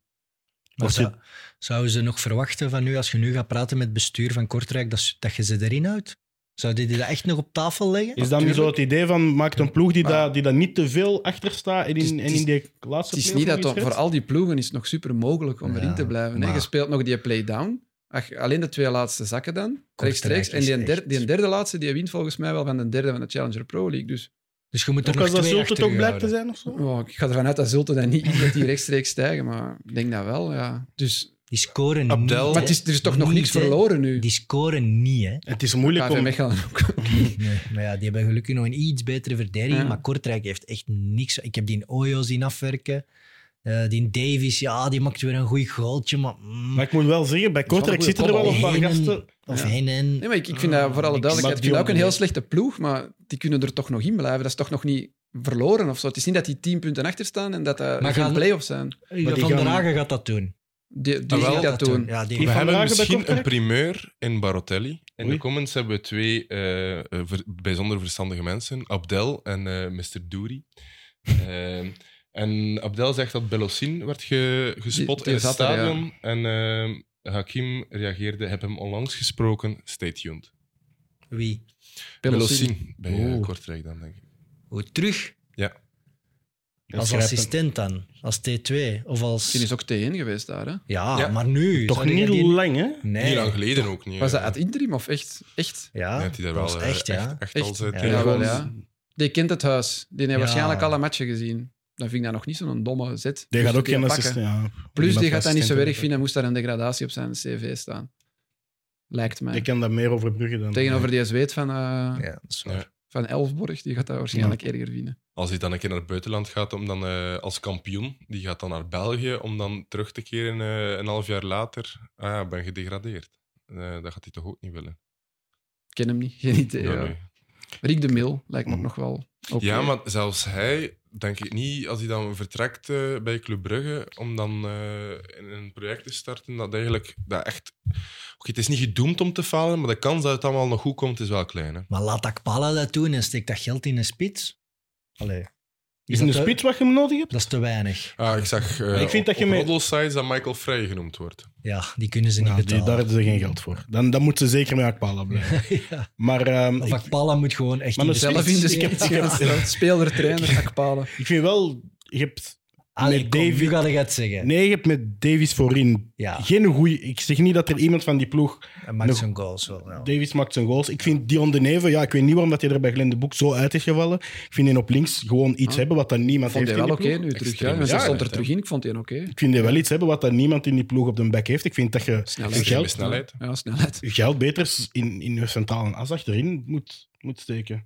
B: Maar
A: Als je-
B: zou, zouden ze nog verwachten van nu, als je nu gaat praten met het bestuur van Kortrijk, dat, ze- dat je ze erin houdt? Zouden die dat echt nog op tafel leggen?
A: is dat nu zo het idee van, maakt een ploeg die,
D: Maar-
A: daar die daar niet te veel achter staat en in,
D: Het is-
A: en in die laatste
D: Het is
A: play-off
D: niet
A: nog
D: dat
A: iets
D: dat- voor
A: redt?
D: al die ploegen is het nog super mogelijk om
B: Ja,
D: erin te blijven. hè.
B: maar-
D: Je speelt nog die play-down. Ach, Alleen de twee laatste zakken dan, rechtstreeks. En
B: is
D: die, een der-
B: echt-
D: die een derde laatste die wint volgens mij wel van de derde van de Challenger Pro League. Dus
B: Dus je moet er
A: Ook
B: nog
A: als dat
B: twee
A: Zulte
B: achter
A: toch
B: je
A: blijkt te
B: houden.
A: zijn of zo?
D: Oh, ik ga ervan uit dat Zulte dan niet is dat die rechtstreeks stijgen, maar ik denk dat wel, ja. Dus,
B: Die scoren
C: Abdel.
B: niet.
D: maar
B: hè.
D: het is, er is toch nog
B: Niet,
D: niks
B: hè.
D: verloren nu.
B: Die scoren niet, hè?
A: Het is moeilijk
D: KV
A: om...
D: Mechelen ook.
B: Nee, maar ja, die hebben gelukkig nog een iets betere verdediging.
D: Ja.
B: Maar Kortrijk heeft echt niks. Ik heb die in Oyo zien afwerken. Eh, die in Davies, ja, die maakt weer een goed goaltje. Maar, mm,
A: Maar ik moet wel zeggen, bij Kortrijk
D: Dat is
A: zitten
D: wel
A: er
D: een
A: wel een paar
B: goede combo.
A: gasten...
B: of
D: Ja.
B: heen en.
D: Nee, maar ik, ik vind dat voor alle
B: Ik
D: duidelijkheid,
A: snap
D: ik vind
A: die
D: dat ook een heel
A: jongen
D: slechte ploeg, maar die kunnen er toch nog in blijven. Dat is toch nog niet verloren of zo. Het is niet dat die tien punten achter staan en dat dat
B: Maar
D: geen
B: gaan-
D: play-offs zijn.
A: Maar die
B: Van der
A: gaan-
B: Hagen gaat dat doen.
D: Die, die
C: Ah, wel.
D: gaat dat doen.
B: eh, Ja,
A: Die
B: die
C: We
A: Van
C: hebben
A: Braken bij
C: misschien een
A: Kortrijk?
C: primeur in Barotelli. In
A: Oei.
C: de comments hebben we twee eh, eh, ver- bijzonder verstandige mensen. Abdel en eh, Mr. Douri. Ehm, en Abdel zegt dat Belossin werd ge- gespot
D: Die- die
C: in het
D: zat er, ja.
C: stadion. En ehm, Hakim reageerde, heb hem onlangs gesproken. Stay tuned.
B: Wie?
D: Pelossi.
C: Belossin bij eh,
A: Oeh.
C: Kortrijk dan, denk ik.
B: Hoe terug?
A: Dat
B: als
A: schrijft
B: assistent dan. Als T2. Of
D: Die
B: als.
D: is ook T1 geweest daar, hè?
B: Ja,
C: Ja.
B: maar nu.
A: Toch
B: zou die-
A: niet
B: die-
A: lang, hè?
C: Niet
B: Nee.
C: lang geleden ook niet.
D: Was
C: eh.
D: dat ad interim of echt? Echt?
B: Ja,
C: Ja, die daar
B: dat
C: wel,
B: was
C: eh,
B: echt, ja.
C: Echt,
D: Echt?
C: als, eh,
B: Ja.
C: tegen-
D: wel, ja. Die kent het huis. Die heeft
B: Ja.
D: waarschijnlijk alle matchen gezien. Dan vind ik dat nog niet zo'n domme zet.
A: Die gaat
D: Dus
A: ook geen
D: pakken.
A: assistent... Ja,
D: Plus,
A: iemand
D: die gaat dat niet zo
A: assistent
D: erg vinden. Moest daar een degradatie op zijn cv staan. Lijkt mij.
A: Die kan dat meer overbruggen dan...
D: Tegenover die zweet van, eh,
B: Ja, dat is waar.
C: Ja.
D: van Elfborg, die gaat dat waarschijnlijk erger vinden.
C: Als hij dan een keer naar het buitenland gaat om dan, eh, als kampioen, die gaat dan naar België om dan terug te keren eh, een half jaar later. Ah ja, ik ben gedegradeerd. Eh, dat gaat hij toch ook niet willen?
D: Ik ken hem niet, geen idee.
C: Ja,
D: ja.
C: nee.
D: Rick de Mil lijkt me ook nog wel. oké.
C: Ja, maar zelfs hij, denk ik niet, als hij dan vertrekt eh, bij Club Brugge, om dan eh, in een project te starten, dat eigenlijk dat echt... Oké, het is niet gedoemd om te falen, maar de kans dat het allemaal nog goed komt, is wel klein. Hè?
B: Maar laat Akpala dat doen en steek dat geld in een spits. Allee.
A: Is het een
B: dat te-
A: spits wat je hem nodig hebt?
B: Dat is te weinig.
C: Ah, ik zag eh
A: Ik vind dat
C: op-
A: je
C: op
A: met-
C: roddelsites dat Michael Frey genoemd wordt.
B: Ja, die kunnen ze niet
A: Ja, die-
B: betalen.
A: daar hebben ze geen geld voor. Dan, dan moeten ze zeker met Akpala blijven.
B: ja.
A: Maar ehm,
B: Of
A: ik,
B: Akpala moet gewoon echt
A: Maar
B: in
A: dat
B: de
A: zelf
D: Zelf in de
B: spits.
A: Ik heb-
D: spits
A: ik heb-
D: gaan staan. Speler, trainer, akpalen.
A: ik vind wel... Je hebt
B: Allee,
A: Met
B: kom,
A: David-
B: nu ga ik het zeggen.
A: Nee, je hebt met Davies voorin
B: Ja.
A: geen goeie. Ik zeg niet dat er iemand van die ploeg.
B: Hij maakt
A: Nog-
B: zijn goals wel. ja.
A: Davies maakt zijn goals. Ik vind Dion de Neve, ja, ik weet niet waarom dat hij er bij Glenn de Boek zo uit is gevallen. Ik vind hem op links gewoon iets hebben wat dan niemand
D: Ik vond
A: heeft.
D: hij
A: in
D: wel
A: die
D: oké
A: ploeg.
D: nu terug.
C: Extreem
D: Ja. Mensen
A: snelheid,
D: stond er
C: hè.
D: terug in, ik vond hij oké.
A: Ik vind hij wel iets hebben wat dan niemand in die ploeg op de back heeft. Ik vind dat je je
D: Snelheid.
A: geld,
C: snelheid.
D: Ja, snelheid.
A: je geld beter s- in, in je centrale as achterin moet, moet steken.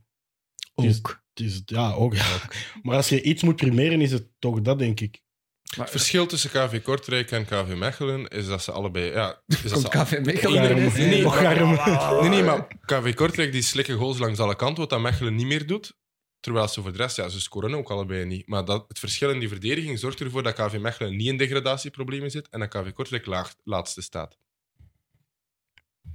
A: Dus-
B: Ook.
A: Het is- ja, ook, ja. Maar als je iets moet primeren, is het toch dat, denk ik. Ah,
D: Maar
C: Het verschil tussen KV Kortrijk en KV Mechelen is dat ze allebei... Ja, is dat
D: komt
C: ze
D: KV Mechelen
A: Daarom-
D: erin.
C: nee, nee.
A: Och, daarom-
C: Nee, nee, maar KV Kortrijk die slikken goals langs alle kanten, wat dat Mechelen niet meer doet. Terwijl ze voor de rest, ja, ze scoren ook allebei niet. Maar dat, het verschil in die verdediging zorgt ervoor dat KV Mechelen niet in degradatieproblemen zit en dat KV Kortrijk laag, laatste staat.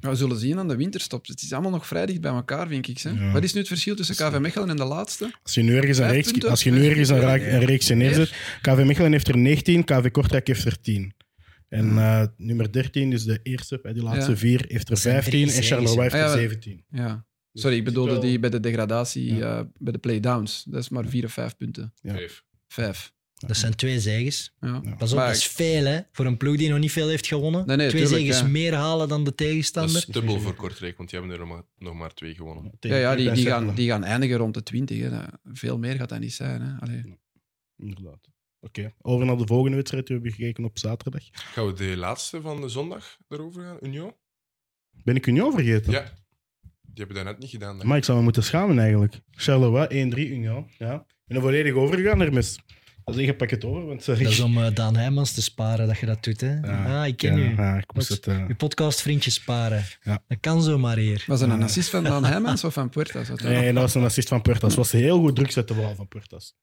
D: Ja, we zullen zien aan de winterstop. Het is allemaal nog vrij dicht bij elkaar, vind ik. Hè?
A: Ja.
D: Wat is nu het verschil tussen KV Mechelen en de laatste?
A: Als je nu ergens een
D: Vijf
A: reeks,
D: punten?
A: als je nu ergens een raak-
B: Nee.
A: een reeks neerzet, KV Mechelen heeft er 19, KV Kortrijk heeft er 10. En eh, nummer 13, dus de eerste bij die laatste
D: Ah. Ja. Ah,
A: vier, heeft er
B: Dat zijn
A: 15 en
B: drie
A: Charleroi heeft
D: series,
A: er
D: hè?
A: 17.
D: Ja.
A: Dus
D: Sorry, ik
A: het is
D: bedoelde
A: wel-
D: die bij de degradatie,
A: Ja.
D: eh, bij de playdowns. Dat is maar vier of vijf punten.
A: Ja.
C: Vijf.
D: Vijf.
B: Dat zijn twee zegens.
D: Ja.
A: Ja.
B: Pas op,
D: Maar
B: dat is veel, hè. Voor een ploeg die nog niet veel heeft gewonnen.
D: Nee, nee,
B: twee
D: tuurlijk,
B: zegens
D: ja.
B: meer halen dan de
C: Dat
B: tegenstander.
C: is dubbel voor Kortrijk, want die hebben er nog maar, nog maar twee gewonnen.
A: Tegen
D: Ja, ja die,
A: Club
D: die,
A: en
D: gaan,
A: Cercle.
D: die gaan eindigen rond de 20. Hè. Dat- Veel meer gaat dat niet zijn. Hè. Allee.
A: Inderdaad. Oké, over naar de volgende wedstrijd die we hebben gekeken op zaterdag.
C: Gaan we de laatste van de zondag erover gaan? Union?
A: Ben ik Union vergeten?
C: Ja. Die hebben dat net niet gedaan. denk ik.
A: Maar ik zou me moeten schamen eigenlijk. Charleroi, 1-3 Union. Ja. Ik ben er volledig overgegaan ermee. Dat is echt pak het over, want ze...
B: Dat is om eh, Daan Heijmans te sparen dat je dat doet, hè.
A: Ja,
B: ah, ik ken
A: ja,
B: u.
A: ja, ik moest
B: Wat-
A: het... eh,
B: Je podcastvriendje sparen.
A: Ja.
B: Dat kan zomaar hier.
D: Was dat een assist van Daan Heijmans of van Puertas? Wat-
A: Nee, dat was een assist van Puertas. Het was heel goed druk zetten vooral van Puertas.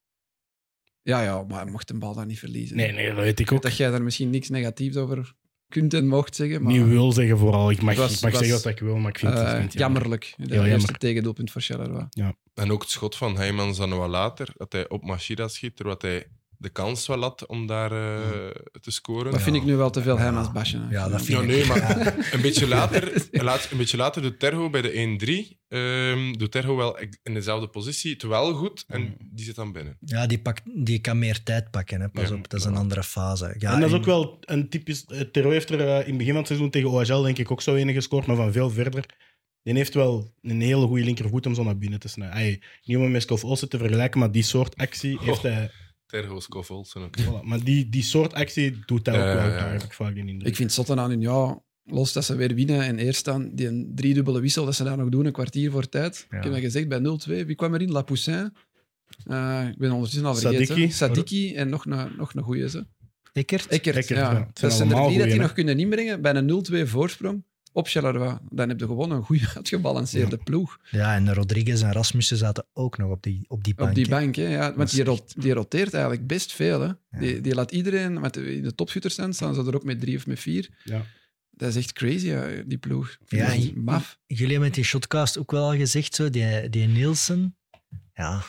D: Ja, ja, maar hij mocht een bal daar niet verliezen.
A: Nee, nee, dat weet ik ook.
D: Dat jij daar misschien niks negatiefs over kunt en mocht zeggen. Maar,
A: Niet wil zeggen vooral. Ik mag,
D: Het was-
A: ik mag
D: was,
A: zeggen wat ik wil, maar ik vind
D: eh,
A: het, ik vind het jammer.
D: jammerlijk. Dat
A: Heel
D: eerste
A: jammer.
D: tegendoelpunt voor Charleroi.
C: En ook het schot van Heijmans dan wel later, dat hij op Machida schiet, terwijl hij de kans wel had om daar eh,
A: Hmm.
C: te scoren.
D: Dat vind ik nu wel te veel Heijmans basje.
B: Ja, dat vind
C: Ja,
B: ik.
C: nee, maar een beetje later, een laat- een beetje later doet Terho bij de 1-3. ehm, doet Terho wel in dezelfde positie, het wel goed,
A: Hmm.
C: en die zit dan binnen.
B: Ja, die, pakt, die kan meer tijd pakken, hè. Pas
C: Ja.
B: op, dat is een andere fase. Ja,
A: en dat is
B: en-
A: ook wel een typisch... eh, Terwijl heeft er eh, in het begin van het seizoen tegen OHL denk ik ook zo enige gescoord, maar van veel verder. Die heeft wel een hele goede linkervoet om zo naar binnen te snijden. Ay, niet om hem met Skov Olsen te vergelijken, maar die soort actie heeft
C: Oh.
A: hij...
C: Terho, Skof Olsen ook.
A: voilà. Maar die, die soort actie doet hij ook
C: Ja,
A: wel.
C: ja,
A: Daar
C: ja.
A: heb ik vaak die indruk.
D: Ik vind Sotten aan hun, ja, los dat ze weer winnen en eerst staan, die driedubbele wissel dat ze daar nog doen, een kwartier voor tijd.
B: Ja.
D: Ik heb dat gezegd bij 0-2. Wie kwam erin? Lapoussin. Eh ik ben ondertussen al vergeten.
A: Sadiki.
D: Sadiki en nog een, nog een goeie. Ze.
B: Eckert?
D: Eckert,
A: Eckert,
D: ja.
A: ja. Het zijn
D: Dat zijn er
A: allemaal
D: drie dat die
A: goeie,
D: nog kunnen inbrengen bij een 0-2 voorsprong op Charleroi. Dan heb je gewoon een goede uitgebalanceerde ploeg
B: Ja, en Rodriguez en Rasmussen zaten ook nog op die, op die bank.
D: op die
B: hè.
D: bank. Hè. Ja, want die, rot- die roteert eigenlijk best veel. Hè. Die, die laat iedereen, want in de topschutters staan, staan ze er ook met drie of met vier.
A: Ja.
D: Dat is echt crazy, hè, die ploeg. Ik vind
B: Ja,
D: dat
B: je-
D: maf.
B: Jullie hebben het in Shotcast ook wel al gezegd, zo, die, die Nielsen. Ja,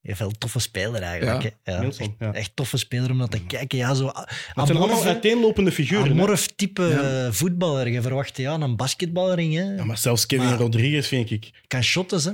B: je hebt wel een toffe speler eigenlijk.
D: Ja,
B: hè.
A: Nielsen,
B: echt,
A: ja.
B: echt toffe speler om naar te kijken. Ja, zo a-
A: Maar het zijn
B: amorf,
A: allemaal
B: hè.
A: uiteenlopende figuren. hè.
B: amorf type
D: Ja.
B: eh, voetballer. Je verwacht ja, een basketbalring. Hè.
A: Ja, maar zelfs Kevin
B: Maar-
A: Rodriguez vind ik...
B: Kan shotten, hè.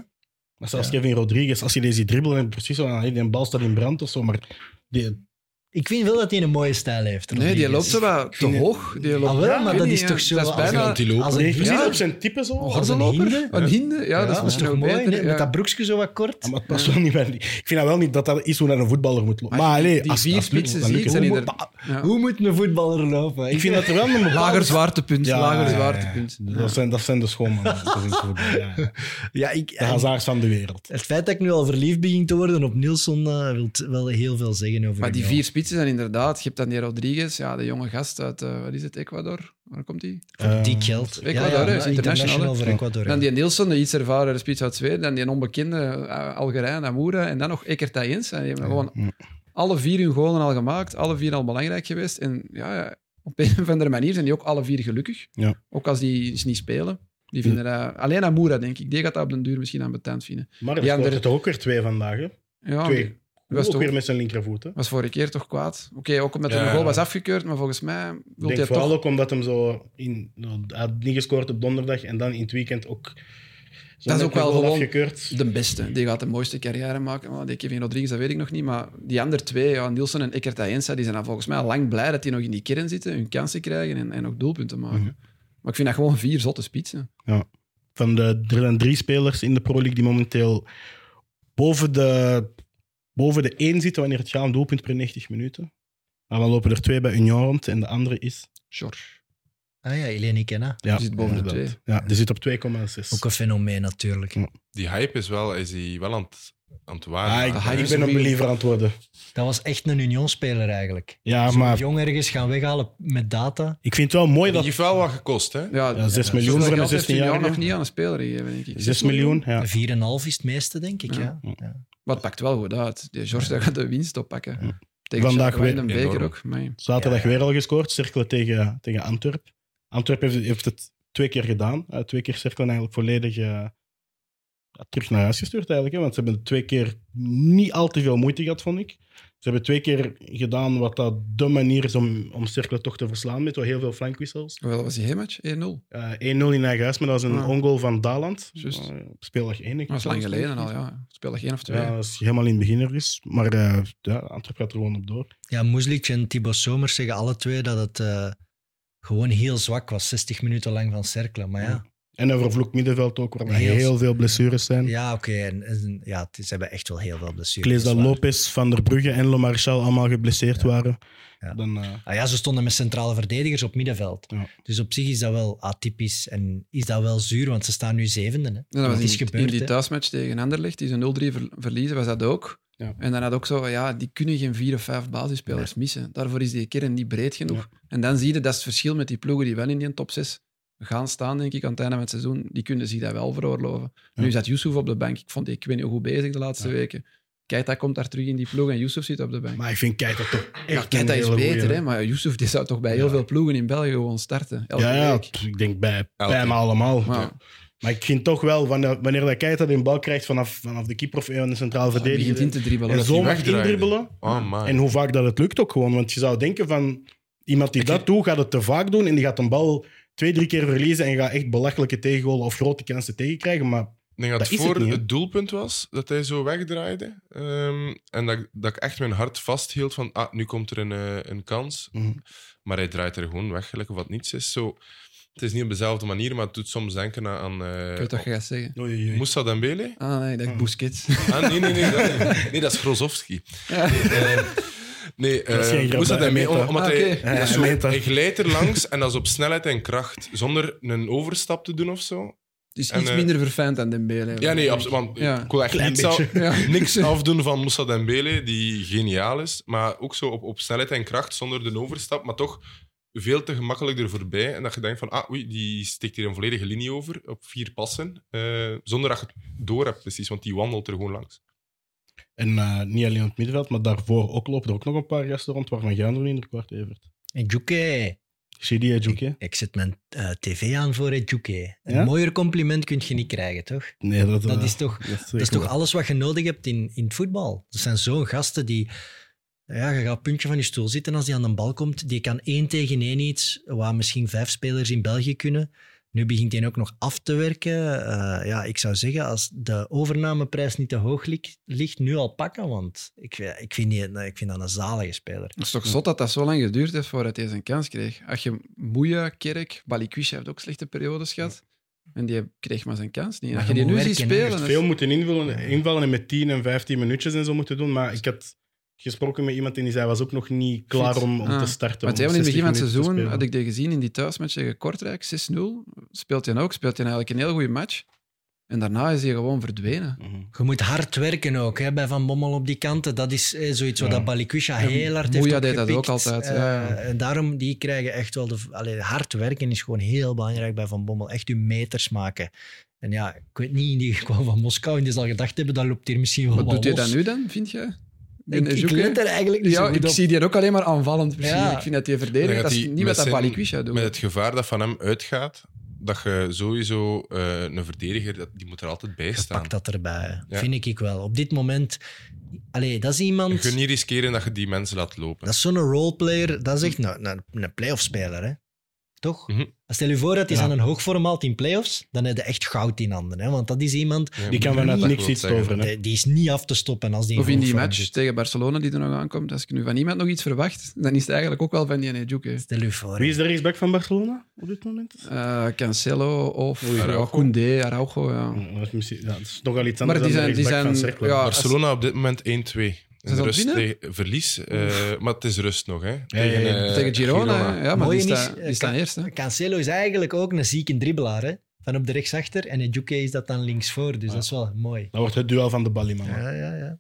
A: Maar zelfs
B: Ja.
A: Kevin Rodriguez, als je deze ziet dribbelen, en precies zo, ah, die bal staat in brand of zo, maar die,
B: Ik vind wel dat hij een mooie stijl heeft.
D: Nee, die
B: Rodriguez.
D: loopt zo wat te
A: vind het-
D: hoog. Die loopt,
B: Ah, wel,
D: Ja, ik
B: maar
D: weet
B: dat
D: niet,
B: is
D: ja.
B: toch zo
D: Dat is
B: als- als
D: bijna
C: Die lopen.
B: Als een
A: Nee, precies
D: ja.
A: op zijn type zo.
B: Oh,
A: Ja,
B: als een
D: Horzenloper?
B: hinde.
D: Een hinde, ja,
B: Ja,
D: dat is misschien
B: toch
D: nog
B: mooi,
D: beter.
B: hè,
D: ja.
B: Met dat broekje zo wat kort.
A: Maar het past wel niet bij die- Ik vind dat wel niet dat dat is hoe dat een voetballer moet lopen.
D: Maar
A: Maar,
D: als je
A: allee,
D: die
A: als,
D: vier
A: als het lukt,
D: spitsen
A: dan lukt
D: ziet,
A: het.
D: zijn
A: Hoe-
D: die er-
A: maar-
D: Ja.
B: Hoe moet een voetballer lopen?
A: Ik vind dat er wel een bepaalde-
D: Lager zwaartepunt,
A: Ja,
D: lager
A: ja, ja.
D: zwaartepunt.
A: Dat zijn, dat zijn de schoonmannen. Dat is het voetbal, ja.
B: Ja, ik,
A: De hazards van de wereld.
B: Het feit dat ik nu al verliefd begin te worden op Nielsen eh, wil t- wel heel veel zeggen over
D: Maar die
B: Union.
D: vier spitsen zijn inderdaad... Je hebt dan die Rodriguez, ja, de jonge gast uit... eh, wat is het, Ecuador? Waar komt die?
A: Eh,
B: Die geld.
D: Ecuador, hè, is international,
B: international
D: hè.
B: voor Ecuador. ja.
D: Dan die Nielsen, de iets ervaren spits uit Zweden. Dan die onbekende eh, Algerijn, Amoura. En dan nog Ekert Jens. En die hebben gewoon
A: Ja.
D: alle vier hun golen al gemaakt. Alle vier al belangrijk geweest. En ja, ja, op een of andere manier zijn die ook alle vier gelukkig.
A: Ja.
D: Ook als die eens niet spelen. Die vinden dat, alleen Amoura, denk ik. Die gaat dat op den duur misschien aan betaald vinden.
A: Maar
D: Die
A: er scoort
D: andere-
A: er toch ook weer twee vandaag. Hè?
D: Ja,
A: Twee.
D: was
A: ook
D: toch-
A: weer met zijn linkervoet. Hè? Ik
D: was vorige keer toch kwaad. Oké, ook omdat er
C: Ja.
D: een goal was afgekeurd. Maar volgens mij wil hij
A: denk vooral
D: toch...
A: ook omdat hem zo... In, hij had niet gescoord op donderdag en dan in het weekend ook... Zo'n
D: is ook wel
A: goal
D: gewoon-
A: afgekeurd.
D: De beste. Die gaat de mooiste carrière maken. Maar die Kevin Rodriguez, dat weet ik nog niet. Maar die andere twee, ja, Nielsen en Eckert Ayensa, die zijn dan volgens mij al lang blij dat die nog in die kern zitten, hun kansen krijgen en, en nog doelpunten maken.
A: Mhm.
D: Maar ik vind dat gewoon vier zotte spitsen.
A: Van de, er zijn drie spelers in de Pro League die momenteel boven de, boven de één zitten wanneer het gaat om doelpunt per 90 minuten. Maar dan lopen er twee bij Union rond en de andere is...
D: George.
B: Ah ja, Eleni Kenna.
A: Ja,
D: Die zit boven de
A: inderdaad. Ja, die zit op 2,6.
B: Ook een fenomeen natuurlijk.
C: Die hype is wel, is die wel aan het, aan het
A: Ah,
C: waarnemen.
A: ik,
D: Ah, hij
A: ik
D: is
A: ben
D: een
A: een believer aan het worden.
B: Dat was echt een Union-speler eigenlijk.
A: Ja,
B: Zo'n
A: maar
B: jong ergens gaan weghalen met data.
A: ik vind het wel mooi
C: Die
A: dat...
C: heeft wel wat gekost, hè?
D: Ja,
A: Ja, 6
D: zoveel
A: miljoen voor een
D: geld heeft
A: 16
D: hij
A: jaar.
D: nog niet aan een speler gegeven, denk ik.
A: 6 miljoen, ja.
B: 4,5 is het meeste, denk ik. Ja.
D: Ja.
B: Ja.
D: Maar het pakt wel goed uit. Die George daar gaat de winst oppakken.
A: Ja.
D: Tegen
A: Vandaag
D: Charleroi en
C: weer.
D: Beker
C: Enorm.
D: ook. Maar
A: Zaterdag
B: Ja, ja.
A: weer al gescoord, cirkelen tegen, tegen Antwerp. Antwerp heeft, heeft het twee keer gedaan. Eh, twee keer cirkelen eigenlijk volledig eh, ja, terug naar huis gestuurd eigenlijk. Hè, want ze hebben twee keer niet al te veel moeite gehad, vond ik. Ze hebben twee keer gedaan wat dat de manier is om, om cirkelen toch te verslaan met wel heel veel flankwissels.
D: hoeveel was die match? 1-0.
A: Eh 1-0 in eigen huis, maar dat was een
D: Ja.
A: ongoal van Daland.
D: Juist.
A: Eh, op speeldag 1.
D: Dat was lang geleden al, ja. Speelde geen of twee.
A: Ja, dat is helemaal in het begin ergens. Maar eh, ja, Antwerp gaat er gewoon op door.
B: Ja, Muzlic en Thibaut Somers zeggen alle twee dat het eh, gewoon heel zwak was. 60 minuten lang van cirkelen. Maar ja,
A: En een vervloekt middenveld ook, waar er
B: Heel-
A: heel veel blessures zijn.
B: ja oké. en, en- ja, het is- ze hebben echt wel heel veel
A: Ik
B: blessures. Dus, eh,
A: lees dat
B: dat is waar.
A: Lopez, Van der Brugge en Lomarchal allemaal geblesseerd waren.
B: Ja.
A: Dan, eh,
B: Ah ja, ze stonden met centrale verdedigers op middenveld.
A: Ja.
B: Dus op zich is dat wel atypisch en is dat wel zuur, want ze staan nu zevende. Hè.
D: Ja, dat was
B: Het
D: in,
B: is
D: die-
B: gebeurd.
D: in die
B: hè.
D: thuismatch tegen Anderlecht, die ze 0-3 ver- verliezen, was dat ook.
A: Ja.
D: En dan had ook zo, ja, die kunnen geen vier of vijf basisspelers missen. Daarvoor is die kern niet breed genoeg. En dan zie je, dat is het verschil met die ploegen die wel in die top 6 gaan staan, denk ik, aan het einde van het seizoen. Die kunnen zich dat wel veroorloven.
A: Ja.
D: Nu zat Yusuf op de bank. Ik vond die, ik weet niet hoe goed bezig de laatste weken. Keita komt daar terug in die ploeg en Yusuf zit op de bank.
A: maar ik vind Keita toch echt
D: ja,
A: een
D: Keita is
A: hele
D: beter,
A: goeie.
D: hè, maar Yusuf die zou toch bij heel
A: Ja.
D: veel ploegen in België gewoon starten. Elke
A: Ja, ja,
D: week.
A: pff, ik denk bij
C: Elke.
A: bijna allemaal.
D: Maar-
A: Maar ik vind toch wel, wanneer, wanneer dat Keita de bal krijgt vanaf, vanaf de keeper of een van de centrale
D: Hij begint in
A: verdediger
D: te dribbelen.
A: en zo
C: hij
A: mag
C: wegdraaide.
A: indribbelen.
C: Oh, man.
A: En hoe vaak dat het lukt ook gewoon. Want je zou denken van, iemand die dat doet, gaat het te vaak doen en die gaat een bal twee, drie keer verliezen en gaat echt belachelijke tegengolen of grote kansen tegenkrijgen. Maar
C: Ik denk dat,
A: Dat
C: het
A: is het
C: voor het,
A: niet, hè?
C: doelpunt was dat hij zo wegdraaide. ehm, en dat, ik- dat ik echt mijn hart vasthield van, ah, nu komt er een, eh, een kans.
A: Mhm.
C: Maar hij draait er gewoon weg, gelijk of wat niets is. Zo, het is niet op dezelfde manier, maar het doet soms denken aan... eh,
D: Ik weet wat je gaat zeggen.
A: oei, oei, oei.
C: Moussa Dembele?
D: Ah nee, ik dacht
A: Hmm.
D: Busquets.
C: Ah, nee, nee, nee. Dat, niet. nee, dat is Grozowski.
D: Ja.
C: Eh, nee,
A: Dat is
C: eh,
A: geen grap,
C: Moussa
A: dat hij
C: Dembele.
A: meent dat.
C: Omdat
D: Ah,
C: hij,
D: oké.
C: dat is
A: hij
C: zo-
A: meent dat.
C: hij glijdt er langs en dat is op snelheid en kracht. Zonder een overstap te doen of zo.
D: Dus
C: En,
D: iets
C: eh,
D: minder verfijnd dan Dembele.
C: Ja, nee, absoluut. Want
D: Ja.
C: ik wil echt
A: Klein
C: niets, af-
A: beetje.
D: Ja.
C: niks afdoen van Moussa Dembele, die geniaal is. Maar ook zo op, op snelheid en kracht, zonder de overstap. Maar toch veel te gemakkelijk er voorbij. En dat je denkt van, ah, oei, die steekt hier een volledige linie over. Op vier passen. eh, zonder dat je het door hebt, precies. Want die wandelt er gewoon langs.
A: En eh, niet alleen op het middenveld, maar daarvoor ook lopen er ook nog een paar gasten rond. Waarvan gaan er nu in de kwart, Evert?
B: En Djoeke.
A: Chidi en Djoeke?
B: Ik zet mijn eh, tv aan voor het Djoeke. Een
A: Ja?
B: mooier compliment kun je niet krijgen, toch?
A: Nee, dat,
B: Dat
A: eh,
B: is toch,
A: dat is,
B: dat is
A: zeker
B: toch
A: waar.
B: alles wat je nodig hebt in, in het voetbal. Er zijn zo'n gasten die... Ja, je gaat op het puntje van je stoel zitten als die aan de bal komt. Die kan één tegen één iets, waar misschien vijf spelers in België kunnen. Nu begint hij ook nog af te werken. Eh, ja, ik zou zeggen, als de overnameprijs niet te hoog lig- ligt, nu al pakken. Want ik, ik, vind, die, ik vind dat een zalige speler.
D: Het is toch zot dat dat zo lang geduurd heeft voordat hij zijn kans kreeg. Als je Moeja, Kerk, Balikwisha heeft ook slechte periodes gehad.
C: Hm.
D: En die kreeg maar zijn kans niet. En
B: Maar
D: als je
B: je
D: die nu
B: moet
D: ziet
B: werken, hè.
D: spelen... dus-
A: Echt
D: dat is-
A: veel moeten invullen, invallen en met 10 en 15 minuutjes en zo moeten doen. Maar ik had gesproken met iemand en die zei, was ook nog niet klaar
D: Fit.
A: om, om
D: Ah.
A: te starten.
D: Want
A: om
D: helemaal in
A: 60
D: het begin van
A: minuten
D: het
A: te
D: seizoen
A: spelen.
D: had ik die gezien in die thuismatch tegen Kortrijk, 6-0. Speelt hij ook, speelt hij eigenlijk een heel goede match. En daarna is hij gewoon verdwenen.
A: Mhm.
B: Je moet hard werken ook, hè, bij Van Bommel op die kanten. Dat is eh, zoiets wat
A: Ja.
B: dat Balikwisha
D: En
B: heel hard heeft
D: Moeja deed dat
B: opgepikt.
D: ook altijd, ja,
B: Eh,
D: ja.
B: En daarom, die krijgen echt wel... De, allee, hard werken is gewoon heel belangrijk bij Van Bommel. Echt uw meters maken. En ja, ik weet niet, die kwam van Moskou en die zal gedacht hebben, dat loopt hier misschien wel
D: Wat
B: wat
D: doet hij
B: los.
D: dan nu dan, vind je?
B: Ik, ik let er eigenlijk niet
D: ja,
B: zo goed
D: ik
B: op.
D: zie die ook alleen maar aanvallend.
B: Ja.
D: Ja. Ik vind dat die verdedigt.
C: Dan gaat
D: Dat is
C: hij
D: niet
C: met
D: wat dat
C: zijn-
D: Balikwisha doet.
C: Met het gevaar dat van hem uitgaat, dat je sowieso eh, een verdediger, dat, die moet er altijd bij
B: Je
C: staan.
B: pakt dat erbij,
C: Ja.
B: vind ik ik wel. Op dit moment... Allee, dat is iemand...
C: Je kunt niet riskeren dat je die mensen laat lopen.
B: Dat is zo'n roleplayer. Dat is echt een, een, een playoff-speler, hè. Toch?
C: Mhm.
B: Stel je voor dat hij
A: Ja.
B: aan een hoogvorm haalt in playoffs, dan heb je echt goud in handen. Hè? Want dat is iemand
A: Die kan vanuit
C: dat
A: niks
C: wil
A: iets
C: zeggen.
A: toveren. hè.
B: die, die is niet af te stoppen als die
D: Of in die
B: hoogvorm
D: match
B: zit.
D: tegen Barcelona die er nog aankomt. Als ik nu van iemand nog iets verwacht, dan is het eigenlijk ook wel van die Nejuke.
B: Stel je voor.
A: Wie is de rechtsback van Barcelona op dit moment?
D: Eh Cancelo of
A: Oei.
D: ja,
C: Araujo.
D: Koundé, Araujo. Ja.
A: Ja, dat is misschien- ja, dat is nogal iets
D: Maar
A: anders
D: die
A: dan
D: zijn-
A: de
D: die
A: rechtsback van
D: zijn-
A: Cercle.
D: ja,
C: Barcelona op dit moment 1-2. En
D: aan
C: de
D: het
C: rust
D: winnen?
C: tegen verlies, eh, maar het is rust nog. Hè.
A: ja, ja.
C: eh,
D: Tegen Girona, hè. ja, maar die
B: Mooie
D: staan,
B: is, eh,
D: die staan
B: Ka-
D: eerst. Hè.
B: Cancelo is eigenlijk ook een zieke dribbelaar. Hè? Van op de rechtsachter en Edjuke is dat dan linksvoor. Dus dat is wel mooi.
A: Dat wordt het duel van de Ballyman.
B: Ja, ja, ja.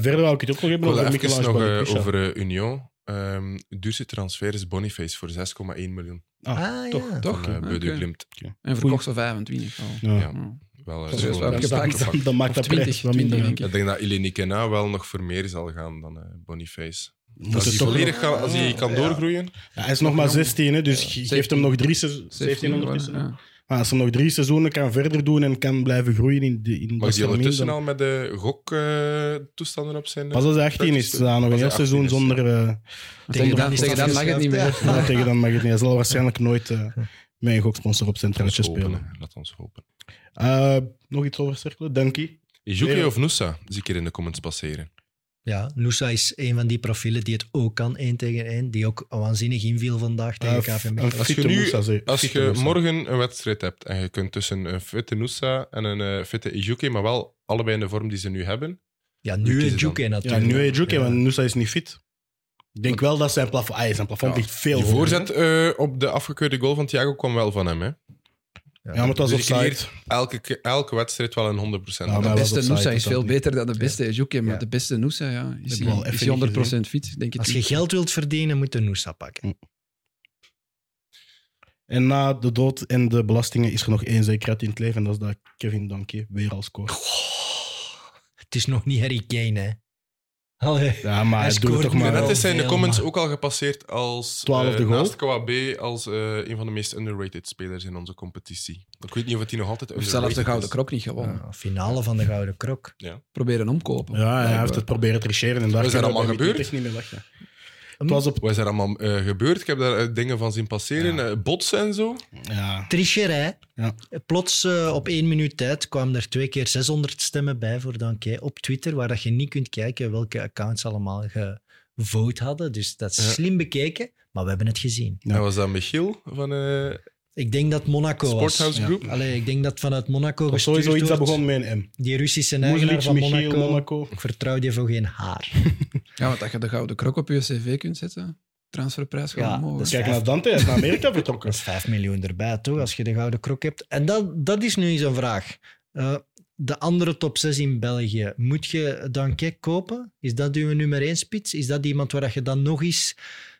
A: verder wou ik het ook nog
C: Ik
A: hebben
C: wil
A: over
C: even
A: Michelangelo
C: nog eh,
A: Bonifacio.
C: over eh, Union. Ehm duurste transfer is Boniface voor 6,1 miljoen.
B: Ah,
A: toch.
B: ja.
D: Toch?
C: Toch? Van eh,
D: Oké.
C: Beude Glimt.
D: En verkocht voor 25 al.
A: Ja.
C: Ja.
D: Ja.
C: Wel, eh,
D: Dat is
C: schoon,
D: wel
C: eh,
D: gepakt.
C: gepakt.
A: Dan, dan maakt
D: Of
A: dat
D: 20,
A: prijs wat minder.
D: 20,
A: denk
C: Ik denk dat Eleni Kena wel nog voor meer zal gaan dan eh, Boniface.
A: ik. Moet het
C: Als hij,
A: toch
C: volledig
A: nog-
C: kan, als hij kan doorgroeien.
A: Ja, hij is nog maar 16, hè, dus je geeft hem nog drie seizoenen. 17 ondertussen.
D: Ja.
A: Maar als hij nog drie seizoenen kan verder doen en kan blijven groeien in, de, in
C: Maar is hij
A: Barcelona,
C: ondertussen
A: dan-
C: al met de goktoestanden op zijn... eh,
A: Pas als hij 18 is, dan nog
C: Als
A: een
C: hij
A: heel
C: 18
A: seizoen
C: is,
A: zonder... eh,
D: Tegen,
B: Zonder
D: dan, tegen dan mag het niet meer.
B: afstand.
A: ja, tegen dan mag het niet. Hij zal waarschijnlijk nooit eh met een goksponsor op zijn
C: Laat ons
A: truitje
C: hopen,
A: spelen.
C: hè. Laat ons hopen.
A: Eh, nog iets over cirkelen? Dankie.
C: Ijuke
A: Weer-
C: of Nusa? Zie ik hier in de comments passeren.
B: Ja, Nusa is een van die profielen die het ook kan, één tegen één. Die ook waanzinnig inviel vandaag tegen
A: Eh,
B: KV
A: een
B: Mechelen.
C: Als je
A: fitte
C: nu-
A: Moussa, zeg.
C: Als
A: Fitte
C: je
A: Moussa.
C: morgen een wedstrijd hebt en je kunt tussen een fitte Nusa en een eh, fitte Ijuke, maar wel allebei in de vorm die ze nu hebben.
B: Ja,
C: wie
B: nu
C: kiezen
B: Edjuke
A: Ja,
B: natuurlijk.
A: nu heet Juke,
B: Ja.
A: want Nusa is niet fit. Ik denk wel dat zijn plafond... Ah, zijn plafond
C: Ja.
A: ligt veel
C: Die
A: hoger.
C: voorzet eh, op de afgekeurde goal van Thiago kwam wel van hem. Hè?
A: Ja, maar het was
C: Dus die
A: offside.
C: Elke, ke- elke wedstrijd wel een 100%.
A: Ja,
C: Dat
A: maar-
D: De
A: was
D: beste
A: offside,
D: Noosa is
A: dat
D: veel
A: niet.
D: beter dan de beste Ejuke, maar
B: Ja.
D: de beste Noosa ja, is,
A: heb wel
D: die, is
A: even
D: die 100% fit, denk ik.
B: Als je geld wilt verdienen, moet je Nusa pakken.
A: En na de dood en de belastingen is er nog één zekerheid in het leven. En dat is dat Kevin Dankie weer al scoort.
B: Goh, het is nog niet Harry Kane, hè. Allee.
A: Ja, maar
B: Hij
A: hij doet het
B: scoort
A: toch
B: nu
A: maar...
B: wel.
C: Net is hij in de
B: veel,
C: comments
B: maar-
C: ook al gepasseerd als eh,
A: Twaalfde goal.
C: naast KWB als eh, een van de meest underrated spelers in onze competitie. Ik weet niet of hij nog altijd
D: Of
C: underrated
D: zelfs de Gouden
C: is.
D: Krok niet gewonnen.
B: Ja, finale van de Gouden Krok.
D: Proberen omkopen.
A: Ja, hij heeft het proberen te tricheren. En daar
C: Wat is er
A: kunnen we
C: allemaal
A: bij
C: gebeurd?
A: Wittig niet meer lachen.
B: Hm?
A: Het was op...
C: Wat is er allemaal eh, gebeurd? Ik heb daar eh, dingen van zien passeren. eh, botsen en zo.
A: Ja,
B: Tricherij.
A: Ja.
B: Plots eh, op één minuut tijd kwamen er twee keer 600 stemmen bij voor Danke op Twitter, waar dat je niet kunt kijken welke accounts allemaal gevote hadden. Dus dat is
C: Ja.
B: slim bekeken, maar we hebben het gezien.
A: Ja.
C: En was dat Michiel van eh
B: Ik denk dat Monaco was.
C: Sporthouse
A: ja.
C: Group?
B: Allee, ik denk dat vanuit Monaco
A: dat was
B: gestuurd
A: sowieso iets dat
B: wordt.
A: begon met een M.
B: Die Russische eigenaar
A: Moeslic,
B: van
A: Michiel,
B: Monaco,
A: Monaco.
B: Ik vertrouw die voor geen haar.
D: Ja, want dat je de Gouden Krok op je cv kunt zetten, transferprijs gaat
B: Ja,
D: omhoog.
B: dat is-
A: Kijk naar Dante, hij is naar Amerika
B: Dat
A: vertrokken.
B: is 5 miljoen erbij, toch? Als je de gouden krok hebt. En dat, dat is nu eens een vraag. Eh, de andere top 6 in België, moet je Danke kopen? Is dat uw nummer 1 spits? Is dat iemand waar dat je dan nog eens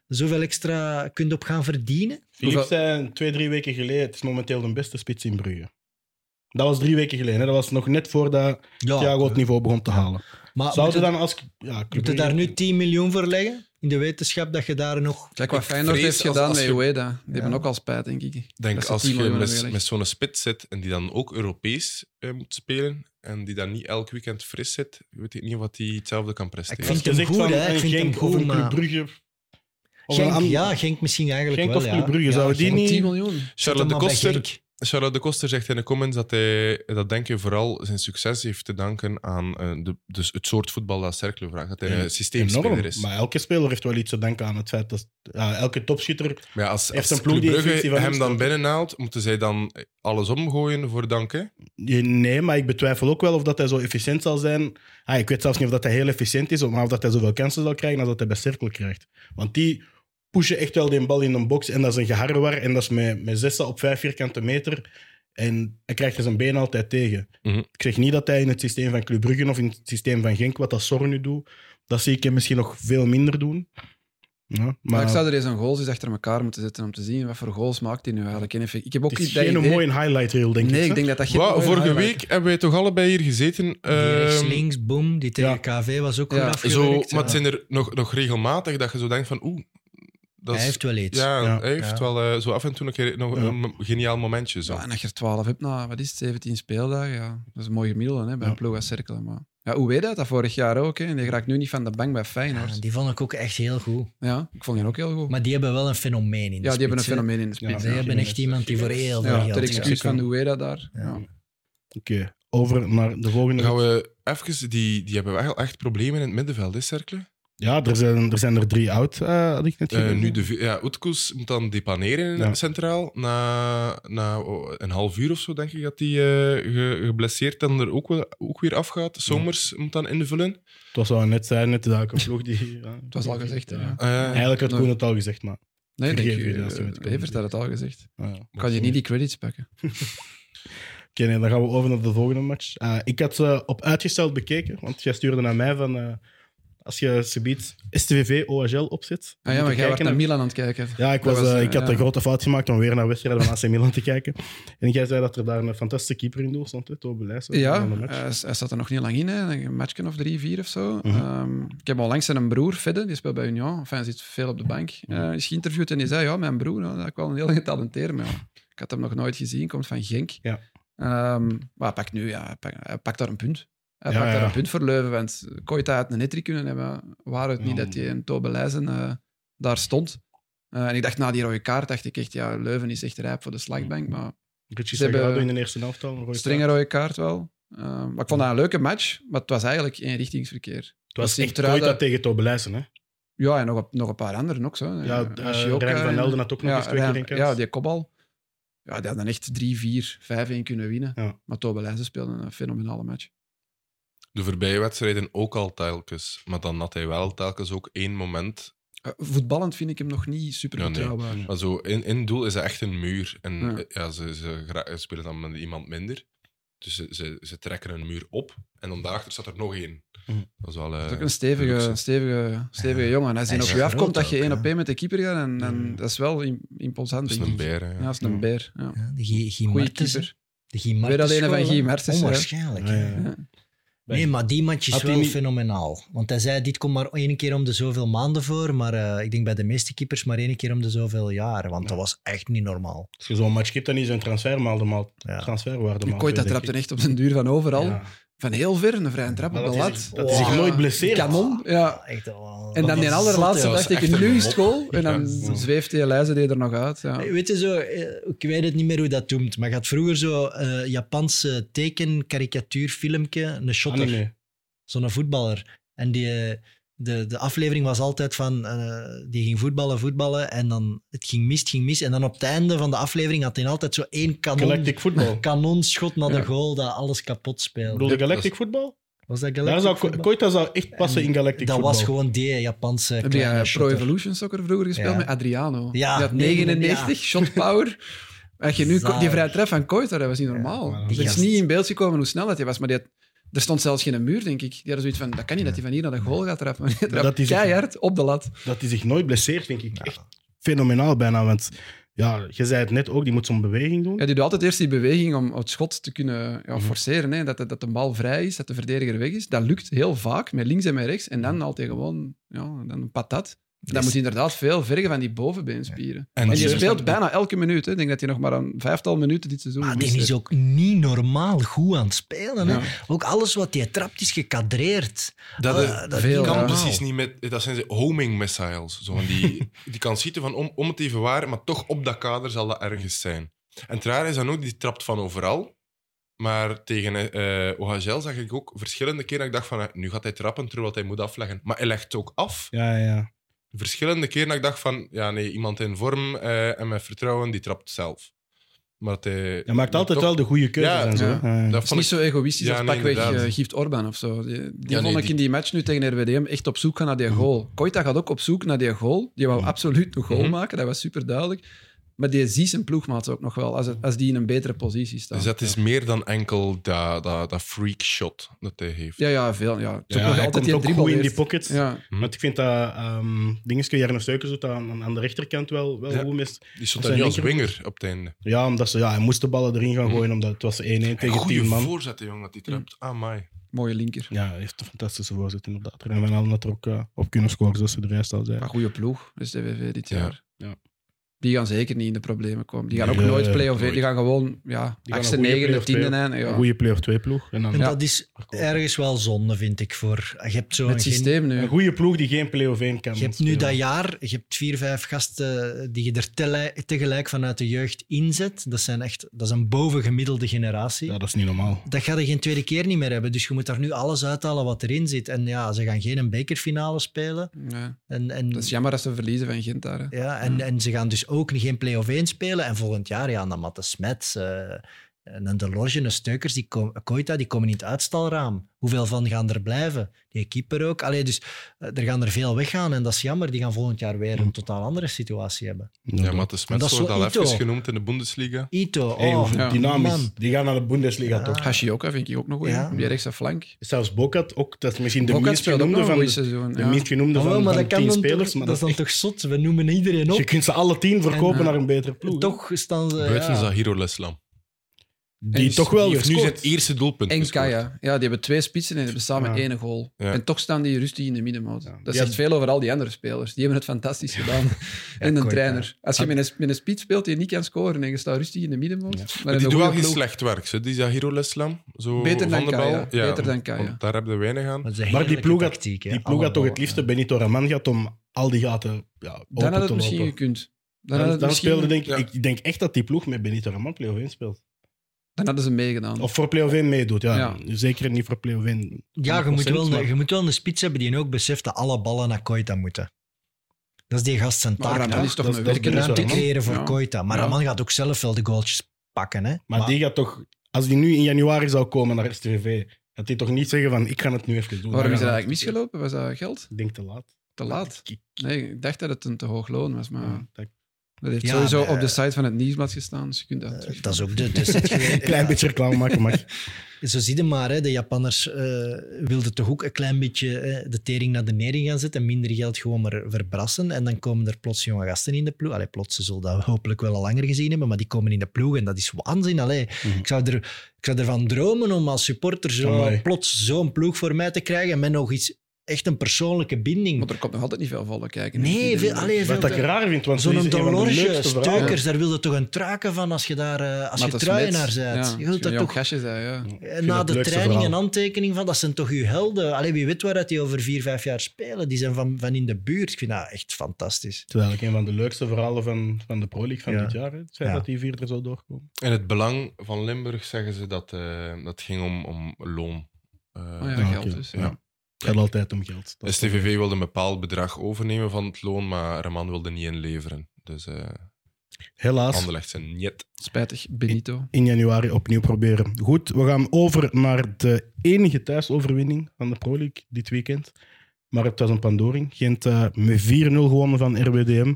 B: zoveel extra kunt op gaan verdienen?
A: Philippe
D: Hoeveel-
A: zei twee, drie weken geleden, het is momenteel de beste spits in Brugge. Dat was drie weken geleden. Hè? Dat was nog net voordat
B: Ja,
A: Thiago het niveau begon te halen.
B: maar
A: Zouden
B: moet je-
A: dan als... Ja, Club E
B: moet je
A: Brugge-
B: daar nu 10 miljoen voor leggen? In de wetenschap dat je daar nog...
D: Kijk wat
C: Ik
D: Feyenoord
C: vrees
D: heeft
C: als-
D: gedaan
C: als
D: met
C: je-
D: Ueda. Die hebben
B: Ja.
D: ook al spijt, denk ik.
C: Ik denk
D: Dat ze
C: als
D: 10
C: je
D: miljoen
C: met,
D: hebben
C: met zo'n spits zit en die dan ook Europees eh, moet spelen en die dan niet elk weekend fris zit, weet ik niet wat hij hetzelfde kan
B: Ik
C: presteren.
A: Als
B: vind
A: je
B: hem
A: zegt
B: goed,
A: van
B: hè. Ik
A: een
B: vind hem
A: Genk
B: goed,
A: of een Club
B: maar-
A: Brugge... Of een
B: Genk,
A: ander-
B: ja, Genk misschien eigenlijk
A: Genk
B: wel.
A: of
B: ja.
A: Club Brugge,
B: Ja,
A: zouden die
B: Genk.
A: niet-
D: 10 miljoen.
B: Zet
C: Charlotte de,
B: hem maar bij
C: Koster,
B: Genk.
C: Charlotte de Koster zegt in de comments dat hij dat denk je vooral zijn succes heeft te danken aan eh, de, dus het soort voetbal dat Cercle vraagt.
B: Eh,
C: Dat hij
A: Ja,
C: een systeemspeler
A: Enorm.
C: is. Maar,
A: Maar elke speler heeft wel iets te denken aan het feit dat ja, elke topschutter.
C: ja, als,
A: heeft
C: als
A: een ploeg die
C: Club
A: in functie
C: Brugge
A: van hem
C: hem dan
A: staat.
C: binnenhaalt, moeten zij dan eh, alles omgooien voor danken?
A: Nee, maar ik betwijfel ook wel of dat hij zo efficiënt zal zijn. Ah, ik weet zelfs niet of dat hij heel efficiënt is, maar of dat hij zoveel kansen zal krijgen als dat hij bij cirkel krijgt. Want die pushen echt wel die bal in een box en dat is een geharrewar en dat is met, met zessen op vijf vierkante meter. En hij krijgt er zijn been altijd tegen.
C: Mhm.
A: Ik zeg niet dat hij in het systeem van Club Brugge of in het systeem van Genk, wat dat Sor nu doet, dat zie ik hem misschien nog veel minder doen. Ja, maar,
D: Maar ik zou er eens een goals eens achter elkaar moeten zetten om te zien wat voor goals maakt hij nu eigenlijk. En ik ik heb ook
A: het is
D: niet dat
A: geen
D: idee-
A: mooie highlight reel, denk ik.
D: Nee,
A: hè?
D: ik denk dat dat geen
C: Wa-
D: mooie
C: vorige
D: highlight
C: week hebben wij toch allebei hier gezeten.
B: Die rechts,
C: ehm,
B: links, boom. Die tegen KV was ook
D: Ja,
B: goed
D: zo,
C: zo,
B: afgewerkt.
C: maar
B: ja.
C: het zijn er nog, nog regelmatig dat je zo denkt van oeh. Dat
B: Hij
C: is-
B: heeft wel iets.
C: Ja,
A: Ja.
C: hij heeft
B: Ja.
C: wel eh, zo af en toe een keer nog
A: Ja.
C: een m- geniaal momentje. Zo.
D: Ja, en als je er 12 hebt na, wat is het, 17 speeldagen, ja. Dat is een mooi gemiddelde hè, bij
A: Ja.
D: een ploeg als cirkelen. Maar Ja, hoe weet hij dat vorig jaar ook? Hè? En die raakt nu niet van de bank bij Feyenoord.
B: Ja, Ah, die vond ik ook echt heel goed.
D: Ja, ik vond die ook heel goed.
B: Maar die hebben wel een fenomeen in de
D: ja, die hebben een
B: spits, hè.
D: fenomeen in de spits.
B: Ze
A: Ja,
B: hebben echt iemand die voor heel veel
D: Ja,
B: geld
D: ter
B: gaat.
D: excuus van Ueda daar. Ja.
A: Oké, over naar de volgende.
C: Dan gaan we even... Die, die hebben wel echt problemen in het middenveld, hè, Cercle?
A: Ja, er zijn er, zijn er drie oud, eh, had ik net
C: Eh,
A: gezien.
C: nu de, vi- ja, Oetkoes moet dan depaneren in
A: Ja.
C: centraal. Na, na oh, een half uur of zo, denk ik, dat hij eh, ge- geblesseerd en er ook, wel, ook weer afgaat. Somers moet dan invullen.
A: Het was al net zei, net dat ik een vloog die... eh, ja.
D: Het was al gezegd, hè, ja.
C: Eh,
A: Eigenlijk had
D: Ja.
A: Koen het al gezegd, maar...
D: Nee, denk
A: Vergeef
D: je,
A: je dat als je met
D: eh,
A: Koeman
D: Evert had het al gezegd.
A: ja, ja.
D: Kan je niet die credits pakken?
A: Oké, nee, dan gaan we over naar de volgende match. Eh, ik had ze op uitgesteld bekeken, want jij stuurde naar mij van... eh, als je subiet STVV OHL opzet...
D: Ah ja, maar
A: moet je
D: jij was
A: kijken
D: naar Milan aan het kijken.
A: Ja, ik,
D: Dat
A: was,
D: was,
A: eh,
D: eh,
A: ik had
D: ja.
A: de grote fout gemaakt om weer naar wedstrijden van AC Milan te kijken. En jij zei dat er daar een fantastische keeper in doel stond, hè, Tobe Leijs. dat was
D: Ja,
A: een ander match.
D: eh, hij zat er nog niet lang in, hè. een matchje of drie, vier of zo.
A: Mhm.
D: Ehm, ik heb onlangs zijn broer, Fedde, die speelt bij Union, enfin, hij zit veel op de bank,
A: Mhm.
D: eh, is geïnterviewd en die zei, ja, mijn broer, ja, dat is wel een heel getalenteerd, maar ja, ik had hem nog nooit gezien, komt van Genk.
A: Ja.
D: Ehm, maar hij pakt nu, ja, hij pakt, hij pakt daar een punt. Hij
A: Ja,
D: pakt daar
A: ja.
D: een punt voor Leuven, want Koita had een nettrick kunnen hebben, waar het
A: Ja,
D: niet
A: man.
D: dat hij in Tobeleizen eh daar stond. Eh, en ik dacht, na die rode kaart, dacht ik echt, ja, Leuven is echt rijp voor de slagbank,
A: Mhm.
D: maar
A: Richie
D: ze hebben-
A: Sagrado in de eerste helft al. een rode
D: strenge
A: kaart.
D: rode kaart wel. Ehm, maar ik vond dat een leuke match, maar het was eigenlijk eenrichtingsverkeer.
A: Het was
D: Dat
A: echt
D: Sint-Truiden-
A: Koita tegen Tobe Leijs, hè.
D: Ja, en nog, een- nog een paar anderen ook zo.
A: Ja,
D: Eh,
A: eh,
D: Ashioka
A: Rijn van
D: en-
A: Elden had ook nog eens twee
D: Rijn-
A: keer een kans.
D: Ja, die kopbal. Ja, die hadden echt 3, 4, 5-1 kunnen winnen.
A: Ja.
D: Maar Tobelijzen speelde een fenomenale match.
C: De voorbije wedstrijden ook al telkens. Maar dan had hij wel telkens ook één moment.
D: Eh, voetballend vind ik hem nog niet super
C: Ja, nee.
D: betrouwbaar.
C: Maar zo, in, in doel is hij echt een muur. En
D: Ja.
C: eh, ja, ze, ze, gra- ze spelen dan met iemand minder. Dus ze, ze, ze trekken een muur op. En dan daarachter staat er nog één.
A: Mhm.
C: Dat is wel... eh,
D: Mm. Dat is ook een stevige,
C: luxe.
D: stevige, stevige jongen. Als
B: Hij
D: hij op
B: is
D: je
B: groot
D: afkomt dat je
B: ook,
D: 1
B: hè.
D: op 1 met de keeper gaat, en, en
A: Ja.
D: dat is wel im- imposant.
C: Dat is
D: denk
C: een
D: ik.
C: beer, hè,
D: Ja, dat is een
A: Ja.
D: beer. Ja.
B: Ja, de Guy- Guy
D: Goeie
B: Martens,
D: keeper.
B: De Guy
D: Weer dat ene van
B: goal, hè.
D: Guy Martens, hè.
B: Onwaarschijnlijk.
A: Ja,
B: hè.
A: ja, ja.
B: Nee, maar die match is
A: Had hij
B: wel
A: niet-
B: fenomenaal. Want hij zei, dit komt maar één keer om de zoveel maanden voor. Maar eh, ik denk bij de meeste keepers maar één keer om de zoveel jaren. Want dat was echt niet normaal.
A: Als je zo'n match kipt, dan is een transferwaarde maal.
B: Ja.
A: Transferwaarde
D: Die
A: maal.
D: Koita
A: twee, denk
D: trapte
A: ik.
D: echt op zijn duur van overal.
A: Ja.
D: Van heel ver, een vrije trap
A: Maar
D: op de
A: dat is
D: lat.
A: zich- dat is zich
D: Ja.
A: nooit blesseert.
D: Kanon, ja.
B: Echt wel-
D: En
B: dat
D: dan die
B: was
D: allerlaatste
B: zot,
C: was
D: dacht ik,
C: echt een
D: nu is
C: mop.
D: het goal. En dan
C: Ja.
D: zweeft die Elijzen die er nog uit. Ja.
B: joh. Weet je zo, eh, ik weet het niet meer hoe dat noemt, maar je had vroeger zo eh Japanse teken, karikatuur, filmpje, een shotter.
A: Anime.
B: zo'n voetballer. En die, eh, de, de aflevering was altijd van, eh, die ging voetballen, voetballen. En dan, het ging mis, het ging mis. En dan op het einde van de aflevering had hij altijd zo één kanon,
A: Galactic Football. Ik
B: kanonschot naar de
D: Ja.
B: goal dat alles kapot speelde.
A: bedoel, de Galactic Football?
B: Was dat
A: Daar
B: Galactic
A: zou, Ko-
B: Football?
A: Koita zou echt passen in Galactic
B: Dat
A: Football.
B: was gewoon die Japanse
D: Heb
B: kleine
D: je eh, Pro
B: shotter.
D: Evolution Soccer vroeger gespeeld
B: Ja.
D: met Adriano?
B: Ja,
D: die had 99, shot power. Als je nu ko- die
B: Zalig.
D: vrije tref van Koita, dat was niet normaal. Dus
A: maar
D: Het
B: die
D: is
B: gast.
D: niet in beeld gekomen hoe snel dat hij was, maar die had- er stond zelfs geen muur, denk ik. Die hadden zoiets van, dat kan niet dat hij van hier naar de goal gaat trappen. Maar die trapt
A: dat is het.
D: keihard op de lat.
A: Dat hij zich nooit blesseert, vind ik echt fenomenaal bijna. Want ja, je zei het net ook, die moet zo'n beweging doen.
D: Ja, die doet altijd eerst die beweging om het schot te kunnen
B: Mhm.
D: ja, forceren. Hè? Dat, de, dat de bal vrij is, dat de verdediger weg is. Dat lukt heel vaak, met links en met rechts. En
B: Mhm.
D: dan altijd gewoon ja, dan een patat. Dan
B: Dus-
D: moet hij inderdaad veel vergen van die bovenbeenspieren.
C: En
D: En
C: die
D: die
A: is-
D: speelt bijna elke minuut. Hè? Ik denk dat hij nog maar een vijftal minuten dit seizoen
B: Maar
D: gemist
B: Ah, die is
D: heeft.
B: ook niet normaal goed aan het spelen. hè.
D: Ja.
B: Ook alles wat hij trapt is gekadreerd.
C: Dat,
B: Ah,
C: is-
B: dat
C: dat
D: eh, veel,
C: kan
D: ja.
C: precies niet met... Dat zijn ze homing missiles. Zo van die, die kan schieten van om, om het even waar, maar toch op dat kader zal dat ergens zijn. En het rare is dan ook, die trapt van overal. Maar tegen eh OHL zag ik ook verschillende keren dat ik dacht van, eh, nu gaat hij trappen terwijl hij moet afleggen. Maar hij legt ook af.
A: Ja, ja.
C: Verschillende keren dat ik dacht van, ja nee, iemand in vorm eh, en met vertrouwen, die trapt zelf. Maar dat hij...
A: Hij maakt
C: maar
A: altijd
C: toch-
A: wel de goede keuzes
C: Ja,
A: en zo.
D: ja.
A: hè.
C: dat
D: Het is
C: vond
D: niet
C: ik-
D: zo egoïstisch
C: Ja,
D: als
C: nee,
D: pakweg
C: inderdaad.
D: eh, Gift Orban of zo. Die, die
C: Ja, nee,
D: vond ik
C: die-
D: in die match nu tegen RWDM echt op zoek gaan naar die
A: Mhm.
D: goal. Koita gaat ook op zoek naar die goal. Die wou absoluut een goal
C: Mhm.
D: maken, dat was super duidelijk. Maar die ziet zijn ploegmaat ook nog wel, als, het- als die in een betere positie staat.
C: Dus dat is meer dan enkel dat, dat, dat freak shot dat hij heeft.
D: Ja, ja, veel. Ja. Het is
A: Ja,
D: ook nog
A: hij
D: altijd
A: komt
D: die
A: ook goed in die
D: dribbel
A: pockets.
D: eerst. Ja.
A: Want ik vind dat ehm dingetje, Jarno Suikers doet dat aan, aan de rechterkant wel, wel
C: Ja.
A: goed mis.
C: Die stond
A: Dat
C: daar niet
A: zijn
C: als
A: linker-
C: winger op het einde.
A: Ja, omdat ze, ja, hij moest de ballen erin
C: Mhm.
A: gaan gooien, omdat het was 1-1 tegen 10
C: Goeie
A: man.
C: voorzetten, jong, dat hij trapt. Ah, my.
D: Mooie linker.
A: Ja, hij heeft een fantastische voorzet inderdaad. En
D: dus
A: Van Allen had er ook eh, op kunnen scoren, zoals ze de rest al zei.
D: Maar goede ploeg, SDVV dit
C: Ja.
D: jaar. die gaan zeker niet in de problemen komen. Die gaan ook
A: Nee,
D: nooit
A: eh,
D: play-off.
A: nooit.
D: Die gaan gewoon ja,
A: gaan
D: achtste,
A: een goede
D: negende,
A: play-off
D: tiende
A: spelen.
D: eindigen.
A: Een
D: ja.
A: goede play-off 2 ploeg. En dan
B: En dat is ergens wel zonde, vind ik. Voor, je hebt zo
D: Met het systeem nu.
A: Een goede ploeg die geen play-off 1 kan.
B: Je hebt nu dat jaar, je hebt vier, vijf gasten die je er tele- tegelijk vanuit de jeugd inzet. Dat, zijn echt, dat is een bovengemiddelde generatie.
A: Ja, dat is niet normaal.
B: Dat ga je geen tweede keer niet meer hebben. Dus je moet daar nu alles uithalen wat erin zit. En ja, ze gaan geen bekerfinale spelen.
D: Ja.
B: En, en,
D: Dat is jammer dat ze verliezen van Gent daar. hè.
B: ja,
A: Mm.
B: en, en ze gaan dus ook geen play-off 1 spelen. En volgend jaar, ja, dan Matte Smets eh, en dan De Lorge en Steukers, die komen, Koita, die komen in het uitstalraam. Hoeveel van gaan er blijven? Die keeper ook. Allee, dus eh, er gaan er veel weggaan en dat is jammer. Die gaan volgend jaar weer
A: Mm.
B: een totaal andere situatie hebben.
C: Ja, maar de
B: dat
C: Smets
B: is
C: wordt
B: wel
C: al
B: Ito.
C: even genoemd in de Bundesliga.
B: Ito, oh,
A: Hey, hoe
D: ja.
A: dynamisch.
B: man.
A: Die gaan naar de Bundesliga
B: Ja.
A: toch?
D: Hashioka vind ik ook nog goed.
B: Ja.
D: Op die rechtse flank.
A: Zelfs Bokat ook. Dat is misschien de
D: Boca
A: minst
D: speelde ook nog
A: genoemde
D: een
A: van
D: goed
A: de,
D: seizoen.
A: de
D: ja.
A: minst genoemde
B: Ah, wel,
A: van,
B: maar
A: van
B: dat kan
A: tien
B: dan
A: spelers.
B: toch-
A: maar
B: dat is
A: dat
B: dan
A: is
B: toch zot? We noemen iedereen
A: echt-
B: op.
A: je kunt ze alle tien verkopen
D: En,
A: naar een betere ploeg. hè.
B: Toch staan ze...
C: Buiten
B: ja.
C: Zahiro Leslam.
A: Die
D: en
A: toch wel
C: Die heeft nu zijn
A: gescoord.
C: eerste doelpunt
D: En
C: gescoord.
D: Kaya. Ja, die hebben twee spitsen en hebben samen
A: Ja.
D: één goal.
C: Ja.
D: En toch staan die rustig in de middenmoot.
A: Ja.
D: Dat
A: Die
D: zegt
A: had-
D: veel over al die andere spelers. Die hebben het fantastisch gedaan. en een
B: Koita.
D: trainer. Als je met een, met een spits speelt die niet kan scoren en je staat rustig in de middenmoot. Maar
C: Maar die
D: een
C: doen wel
D: goede
C: geen
D: ploeg.
C: slecht werk, hè, die Zahiro Leslam. Zo
D: Beter
C: van
D: dan
C: de bal.
D: Kaya. Beter dan Kaya.
C: want daar hebben we weinig aan.
B: dat is een
A: Maar die
B: heerlijke
A: ploeg had-
B: tactiek, hè.
A: Die ploeg had toch het
B: eh,
A: liefste Benito Raman gehad om al die gaten ja, open
D: Dan had
A: te
D: het misschien
A: lopen.
D: gekund. Dan, had
A: Dan,
D: het
A: dan
D: misschien-
A: speelde denk, ik-
C: ja.
A: ik denk echt dat die ploeg met Benito Raman play-off 1 speelt.
D: dan hadden ze meegedaan.
A: Of voor play-off 1 meedoet, ja.
D: Ja.
A: Zeker niet voor play-off 1.
B: Ja, je moet,
A: 100%,
B: wel,
A: maar-
B: een- je moet wel een spits hebben die ook beseft dat alle ballen naar Koita moeten. Dat is die gast zijn
D: Maar
B: taak.
D: Raman
B: toch?
D: is toch
A: dat-
D: een
A: dat
D: werker.
A: is
D: hè?
A: Raman.
B: Ruimte creëren voor
D: Ja.
B: Koita. Maar
D: Ja.
B: Raman gaat ook zelf wel de goaltjes pakken. Hè?
A: Maar die gaat toch, als die nu in januari zou komen naar STV, gaat die toch niet zeggen van ik ga het nu even doen.
D: Waarom is
A: Dan
D: dat
A: gaan
D: eigenlijk
A: we-
D: misgelopen? Was dat geld?
A: Ik denk te laat.
D: Te laat? Ah.
A: Ik-
D: Nee, ik dacht dat het een te hoog loon was, maar...
A: ja, dat-
D: Dat heeft
B: Ja,
D: sowieso
B: maar,
D: op de
B: eh,
D: site van het nieuwsblad gestaan, dus je kunt dat
B: Eh,
D: terugvinden.
B: dat is ook de. Dus het
A: Een
B: ge-
A: klein
B: ja,
A: beetje reclame maken mag.
B: Zo zie je maar, hè, de Japanners eh, wilden toch ook een klein beetje eh, de tering naar de nering gaan zetten. en Minder geld gewoon maar verbrassen. En dan komen er plots jonge gasten in de ploeg. Allee, plots, ze zullen dat hopelijk wel al langer gezien hebben. Maar die komen in de ploeg en dat is waanzin. Allee,
A: Mhm.
B: ik, zou er, ik zou ervan dromen om als supporter zo,
A: Amai.
B: plots zo'n ploeg voor mij te krijgen. Met nog iets, echt een persoonlijke binding.
D: Want er komt nog altijd niet veel volk kijken.
B: Nee, veel,
D: alleen.
B: allee, veel
A: Wat ik raar vind, want
B: Zo'n
A: dat is een van de
B: Dolorge,
A: leukste verhalen.
B: Steukers, daar wilde toch een traken van als je daar eh, als je
D: Matthias
B: truienaar
D: Smits.
B: bent.
D: Ja,
B: je wilt daar
D: jong
B: toch
D: gastje zei, ja. Oh
A: Ik
B: eh,
A: vind
B: na
A: dat
B: de
A: het leukste
B: training een
A: verhaal.
B: handtekening van, dat zijn toch uw helden. Allee, wie weet waar die over vier, vijf jaar spelen. Die zijn van, van in de buurt. Ik vind dat echt fantastisch.
A: Het is eigenlijk een van de leukste verhalen van, van de Pro League van
B: Ja.
A: dit jaar. hè. Het feit
B: Ja.
A: dat die vier er zo doorkomen.
C: In het belang van Limburg zeggen ze dat eh, dat ging om, om loon. Eh,
D: Oh ja,
A: Ja,
D: geld
A: oké.
D: dus.
A: Ja.
D: Ja.
A: Het gaat altijd om geld. Dat is toch-
C: STVV wilde een bepaald bedrag overnemen van het loon, maar Raman wilde niet inleveren. Dus eh
A: Helaas,
C: Anderlecht zijn niet.
D: Spijtig, Benito.
A: in januari opnieuw proberen. Goed, we gaan over naar de enige thuisoverwinning van de Pro League dit weekend. Maar het was een pandoring. Gent eh, met 4-0 gewonnen van RWDM.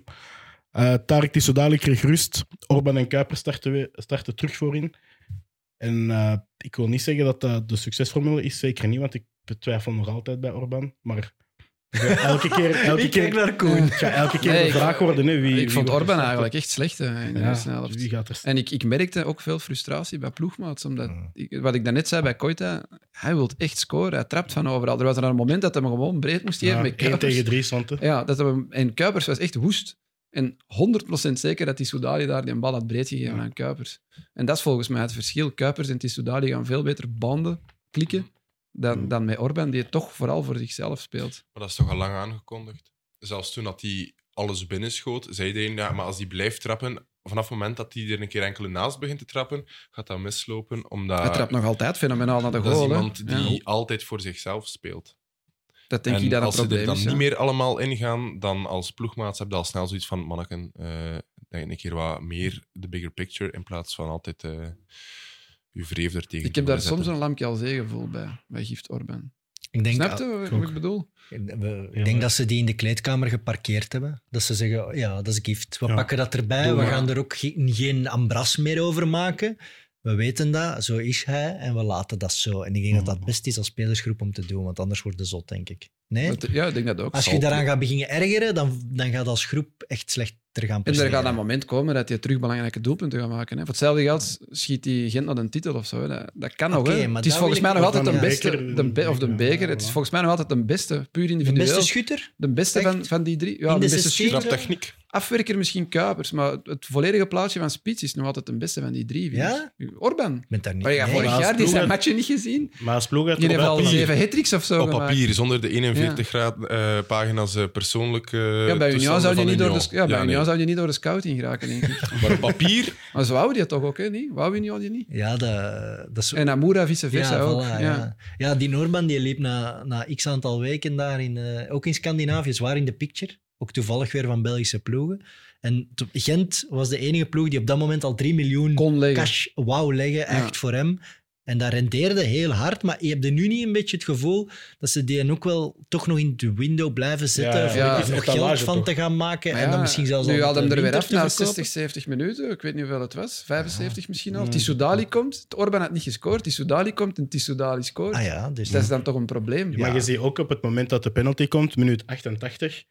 A: Eh Tarek Tissoudali kreeg rust. Orban en Kuiper starten, we- starten terug voorin. En eh, ik wil niet zeggen dat dat de succesformule is, zeker niet, want ik betwijfel nog altijd bij Orban. Maar elke keer, elke keer,
B: naar
D: Koen.
A: het gaat elke keer
D: Nee,
A: de
D: ik-
A: vraag worden. Hè, wie,
D: ik
A: wie
D: vond
A: wordt er
D: Orban
A: starten?
D: eigenlijk echt slecht hè, in
A: Ja,
D: de
A: dus
D: eerste helft.
A: wie gaat er starten?
D: En ik, ik merkte ook veel frustratie bij ploegmaats. Omdat
B: Mm.
D: ik- wat ik daarnet zei bij Koita, hij wil echt scoren. Hij trapt van overal. Er was er een moment dat hij hem gewoon breed moest geven
A: Ja,
D: met
A: één
D: Kuipers.
A: tegen drie, Sante.
D: Ja, dat hij hem- en Kuipers was echt woest. En 100% zeker dat Tissoudali daar die bal had breed gegeven
A: Ja.
D: aan Kuipers. En dat is volgens mij het verschil. Kuipers en Tissoudali gaan veel beter banden klikken dan, dan met Orban, die het toch vooral voor zichzelf speelt.
C: Maar dat is toch al lang aangekondigd? Zelfs toen dat hij alles binnenschoot, zei iedereen, ja, maar als die blijft trappen, vanaf het moment dat hij er een keer enkele naast begint te trappen, gaat dat mislopen, omdat
D: Hij trapt nog altijd fenomenaal naar de
C: dat is
D: goal. hè.
C: iemand die
D: Ja,
C: altijd voor zichzelf speelt.
D: dat denk
C: en
D: ik dat een
C: als ze er
D: probleem
C: dan
D: is.
C: niet
D: ja.
C: meer allemaal ingaan, dan als ploegmaats heb je al snel zoiets van, manneken, eh, denk een keer wat meer de bigger picture in plaats van altijd eh je vreef er tegen
D: Ik
C: te
D: heb daar
C: willen
D: soms
C: zetten.
D: een lampje al gevoel bij, bij Gift Orban.
B: Ik denk,
D: Snap je wat
A: ook.
D: ik bedoel?
B: we- we- ik
A: Ja,
B: denk
A: maar-
B: dat ze die in de kleedkamer geparkeerd hebben. Dat ze zeggen, oh ja, dat is gift. We
A: Ja.
B: pakken dat erbij.
D: Doe
B: we
D: maar.
B: gaan er ook geen, geen ambras meer over maken. We weten dat,
A: Mm.
B: zo is hij. En we laten dat zo. En ik denk dat dat best is als spelersgroep om te doen. Want anders wordt het zot, denk ik. Nee?
D: Dat- Ja, ik denk dat ook.
B: Als je
D: Zal-
B: daaraan gaat beginnen ergeren, dan, dan gaat als groep echt slechter gaan
D: En er
B: presteren.
D: gaat een moment komen dat je terug belangrijke doelpunten gaat maken. Hè. Voor hetzelfde geld schiet die Gent naar een titel of zo. hè. Dat, dat kan
B: Oké,
D: nog. Hè.
B: maar
D: Het is
B: daar
D: volgens
B: wil
D: mij
B: ik
D: nog
A: nog
D: altijd
A: van
D: de
A: een
D: beste,
A: beker,
D: de be- of de
A: ja,
D: beker. Het
A: voilà.
D: is volgens mij nog altijd de beste, puur
B: De
D: individueel.
B: beste schutter?
D: De beste van,
B: Echt?
D: van die drie. Ja,
B: In
D: de,
B: de
D: beste
B: 16?
D: schutter.
C: Strafpechniek.
D: Afwerker misschien Kuipers, maar het- het volledige plaatje van Spits is nog altijd de beste van die drie. vind
B: Ja?
D: ik. Orban.
B: Ik ben het daar niet
D: Maar ja,
B: nee.
D: vorig
A: maar
D: jaar die
A: als
D: zijn
A: ploeg-
D: matje niet gezien.
A: Maar als ploeg uit
D: Die heeft al
A: Europa-
D: zeven hat of zo
C: Op
D: gemaakt.
C: papier, zonder de 41 graad eh, pagina's eh, persoonlijk. eh,
D: Ja, bij Union
C: toestanden
D: zou je
C: van
D: niet door de, sc- ja, bij
C: nee.
D: Union zou je niet door de scouting geraken, denk ik.
C: Maar op papier,
D: Maar ze wouden die toch ook, hè? Niet? Wou Union die niet?
B: Ja, dat, dat is...
D: En Amura vice versa
B: ja,
D: ook.
B: voilà,
D: ja.
B: ja. Ja. die Norman die liep na, na x aantal weken daar, in, eh, ook in Scandinavië, zwaar in de picture. Ook toevallig weer van Belgische ploegen. En to- Gent was de enige ploeg die op dat moment al 3 miljoen
D: Kon leggen.
B: cash wou leggen, echt voor hem. En dat rendeerde heel hard, maar je hebt er nu niet een beetje het gevoel dat ze die ook wel toch nog in de window blijven zetten
A: Ja,
B: voor
D: ja.
B: er
D: Is
A: een
B: nog geld
A: tallage
B: van
A: toch?
B: te gaan maken
D: Maar
B: en dan
D: ja,
B: misschien zelfs
D: Nu
B: al
D: hadden
B: de
D: hem er weer
B: winter
D: af
B: te
D: na
B: verkopen.
D: 60, 70 minuten. Ik weet niet hoeveel het was. 75 misschien
B: Hmm.
D: al. Tissoudali komt. Orban had niet gescoord. Tissoudali komt en Tissoudali scoort.
B: Ah ja, dus
D: Dus dat is dan toch een probleem.
A: Maar je ziet ook op het moment dat de penalty komt, minuut 88.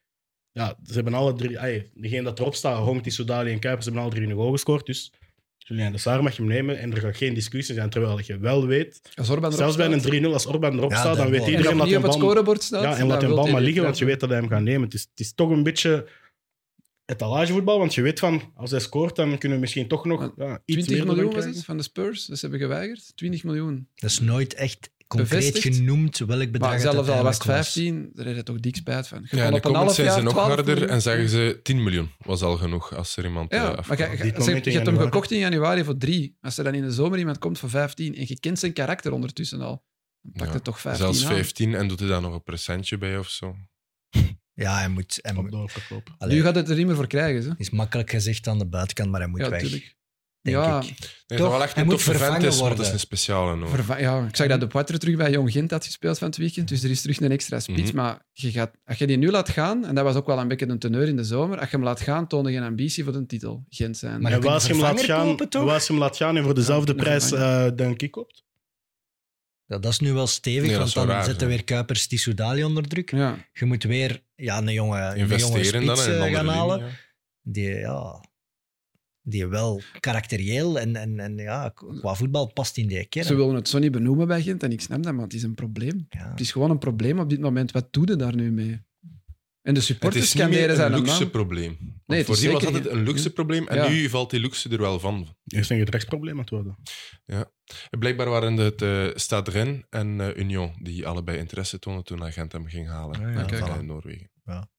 A: Ja, ze hebben alle drie. Ay, degene dat erop staat, Hongt, Soudali en Kuipers, hebben alle drie een goal gescoord. Dus Julian de Saar mag hem nemen en er gaat geen discussie zijn. Terwijl je wel weet,
D: Als Orban erop
A: zelfs bij
D: staat,
A: een 3-0, als Orban erop
B: Ja,
A: staat,
B: dan
A: dan weet
B: wel.
D: en
A: iedereen
D: nog
A: dat
D: niet
A: hij
D: op het
A: bal.
D: scorebord staat.
A: Ja, en laat
D: dan
A: hem
D: wil
A: bal
D: hij
A: maar
D: die
A: liggen, want
D: graag.
A: je weet dat hij hem gaat nemen. Het is, het is toch een beetje etalagevoetbal, want je weet van als hij scoort, dan kunnen we misschien toch nog ja, iets
D: 20
A: meer
D: miljoen
A: miljoen
D: was het van de Spurs. Dus ze hebben geweigerd. 20 miljoen.
B: Dat is nooit echt concreet
D: Bevestigd.
B: genoemd welk bedrag
D: Maar zelfs al was
B: uiteindelijk
D: het 15, daar is het toch dik spijt van. Je kon
C: ja, in de
D: op een
C: comments
D: half
C: zijn ze
D: jaar
C: nog
D: 12
C: harder
D: miljoen.
C: en zeggen ze 10 miljoen was al genoeg als er iemand eh,
D: Ja,
C: afkwam.
D: maar
A: Op
D: je-
A: dit
D: je-
A: moment
D: je
A: in
D: hebt hem
A: januari.
D: gekocht in januari voor drie. Als er dan in de zomer iemand komt voor 15 en je kent zijn karakter ondertussen al, dan pakt
C: Ja,
D: het toch 15
C: Zelfs
D: aan.
C: 15 en doet hij daar nog een procentje bij of zo.
B: Ja, hij moet... Hij moet
A: Op doorverkoop.
B: allee,
D: Nu gaat het er niet meer voor krijgen. Hè?
B: is makkelijk gezegd aan de buitenkant, maar hij moet
D: Ja,
B: weg.
D: tuurlijk.
B: Denk
D: ja,
B: ik.
C: Nee,
B: Toch,
C: dat wel echt
B: hij
C: een
B: moet
C: toffe vent
B: vervangen
C: is, maar dat is
B: worden.
C: een speciale hoor.
D: verva- ja, ik zag dat de Poitre terug bij Jong Gent had gespeeld van het weekend. Dus er is terug een extra spits.
C: Mhm.
D: Maar je gaat, als je die nu laat gaan, en dat was ook wel een beetje een teneur in de zomer, als je hem laat gaan, toonde geen ambitie voor de titel. Gent zijn.
B: Maar
A: en
B: je
A: waar ze
B: kunt
A: hem
B: een
A: laat
B: vervanger
A: gaan,
B: kopen, toch?
A: waar ze hem laat gaan en voor dezelfde
D: een
A: prijs eh dan kick koopt.
B: Ja, dat is nu wel stevig,
C: Nee, dat
B: want
C: is wel
B: dan
C: raar,
B: zetten
C: hè.
B: weer Kuipers Tissoudali onder druk.
D: ja.
B: Je moet weer ja, een jonge, een jonge
C: Investeren
B: spits
C: dan
B: eh,
C: in een andere
B: gaan halen.
C: linie, ja.
B: Die, ja, die wel karakterieel en, en, en ja, qua voetbal past in die kern.
D: Ze willen het zo niet benoemen bij Gent, en ik snap dat, maar het is een probleem.
B: Ja.
D: Het is gewoon een probleem op dit moment. Wat doe je daar nu mee? En de
C: Het
D: supporters
C: is niet meer
D: scanderen
C: een
D: dus zijn
C: luxe
D: naam.
C: probleem. Want
D: het
C: Voordien
D: is
C: was
D: zeker
C: altijd
D: geen-
C: een luxe probleem en
D: Ja.
C: nu valt die luxe er wel van.
A: Er is een gedragsprobleem aan het worden.
C: Blijkbaar waren het eh Stade Rennes en eh, Union die allebei interesse tonen toen agent hem ging halen.
B: Ah, Ja, ja,
C: naar,
D: Ah, kijk,
C: eh,
B: voilà.
C: Noorwegen.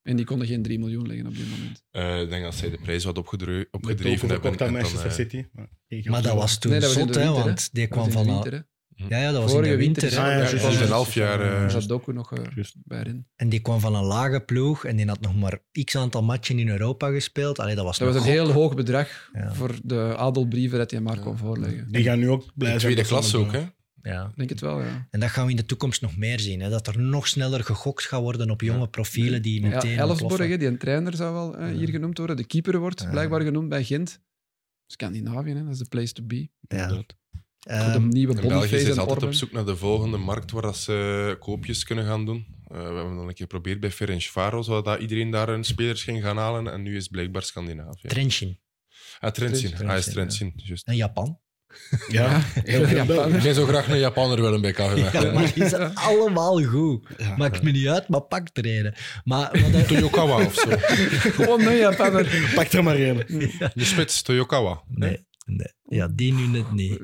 D: En die konden geen 3 miljoen leggen op dit moment.
C: Eh, ik denk dat zij de prijs wat opgedreven
A: Met
C: opgedreven
A: Doku
C: hebben.
A: verkocht aan
C: en dan,
A: Manchester
C: eh,
A: City. Maar,
B: Maar dat was toen
D: Nee, dat was in
B: zot,
D: de
B: hè,
D: winter, hè.
B: want die
D: Dat was
B: kwam
D: in
B: van...
D: de winter, hè.
B: Ja, ja, dat was in
D: Vorige
B: de winter.
D: winter,
A: Ah, ja,
C: Ja,
A: juist,
C: dat
A: juist.
C: is een half jaar. eh,
D: Daar zat Doku nog eh,
A: Juist.
D: bij in.
B: En die kwam van een lage ploeg en die had nog maar x aantal matchen in Europa gespeeld. Allee, dat was
D: Dat was
B: nog
D: een heel hoog bedrag
B: Ja.
D: voor de adelbrieven dat hij maar kon voorleggen.
A: Die gaan nu ook blij
C: in
A: zijn.
C: tweede
A: dat ze
C: klasse ook,
A: hem-
C: hè?
B: Ja.
D: Ik denk het wel, ja.
B: En dat gaan we in de toekomst nog meer zien. Hè? Dat er nog sneller gegokt gaat worden op jonge profielen die
D: ja
B: meteen
D: Elfsborg,
B: ontploffen.
D: hè, die een trainer zou wel eh, hier genoemd worden. De keeper wordt
B: Ja.
D: blijkbaar genoemd bij Gent. Scandinavië, hè, dat is de place to be.
B: Ja.
D: Voor de
B: Ehm,
D: nieuwe
C: In België
D: Boniface
C: zijn
D: en
C: ze altijd
D: Orban.
C: op zoek naar de volgende markt waar dat ze eh, koopjes kunnen gaan doen. Eh, we hebben dan een keer geprobeerd bij Ferencvaros, waar dat iedereen daar hun spelers ging gaan halen. En nu is blijkbaar Scandinavië.
B: Trenchin
C: ah, Trentin.
B: Trentin,
C: Ah, is
B: ja.
C: Trentin. juist.
B: en Japan.
A: Ja, heel veel
D: Ja,
A: Belgen.
C: Ik zou zo graag een Japaner willen bij KV
B: Ja, maar die zijn allemaal goed. Maakt me niet uit, maar pak er een. Maar wat hij-
C: Toyokawa of zo.
D: Gewoon nee, ja, Paver.
A: Pak er maar één.
C: De spits, Toyokawa.
B: nee, nee. Ja, die nu net niet.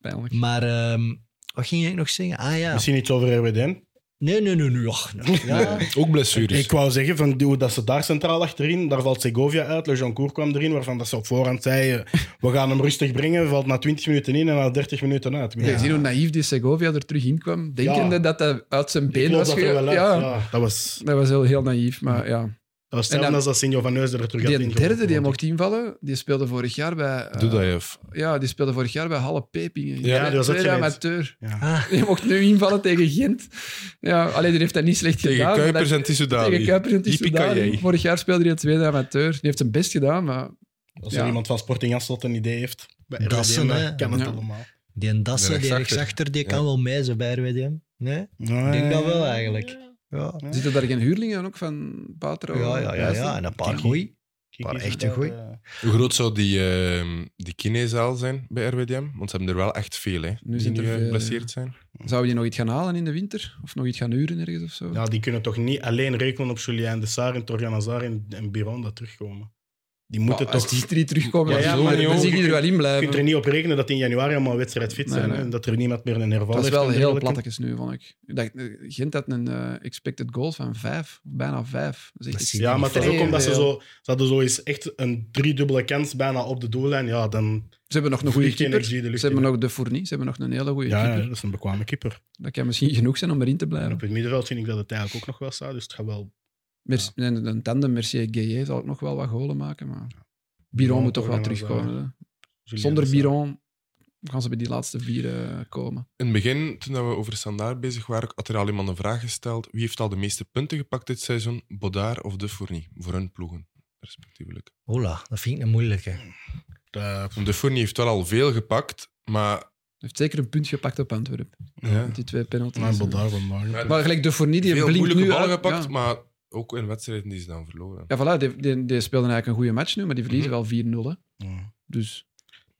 D: Pijnlijk.
B: Maar ehm, wat ging ik nog zeggen? Ah ja.
A: Misschien iets over RWDN.
B: Nee, nee, nee, nee. ach, nee. Ja.
C: Ook blessures.
A: Ik wou zeggen, van, hoe dat ze daar centraal achterin, daar valt Segovia uit, Lejoncourt kwam erin, waarvan dat ze op voorhand zeiden, we gaan hem rustig brengen, valt na 20 minuten in en na 30 minuten uit. Ik
D: Je
A: bedoel,
D: ziet hoe naïef die Segovia er terug in kwam, denkende
A: Ja.
D: dat hij uit zijn
A: ik
D: been
A: geloof
D: was
A: dat er wel
D: ge-
A: uit.
D: Ja,
A: Ja, dat was,
D: dat was heel, heel naïef. Maar ja.
A: dat was
D: En
A: hetzelfde
D: dan-
A: als dat Signor van Neus er terug had
D: Die
A: ingeroepen,
D: derde die
A: want-
D: mocht invallen, die speelde vorig jaar bij... eh,
C: Doe dat, Jef.
D: Ja, die speelde vorig jaar bij Halle Pepingen.
A: Ja, die was ook
D: Tweede
A: gereed.
D: amateur.
A: Ja.
B: Ah,
D: Die mocht nu invallen tegen Gent. Ja, alleen die heeft dat niet slecht
C: Tegen
D: gedaan. maar
C: Kuipers
D: dat-
C: en Tissoudali.
D: Tegen Kuipers en
C: Yippie-ki-yay.
D: Tissoudali. Vorig jaar speelde hij het tweede amateur. Die heeft zijn best gedaan, maar
A: Als er
D: Ja.
A: iemand van Sporting Hasselt een idee heeft, bij
B: Dat is
A: RWDM,
B: een,
A: dan
B: hè.
A: kan het
D: Ja.
A: allemaal.
B: die Dassen,
C: De
B: die
C: rechtsachter.
B: rechtsachter, die
C: Ja.
B: kan wel mee zo bij RWDM. Nee?
A: Ja,
B: Ik denk dat
A: ja,
B: wel
A: ja.
B: eigenlijk. Ja, ja,
D: Zitten daar geen huurlingen ook van Patro?
B: ja, ja. ja,
D: Juist, hè?
B: En een paar
A: Kiki.
B: goeie.
A: Kijk
B: Maar
A: eens
B: echt
A: hoe
B: een
A: dat,
B: goeie.
A: eh,
C: Hoe groot zou die, eh, die kinezaal zijn bij RWDM? Want ze hebben er wel echt veel, hè? die
D: zijn er
C: nu eh,
D: veel, ja.
C: geblesseerd zijn.
D: Zouden die nog iets gaan halen in de winter? Of nog iets gaan huren ergens of zo?
A: ja, die kunnen toch niet alleen rekenen op Julien de Saar en Torgan Hazard en, en Biron dat terugkomen. Die
D: Maar
A: moeten
D: als
A: toch...
D: die drie terugkomen,
A: Ja,
D: dan,
A: ja,
D: zo-
A: maar
D: dan
A: joh,
D: zie ik die er wel in
A: Je kunt er
D: blijven.
A: niet op rekenen dat in januari allemaal wedstrijd fit
D: Nee,
A: zijn
D: nee.
A: Hè? en dat er niemand meer een herval
D: Dat is
A: heeft.
D: wel
A: en
D: heel
A: dergelijke.
D: plattekjes nu, vond ik. Ik dacht, eh, Gent had een eh, expected goal van vijf, of bijna vijf. Dat is echt
B: Dat
D: iets-
B: zie je
A: Ja,
B: niet
A: maar het is ook
D: vrij
A: omdat ze
D: veel.
A: zo... Ze hadden zo eens echt een driedubbele kans bijna op de doellijn. Ja, dan...
D: Ze hebben nog een goede
A: Vliegt die
D: keeper.
A: energie de
D: Ze
A: lucht
D: hebben
A: in.
D: nog de Fournie. Ze hebben nog een hele goede
A: Ja, ja,
D: keeper.
A: dat is een bekwame keeper.
D: Dat kan misschien genoeg zijn om erin te blijven.
A: En op het middenveld vind ik dat het eigenlijk ook nog wel staat. Dus het gaat wel...
D: Mer- en Een tandem Mercier Gueye zal ook nog wel wat golen maken. Maar Biron
A: Biron
D: moet toch wel
A: Torgan Hazard.
D: terugkomen. hè.
A: Julien
D: Zonder
A: de Sar.
D: Biron gaan ze bij die laatste vier eh, komen.
C: In het begin, toen dat we over standaard bezig waren, had er al iemand een vraag gesteld. Wie heeft al de meeste punten gepakt dit seizoen? Bodaar of De Fournie? Voor hun ploegen, respectievelijk.
B: Hola, dat vind ik een moeilijke.
A: Eh,
C: De Fournie heeft wel al veel gepakt, maar... eh,
D: Hij heeft zeker een punt gepakt op Antwerpen.
C: Ja.
D: Met die twee penalties.
A: Ah, Maar Bodaar van Magen.
C: Maar-
D: Maar gelijk de Fournie, die
C: Veel
D: blinkt
C: moeilijke
D: nu
C: ballen
D: al-
C: gepakt,
D: Ja,
C: maar ook in wedstrijden die ze dan verloren.
D: ja voilà, die, die, die speelden eigenlijk een goede match nu, maar die
C: Mhm.
D: verliezen wel 4-0. hè.
A: Ja.
D: Dus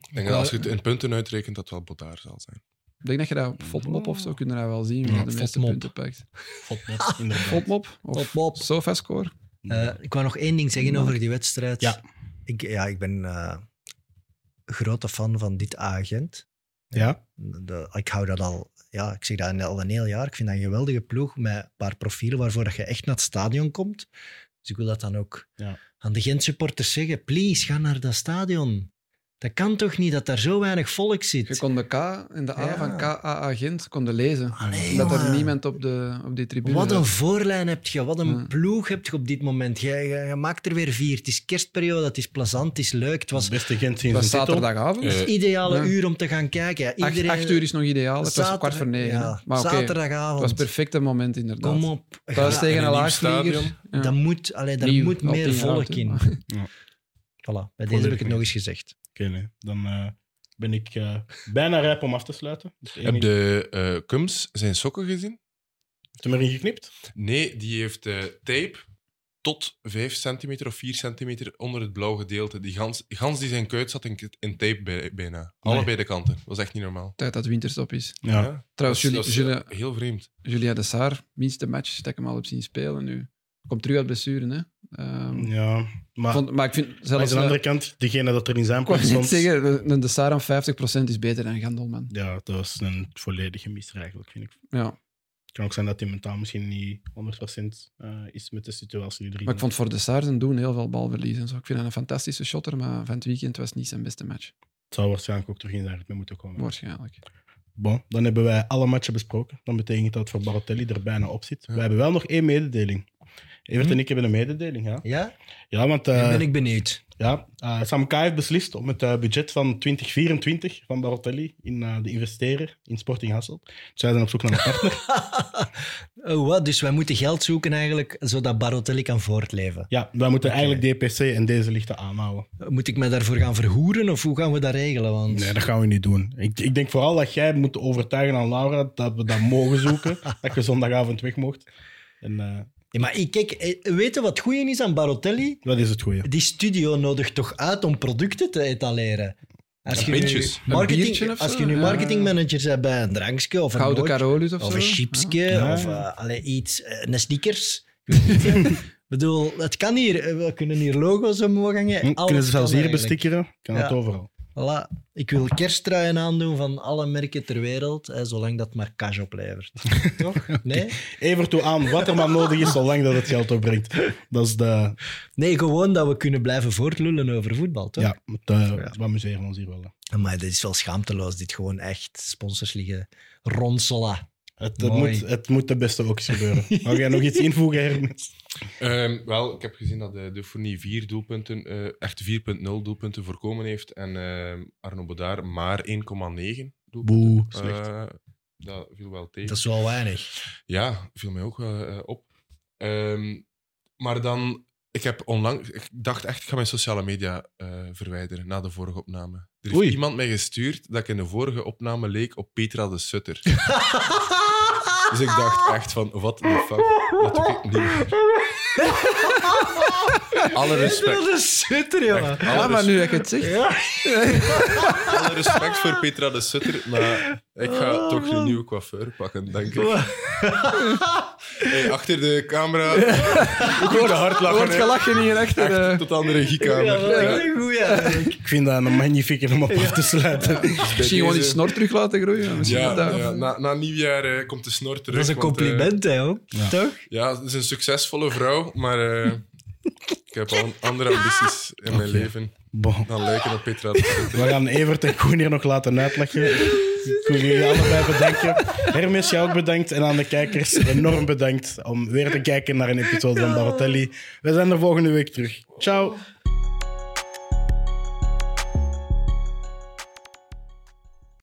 C: Ik denk dat als je het in punten uitrekent, dat het wel Bodaar zal zijn.
D: ik denk dat je dat op Fotmop of zo kunt je dat wel zien.
A: Ja,
D: Wie de meeste
B: Fotmop.
D: punten pakt.
A: Fotnet, inderdaad.
D: Fotmop of
B: Fotmop.
D: Sofascore.
B: Eh, ik wou nog één ding zeggen over die wedstrijd.
A: Ja.
B: Ik, ja, ik ben eh grote fan van dit agent.
A: Ja,
B: De- ik hou dat al, ja, ik zeg dat al een heel jaar. Ik vind dat een geweldige ploeg met een paar profielen waarvoor dat je echt naar het stadion komt. Dus ik wil dat dan ook
A: Ja.
B: aan de Gent supporters zeggen. Please, ga naar dat stadion. Dat kan toch niet dat daar zo weinig volk
D: Je
B: zit?
D: kon de K en de A
B: Ja.
D: van KA-agent konden lezen.
B: Allee,
D: omdat er
B: jongen.
D: niemand op, de, op die tribune
B: Wat een
D: zat.
B: voorlijn heb je, wat een
D: Ja.
B: ploeg heb je op dit moment. Je, je, je maakt er weer vier. Het is kerstperiode, het is plezant, het is leuk. Het was
A: het beste Gent
D: Het
A: sinds
D: was
A: een titel.
D: zaterdagavond.
C: Eh,
B: het ideale
D: Ja.
B: uur om te gaan kijken. Ja,
D: acht,
B: Iedereen,
D: acht uur is nog ideaal. Het was
B: Zaterdag-
D: kwart voor negen.
B: ja,
D: hè. Maar oké, het
B: zaterdagavond.
D: was het perfecte moment inderdaad.
B: Kom op.
D: Thuis
B: Ga-
D: tegen
C: en
D: een
C: een nieuw
D: laagvlieger.
C: stadion.
D: Ja.
B: Dat moet, allee, daar
D: Nieuw,
B: moet
D: al
B: meer
D: tien jaar
B: volk
D: oud, hè.
B: in.
A: Ja.
B: Voilà, bij deze heb ik het
A: mee.
B: nog eens gezegd.
A: Oké, nee. Dan eh, ben ik eh, bijna rijp om af te sluiten. Dus één
C: Heb
A: iets-
C: de eh Cums zijn sokken gezien?
A: Heeft hem erin geknipt?
C: Nee, die heeft eh, tape tot 5 centimeter of 4 centimeter onder het blauw gedeelte. Die gans, gans die zijn kuit zat in, in tape bij- bijna. Allebei de kanten. Dat was echt niet normaal.
D: Tijd dat winterstop is.
A: Ja.
D: Trouwens,
C: Dat is-
D: Julia,
C: dat is eh,
D: Julia,
C: heel vreemd.
D: Julia de Saar, minste match dat ik hem al heb zien spelen nu. Komt terug uit blessure, hè. Ehm,
A: Ja, maar
D: vond- maar ik vind
A: maar aan
D: zelfs... eh,
A: de andere kant, degene dat er in zijn
D: ik wou
A: plaats stond...
D: net zeggen, een de Saar aan 50% is beter dan Gandelman.
A: Ja, dat was een volledige mis eigenlijk, vind ik.
D: Ja.
A: Het kan ook zijn dat hij mentaal misschien niet 100% eh, is met de situatie die er
D: Maar ik vond voor de Saar zijn doen heel veel balverlies en zo. Ik vind hem een fantastische shotter, maar van het weekend was het niet zijn beste match.
A: Het zou waarschijnlijk ook terug in zijn ritme moeten komen.
D: Waarschijnlijk.
A: Bon, dan hebben wij alle matchen besproken. Dan betekent dat voor Barotelli er bijna op zit. We hebben wel nog één mededeling. Evert en ik hebben een mededeling, Hm? ja.
B: Ja?
A: Ja, want... eh,
B: Dan ben ik benieuwd.
A: Ja, eh, Sam K heeft beslist om het eh, budget van 2024 van Barotelli in eh, de investeren in Sporting Hasselt. Dus zij zijn op zoek naar een partner.
B: oh, wat? Dus wij moeten geld zoeken eigenlijk, zodat Barotelli kan voortleven.
A: ja, wij moeten eigenlijk DPC en deze lichten aanhouden.
B: Moet ik mij daarvoor gaan verhoeren of hoe gaan we dat regelen? Want...
A: Nee, dat gaan we niet doen. Ik, ik denk vooral dat jij moet overtuigen aan Laura dat we dat mogen zoeken. dat je zondagavond weg mocht. En eh,
B: Ja, maar ik- kijk, eh, weet je wat het goeie is aan Barotelli?
A: dat is het goeie.
B: Die studio nodigt toch uit om producten te etaleren? Als
C: Ja,
B: je nu
C: pintjes. Een
D: biertje
B: marketing,
D: of
B: als
D: zo?
B: je nu
D: Ja.
B: marketingmanager bent bij een drankje of een
D: Gouden
B: nootje-
D: Carolus of,
B: Of
D: zo.
B: een chipsje,
A: Ja.
B: of eh, allee, iets, eh, een sneakers. Ik weet het niet. Ik bedoel, het kan hier. eh, We kunnen hier logo's omhoog hangen.
A: Hm,
B: Alles
A: kunnen ze zelfs
B: kan
A: hier
B: eigenlijk.
A: bestikkeren? Kan
B: Ja.
A: het overal.
B: Voilà. Ik wil kersttruien aandoen van alle merken ter wereld, eh, zolang dat maar cash oplevert. Toch? Nee?
A: Evert, toe aan wat er maar nodig is, zolang dat het geld opbrengt. Dat is de...
B: Nee, gewoon dat we kunnen blijven voortlullen over voetbal, toch?
A: Ja, het, eh, we amuseren ons hier wel. eh. hè.
B: Maar dat is wel schaamteloos, dit gewoon echt sponsors liggen ronselen.
A: Het, het,
B: Mooi.
A: moet, het moet de beste ook eens gebeuren. Mag jij nog iets invoegen, Hermes?
C: Ehm, wel, ik heb gezien dat eh, de Fournier vier doelpunten, eh, echt 4.0 doelpunten voorkomen heeft. En ehm Arno Bodaar maar 1,9 doelpunten.
A: Boe.
C: Eh,
A: Slecht.
C: dat viel wel tegen.
B: Dat is wel weinig.
C: Ja, viel mij ook wel eh, op. Ehm, maar dan, ik heb onlangs, ik dacht echt, ik ga mijn sociale media eh, verwijderen na de vorige opname. Er heeft
A: Oei.
C: iemand mij gestuurd dat ik in de vorige opname leek op Petra de Sutter. Dus ik dacht echt van, what the fuck? Dat doe ik niet meer. Alle respect.
B: Dat is sutter, jongen.
C: Alle,
D: Ja, maar
C: res-
D: nu dat ik het zeg.
C: alle respect voor Petra de Sutter, maar ik ga
B: Oh,
C: toch een
B: man.
C: nieuwe coiffeur pakken, denk ik. Hey, achter de camera. Ik hoor de hard
D: Er
C: lachen.
D: wordt
C: hè.
D: gelachen hier achter.
C: Echt,
D: eh.
C: tot aan de regiekamer.
B: Ja, dat
C: Ja.
B: is een goeie. eigenlijk.
A: Ik vind dat een magnifieke om op af te sluiten.
C: Dus bij
D: Misschien gewoon die
C: deze-
D: snor terug laten groeien. Misschien
C: Ja,
D: dat dat-
C: ja, na, na nieuwjaar eh, komt de snor terug.
B: Dat is een
C: want, eh,
B: compliment, hè, hoor. Toch?
C: ja, het is een succesvolle vrouw, maar eh, ik heb al andere ambities in mijn leven
A: Bon.
C: dan lijken op Petra. de Sutter.
A: We gaan Evert en Koen hier nog laten uitleggen. Ik wil jullie allebei bedanken. Hermes, jou ook bedankt. En aan de kijkers enorm bedankt om weer te kijken naar een episode van Barotelli. We zijn er volgende week terug. Ciao.